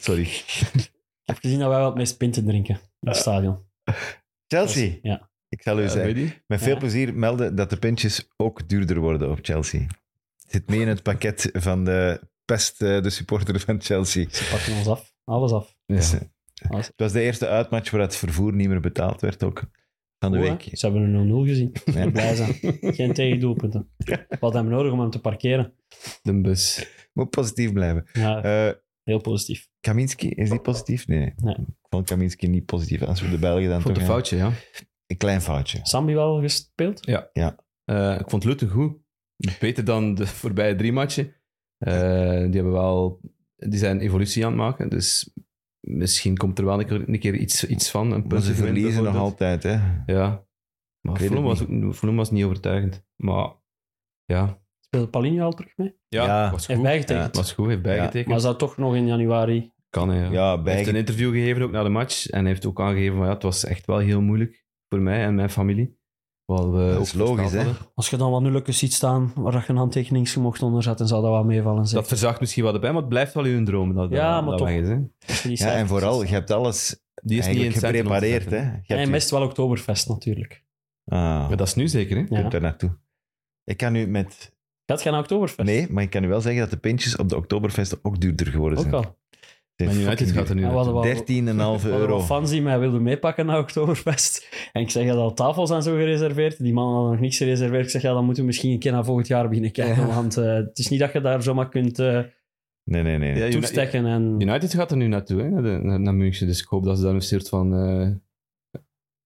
Speaker 4: Sorry.
Speaker 5: Ik heb gezien dat wij wel het meest pinten drinken in het stadion. Dus,
Speaker 3: Chelsea.
Speaker 5: Ja.
Speaker 3: Ik zal u
Speaker 4: Ja,
Speaker 3: zeggen.
Speaker 4: weet je?
Speaker 3: Met veel
Speaker 5: Ja.
Speaker 3: plezier melden dat de pintjes ook duurder worden op Chelsea. Zit mee in het pakket van de pest, eh, de supporter van Chelsea.
Speaker 5: Ze pakken ons af. Alles af.
Speaker 3: Dus,
Speaker 4: Ja.
Speaker 3: eh, het was de eerste uitmatch waar het vervoer niet meer betaald werd ook. Van de
Speaker 5: Oeh,
Speaker 3: week.
Speaker 5: hè. Ze hebben een 0-0 gezien.
Speaker 3: Ja.
Speaker 5: Blij zijn. Geen tegendoelpunten. Wat hebben we nodig om hem te parkeren?
Speaker 4: De bus.
Speaker 3: Moet positief blijven.
Speaker 5: Ja,
Speaker 3: Eh,
Speaker 5: heel positief.
Speaker 3: Kaminski, is die positief? Nee.
Speaker 5: Nee.
Speaker 3: Ik vond Kaminski niet positief. Als we de Belgen dan
Speaker 4: Ik vond
Speaker 3: toch...
Speaker 4: een
Speaker 3: ja.
Speaker 4: foutje, ja.
Speaker 3: Een klein foutje.
Speaker 5: Sambi wel gespeeld?
Speaker 4: Eh, ik vond Luton goed. Beter dan de voorbije drie matchen. Eh, die, hebben wel, die zijn evolutie aan het maken. Dus misschien komt er wel een keer, een keer iets, iets van. Een
Speaker 3: Maar ze
Speaker 4: puntenverlies
Speaker 3: verliezen nog
Speaker 4: bijvoorbeeld.
Speaker 3: altijd, hè.
Speaker 4: Ja. Maar
Speaker 3: Ik weet
Speaker 4: Fulham
Speaker 3: het
Speaker 4: was, ook- Fulham was niet overtuigend. Maar ja.
Speaker 5: Speelde Paulinho al terug mee?
Speaker 4: Ja,
Speaker 3: Ja.
Speaker 4: was
Speaker 5: Heeft
Speaker 4: goed.
Speaker 5: bijgetekend.
Speaker 4: Was goed, heeft bijgetekend.
Speaker 5: Maar zou toch nog in januari...
Speaker 4: Kan, hè, ja.
Speaker 3: Ja,
Speaker 4: Hij
Speaker 3: bij...
Speaker 4: heeft een interview gegeven ook na de match. En hij heeft ook aangegeven van ja, het was echt wel heel moeilijk voor mij en mijn familie. Wat we
Speaker 3: Dat
Speaker 4: ook
Speaker 3: is logisch,
Speaker 4: vertaald
Speaker 3: hè.
Speaker 4: hadden.
Speaker 5: Als je dan wat nulletjes ziet staan, waar je een handtekening mocht onder zet, dan zou dat wel meevallen.
Speaker 4: Dat verzacht misschien wat erbij, maar het blijft wel in hun dromen. Dat,
Speaker 5: Ja,
Speaker 4: dat-
Speaker 5: maar
Speaker 4: dat
Speaker 5: toch.
Speaker 4: weg is, hè.
Speaker 3: Ja, en vooral, je hebt alles
Speaker 4: Die is
Speaker 3: eigenlijk
Speaker 4: niet in het centrum
Speaker 3: geprepareerd, hè.
Speaker 4: ontzettend,
Speaker 3: Je
Speaker 4: hè.
Speaker 3: hebt
Speaker 5: Hij
Speaker 3: je-
Speaker 5: mist wel Oktoberfest natuurlijk.
Speaker 3: Ah.
Speaker 4: Maar dat is nu zeker, hè.
Speaker 5: Ja.
Speaker 3: kunt daar naartoe. Ik kan nu met...
Speaker 5: Gaat geen Oktoberfest?
Speaker 3: Nee, maar ik kan u wel zeggen dat de pintjes op de Oktoberfest ook duurder geworden
Speaker 5: Ook
Speaker 3: zijn.
Speaker 5: al.
Speaker 3: Ze
Speaker 4: Man
Speaker 3: zijn
Speaker 4: United gaat er nu
Speaker 5: Ja,
Speaker 4: naartoe.
Speaker 5: wel-
Speaker 3: 13,5
Speaker 5: Er waren
Speaker 3: euro.
Speaker 5: wat fans die mij wilden meepakken naar Oktoberfest. En ik zeg, ja, dat tafels en zo gereserveerd. Die mannen hadden nog niks gereserveerd. Ik zeg, ja, dan moeten we misschien een keer naar volgend jaar beginnen kijken. Want eh, het is niet dat je daar zomaar kunt eh
Speaker 3: Nee, nee, nee.
Speaker 4: Ja, Uni-
Speaker 5: toestekken. En...
Speaker 4: United gaat er nu naartoe, hè, naar, de- naar, naar München. Dus ik hoop dat ze daar een soort van eh,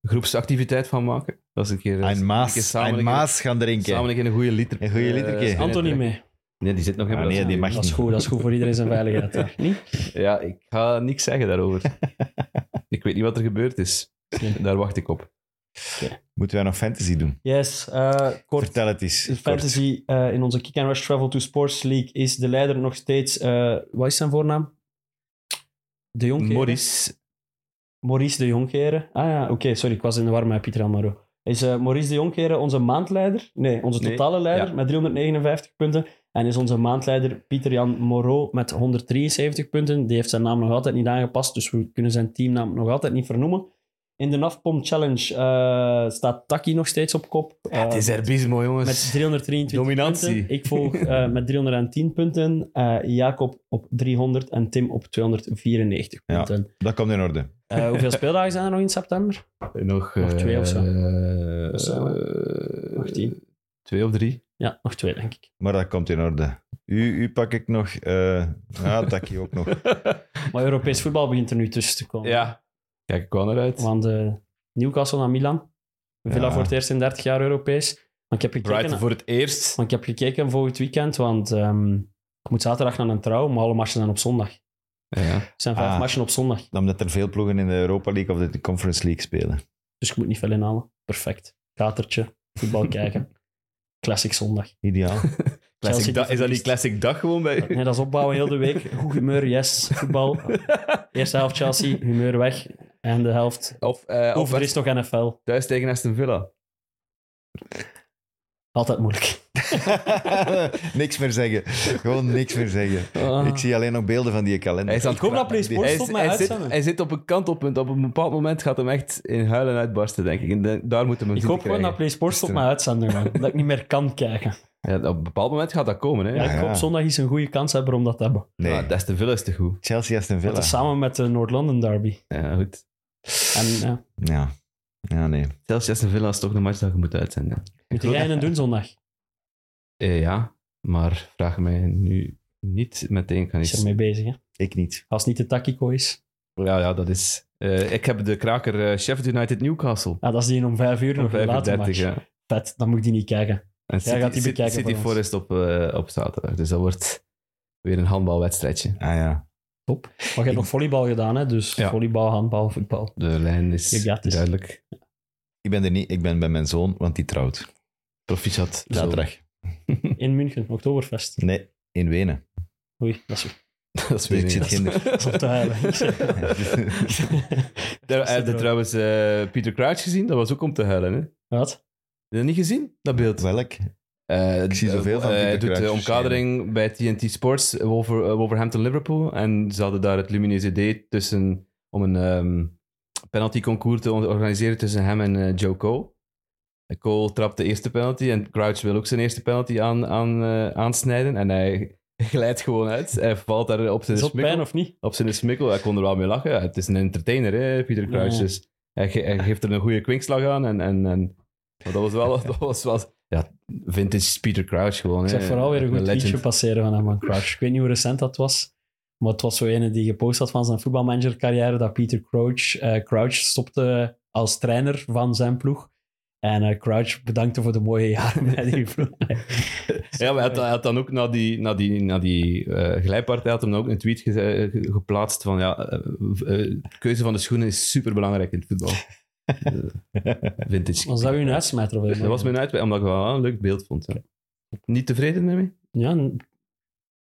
Speaker 4: groepsactiviteit van maken. Dat ze een keer,
Speaker 3: Een
Speaker 4: een keer
Speaker 3: maas,
Speaker 4: samen,
Speaker 3: een
Speaker 4: een keer-
Speaker 3: maas gaan drinken.
Speaker 4: samen een keer een goede liter.
Speaker 3: Een goede literke.
Speaker 4: eh,
Speaker 5: Anthony mee.
Speaker 4: Nee, die zit nog in
Speaker 3: Ah,
Speaker 4: Brazilië.
Speaker 3: nee, die mag
Speaker 5: Dat is
Speaker 3: niet.
Speaker 5: goed, dat is goed voor iedereen zijn veiligheid. hè. Niet?
Speaker 4: Ja, ik ga niks zeggen daarover. ik weet niet wat er gebeurd is.
Speaker 5: Slim.
Speaker 4: Daar wacht ik op.
Speaker 3: Moeten wij nog fantasy doen?
Speaker 5: Yes, eh, kort.
Speaker 3: Vertel het eens.
Speaker 5: De
Speaker 3: Kort.
Speaker 5: fantasy eh, in onze Kick and Rush Travel to Sports League is de leider nog steeds... eh, wat is zijn voornaam? De Jong.
Speaker 4: Morris,
Speaker 5: Maurice de Jonkeren. Ah ja, oké, sorry, ik was in de war met Pieter Almaro. Is eh, Maurice de Jonkeren onze maandleider? Nee, onze
Speaker 4: Nee,
Speaker 5: totale leider
Speaker 4: ja.
Speaker 5: met 359 punten. En is onze maandleider Pieter-Jan Moreau met 173 punten. Die heeft zijn naam nog altijd niet aangepast, dus we kunnen zijn teamnaam nog altijd niet vernoemen. In de Nafpom Challenge eh, staat Taki nog steeds op kop. Eh,
Speaker 4: het is herbismo, jongens.
Speaker 5: met 323
Speaker 4: Dominantie.
Speaker 5: punten. Ik volg eh, met 310 punten. eh, Jacob op 300 en Tim op 294
Speaker 3: Ja.
Speaker 5: punten.
Speaker 3: Dat komt in orde.
Speaker 5: Eh, hoeveel speeldagen zijn er nog in september?
Speaker 4: nog,
Speaker 5: nog twee of zo.
Speaker 4: eh,
Speaker 5: Of zo.
Speaker 4: eh,
Speaker 5: Nog tien.
Speaker 4: Twee of drie.
Speaker 5: Ja, nog twee, denk ik.
Speaker 3: Maar dat komt in orde. U, u pak ik nog. eh ah, Taki ook nog.
Speaker 5: Maar Europees voetbal begint er nu tussen te komen.
Speaker 4: Ja. Kijk, ik kwam eruit.
Speaker 5: Want eh, Newcastle naar Milan. Villa
Speaker 3: Ja.
Speaker 5: voor het eerst in 30 jaar Europees. Maar ik heb
Speaker 4: Brighton
Speaker 5: gekeken,
Speaker 4: voor het eerst.
Speaker 5: want ik heb gekeken volgend weekend, want ehm, ik moet zaterdag naar een trouw, maar alle matchen zijn op zondag.
Speaker 4: Ja.
Speaker 5: Het zijn vijf
Speaker 3: Ah.
Speaker 5: matchen op zondag,
Speaker 3: Omdat er veel ploegen in de Europa League of de Conference League spelen.
Speaker 5: dus ik moet niet veel inhalen. Perfect. Katertje, voetbal kijken. Classic zondag.
Speaker 3: Ideaal.
Speaker 5: Chelsea
Speaker 4: Classic dag- is dat niet
Speaker 5: verliest.
Speaker 4: classic dag gewoon bij
Speaker 5: Nee, dat is opbouwen heel de week. Goed humeur, yes. Voetbal. Eerste helft Chelsea, humeur weg. En de helft.
Speaker 4: Of, eh of
Speaker 5: Over is toch NFL.
Speaker 4: thuis tegen Aston Villa.
Speaker 5: Altijd moeilijk.
Speaker 3: niks meer zeggen. Gewoon niks meer zeggen. Ik zie alleen nog beelden van die kalender.
Speaker 4: Hij is aan
Speaker 5: Ik
Speaker 4: het
Speaker 5: hoop dat
Speaker 4: krabben.
Speaker 5: PlaySport
Speaker 4: Hij
Speaker 5: stopt
Speaker 4: is-
Speaker 5: met
Speaker 4: hij, zit,
Speaker 5: uitzenden.
Speaker 4: hij zit op een kantelpunt. Op een bepaald moment gaat hem echt in huilen uitbarsten, denk ik. En de- daar moeten we hem
Speaker 5: Ik
Speaker 4: zien
Speaker 5: hoop
Speaker 4: te
Speaker 5: gewoon dat
Speaker 4: krijgen.
Speaker 5: PlaySport stopt met uitzending, man. Dat ik niet meer kan kijken.
Speaker 4: Ja, op een bepaald moment gaat dat komen. Hè?
Speaker 5: Ja,
Speaker 4: Ja.
Speaker 5: ik
Speaker 3: ja.
Speaker 5: hoop zondag eens een goede kans hebben om dat te hebben.
Speaker 3: Nee,
Speaker 4: Aston Villa is te goed.
Speaker 3: Chelsea Aston
Speaker 5: Dat
Speaker 3: Villa.
Speaker 5: is samen met de Noord-London derby.
Speaker 4: Ja, goed.
Speaker 5: En ja,
Speaker 3: Ja. ja, nee.
Speaker 4: Zelfs Aston Villa is toch een match dat je moet uitzenden.
Speaker 5: moet jij een doen zondag?
Speaker 4: Eh, ja, maar vraag mij nu niet meteen. Kan
Speaker 5: Is
Speaker 4: iets...
Speaker 5: ermee bezig, hè?
Speaker 3: Ik niet.
Speaker 5: Als het niet de Takiko is.
Speaker 4: Ja, ja, dat is... eh, ik heb de kraker eh, Sheffield United Newcastle.
Speaker 5: Ah, dat is die om vijf uur nog een later
Speaker 4: 35,
Speaker 5: match.
Speaker 4: ja.
Speaker 5: Vet, dan moet ik die niet kijken.
Speaker 4: En City,
Speaker 5: gaat die
Speaker 4: City-
Speaker 5: bekijken
Speaker 4: City
Speaker 5: voor ons.
Speaker 4: Forest op, eh, op zaterdag. Dus dat wordt weer een handbalwedstrijdje.
Speaker 3: Ah ja.
Speaker 5: Maar je hebt nog volleybal gedaan, hè? Dus
Speaker 4: Ja.
Speaker 5: volleybal, handbal, voetbal.
Speaker 4: De lijn is
Speaker 5: Je gaat dus- het.
Speaker 4: duidelijk.
Speaker 3: Ik ben er niet. Ik ben bij mijn zoon, want die trouwt.
Speaker 4: Proficiat.
Speaker 3: Zaterdag.
Speaker 5: In München, Oktoberfest.
Speaker 3: Nee, in Wenen.
Speaker 5: Oei, dat is
Speaker 4: Dat is
Speaker 3: Dus
Speaker 4: weer
Speaker 3: ik zit
Speaker 4: niet.
Speaker 3: geen...
Speaker 5: Dat is om te huilen.
Speaker 4: Daar heb je trouwens eh Peter Crouch gezien. Dat was ook om te huilen. Hè? Heb
Speaker 5: Wat?
Speaker 4: je dat niet gezien? Dat beeld.
Speaker 3: Welk?
Speaker 4: Eh,
Speaker 3: Ik zie zoveel
Speaker 4: eh,
Speaker 3: van Pieter
Speaker 4: Hij doet de
Speaker 3: Crouch
Speaker 4: omkadering bij TNT Sports, eh, Wolver, eh, Wolverhampton-Liverpool. En ze hadden daar het lumineuze idee tussen, om een ehm penalty-concours te on- organiseren tussen hem en eh, Joe Cole. Eh, Cole trapt de eerste penalty en Crouch wil ook zijn eerste penalty aan, aan, eh, aansnijden. En hij glijdt gewoon uit. Hij valt daar op zijn
Speaker 5: Is dat
Speaker 4: smikkel.
Speaker 5: pijn of niet?
Speaker 4: Op zijn smikkel. Hij kon er wel mee lachen. Ja, het is een entertainer, hè, Pieter Crouch.
Speaker 5: Ja.
Speaker 4: Dus hij, ge- hij geeft er een goede kwinkslag aan. En, en, en maar dat was wel, dat was wel ja, vintage Peter Crouch gewoon.
Speaker 5: Ik
Speaker 4: hè.
Speaker 5: zag vooral weer een goed
Speaker 4: Eh, legend.
Speaker 5: liedje passeren van hem, van Crouch. Ik weet niet hoe recent dat was. Maar het was zo ene die gepost had van zijn voetbalmanagercarrière. Dat Peter Crouch, eh, Crouch stopte als trainer van zijn ploeg. En eh, Crouch bedankte voor de mooie jaren bij die ploeg.
Speaker 4: Ja, maar hij had, hij had dan ook na die, na die, na die eh, glijpartij had hem dan ook een tweet ge- ge- geplaatst van ja, eh, eh, keuze van de schoenen is superbelangrijk in het voetbal. Eh, vintage.
Speaker 5: Was dat uw uitsmijter? Of
Speaker 4: Dat was mijn uitweg, omdat ik wel een leuk beeld vond. ja. Niet tevreden mee?
Speaker 5: Ja, n-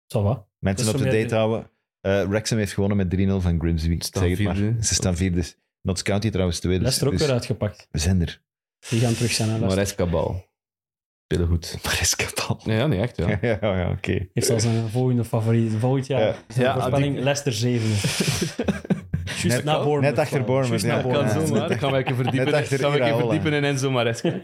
Speaker 5: ça va.
Speaker 3: Mensen
Speaker 5: Dat
Speaker 3: op
Speaker 5: is
Speaker 3: de
Speaker 5: zo meer-
Speaker 3: date houden. Eh Wrexham heeft gewonnen met 3-0 van Grimsby.
Speaker 4: staan
Speaker 3: Zeg het maar.
Speaker 4: vierde.
Speaker 3: Ze staan vierde. Notts County trouwens tweede.
Speaker 5: Leicester ook
Speaker 3: Dus
Speaker 5: weer uitgepakt.
Speaker 3: We zijn er.
Speaker 5: Die gaan terug zijn. hè, Leicester.
Speaker 4: Maresca bal. Spelen goed.
Speaker 3: Maar is kapot.
Speaker 4: Ja, ja, niet echt, ja.
Speaker 3: Ja, ja, ja, oké.
Speaker 5: Heeft al zijn volgende favoriet. Volgend jaar.
Speaker 3: Ja.
Speaker 5: zijn
Speaker 4: eh, Ja,
Speaker 5: voorspelling Leicester 7. Juist na Bournemouth.
Speaker 3: net achter
Speaker 5: wel.
Speaker 3: Bournemouth,
Speaker 5: Juist
Speaker 3: ja.
Speaker 5: na
Speaker 4: Dat kan
Speaker 5: Bournemouth.
Speaker 3: zo,
Speaker 4: zomaar.
Speaker 3: maar.
Speaker 4: Dat gaan we even
Speaker 3: Net
Speaker 4: verdiepen,
Speaker 3: achter
Speaker 4: gaan we even
Speaker 3: Iraola.
Speaker 4: verdiepen in Enzo Maresca.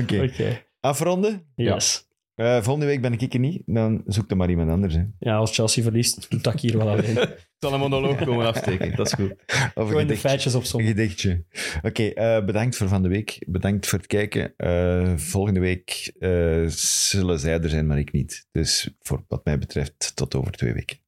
Speaker 3: Oké.
Speaker 5: Oké.
Speaker 3: Afronden.
Speaker 5: Yes.
Speaker 3: Eh, volgende week ben ik er niet. Dan zoek er maar iemand anders. Hè.
Speaker 5: Ja, als Chelsea verliest, doet dat hier wel alleen.
Speaker 4: Het zal een monoloog komen afsteken, dat is goed.
Speaker 3: Of een
Speaker 5: Gewoon de
Speaker 3: gedichtje.
Speaker 5: feitjes op
Speaker 3: Een
Speaker 5: zondag.
Speaker 3: gedichtje. Oké, eh, bedankt voor van de week. Bedankt voor het kijken. Eh, volgende week eh, zullen zij er zijn, maar ik niet. Dus voor wat mij betreft, tot over twee weken.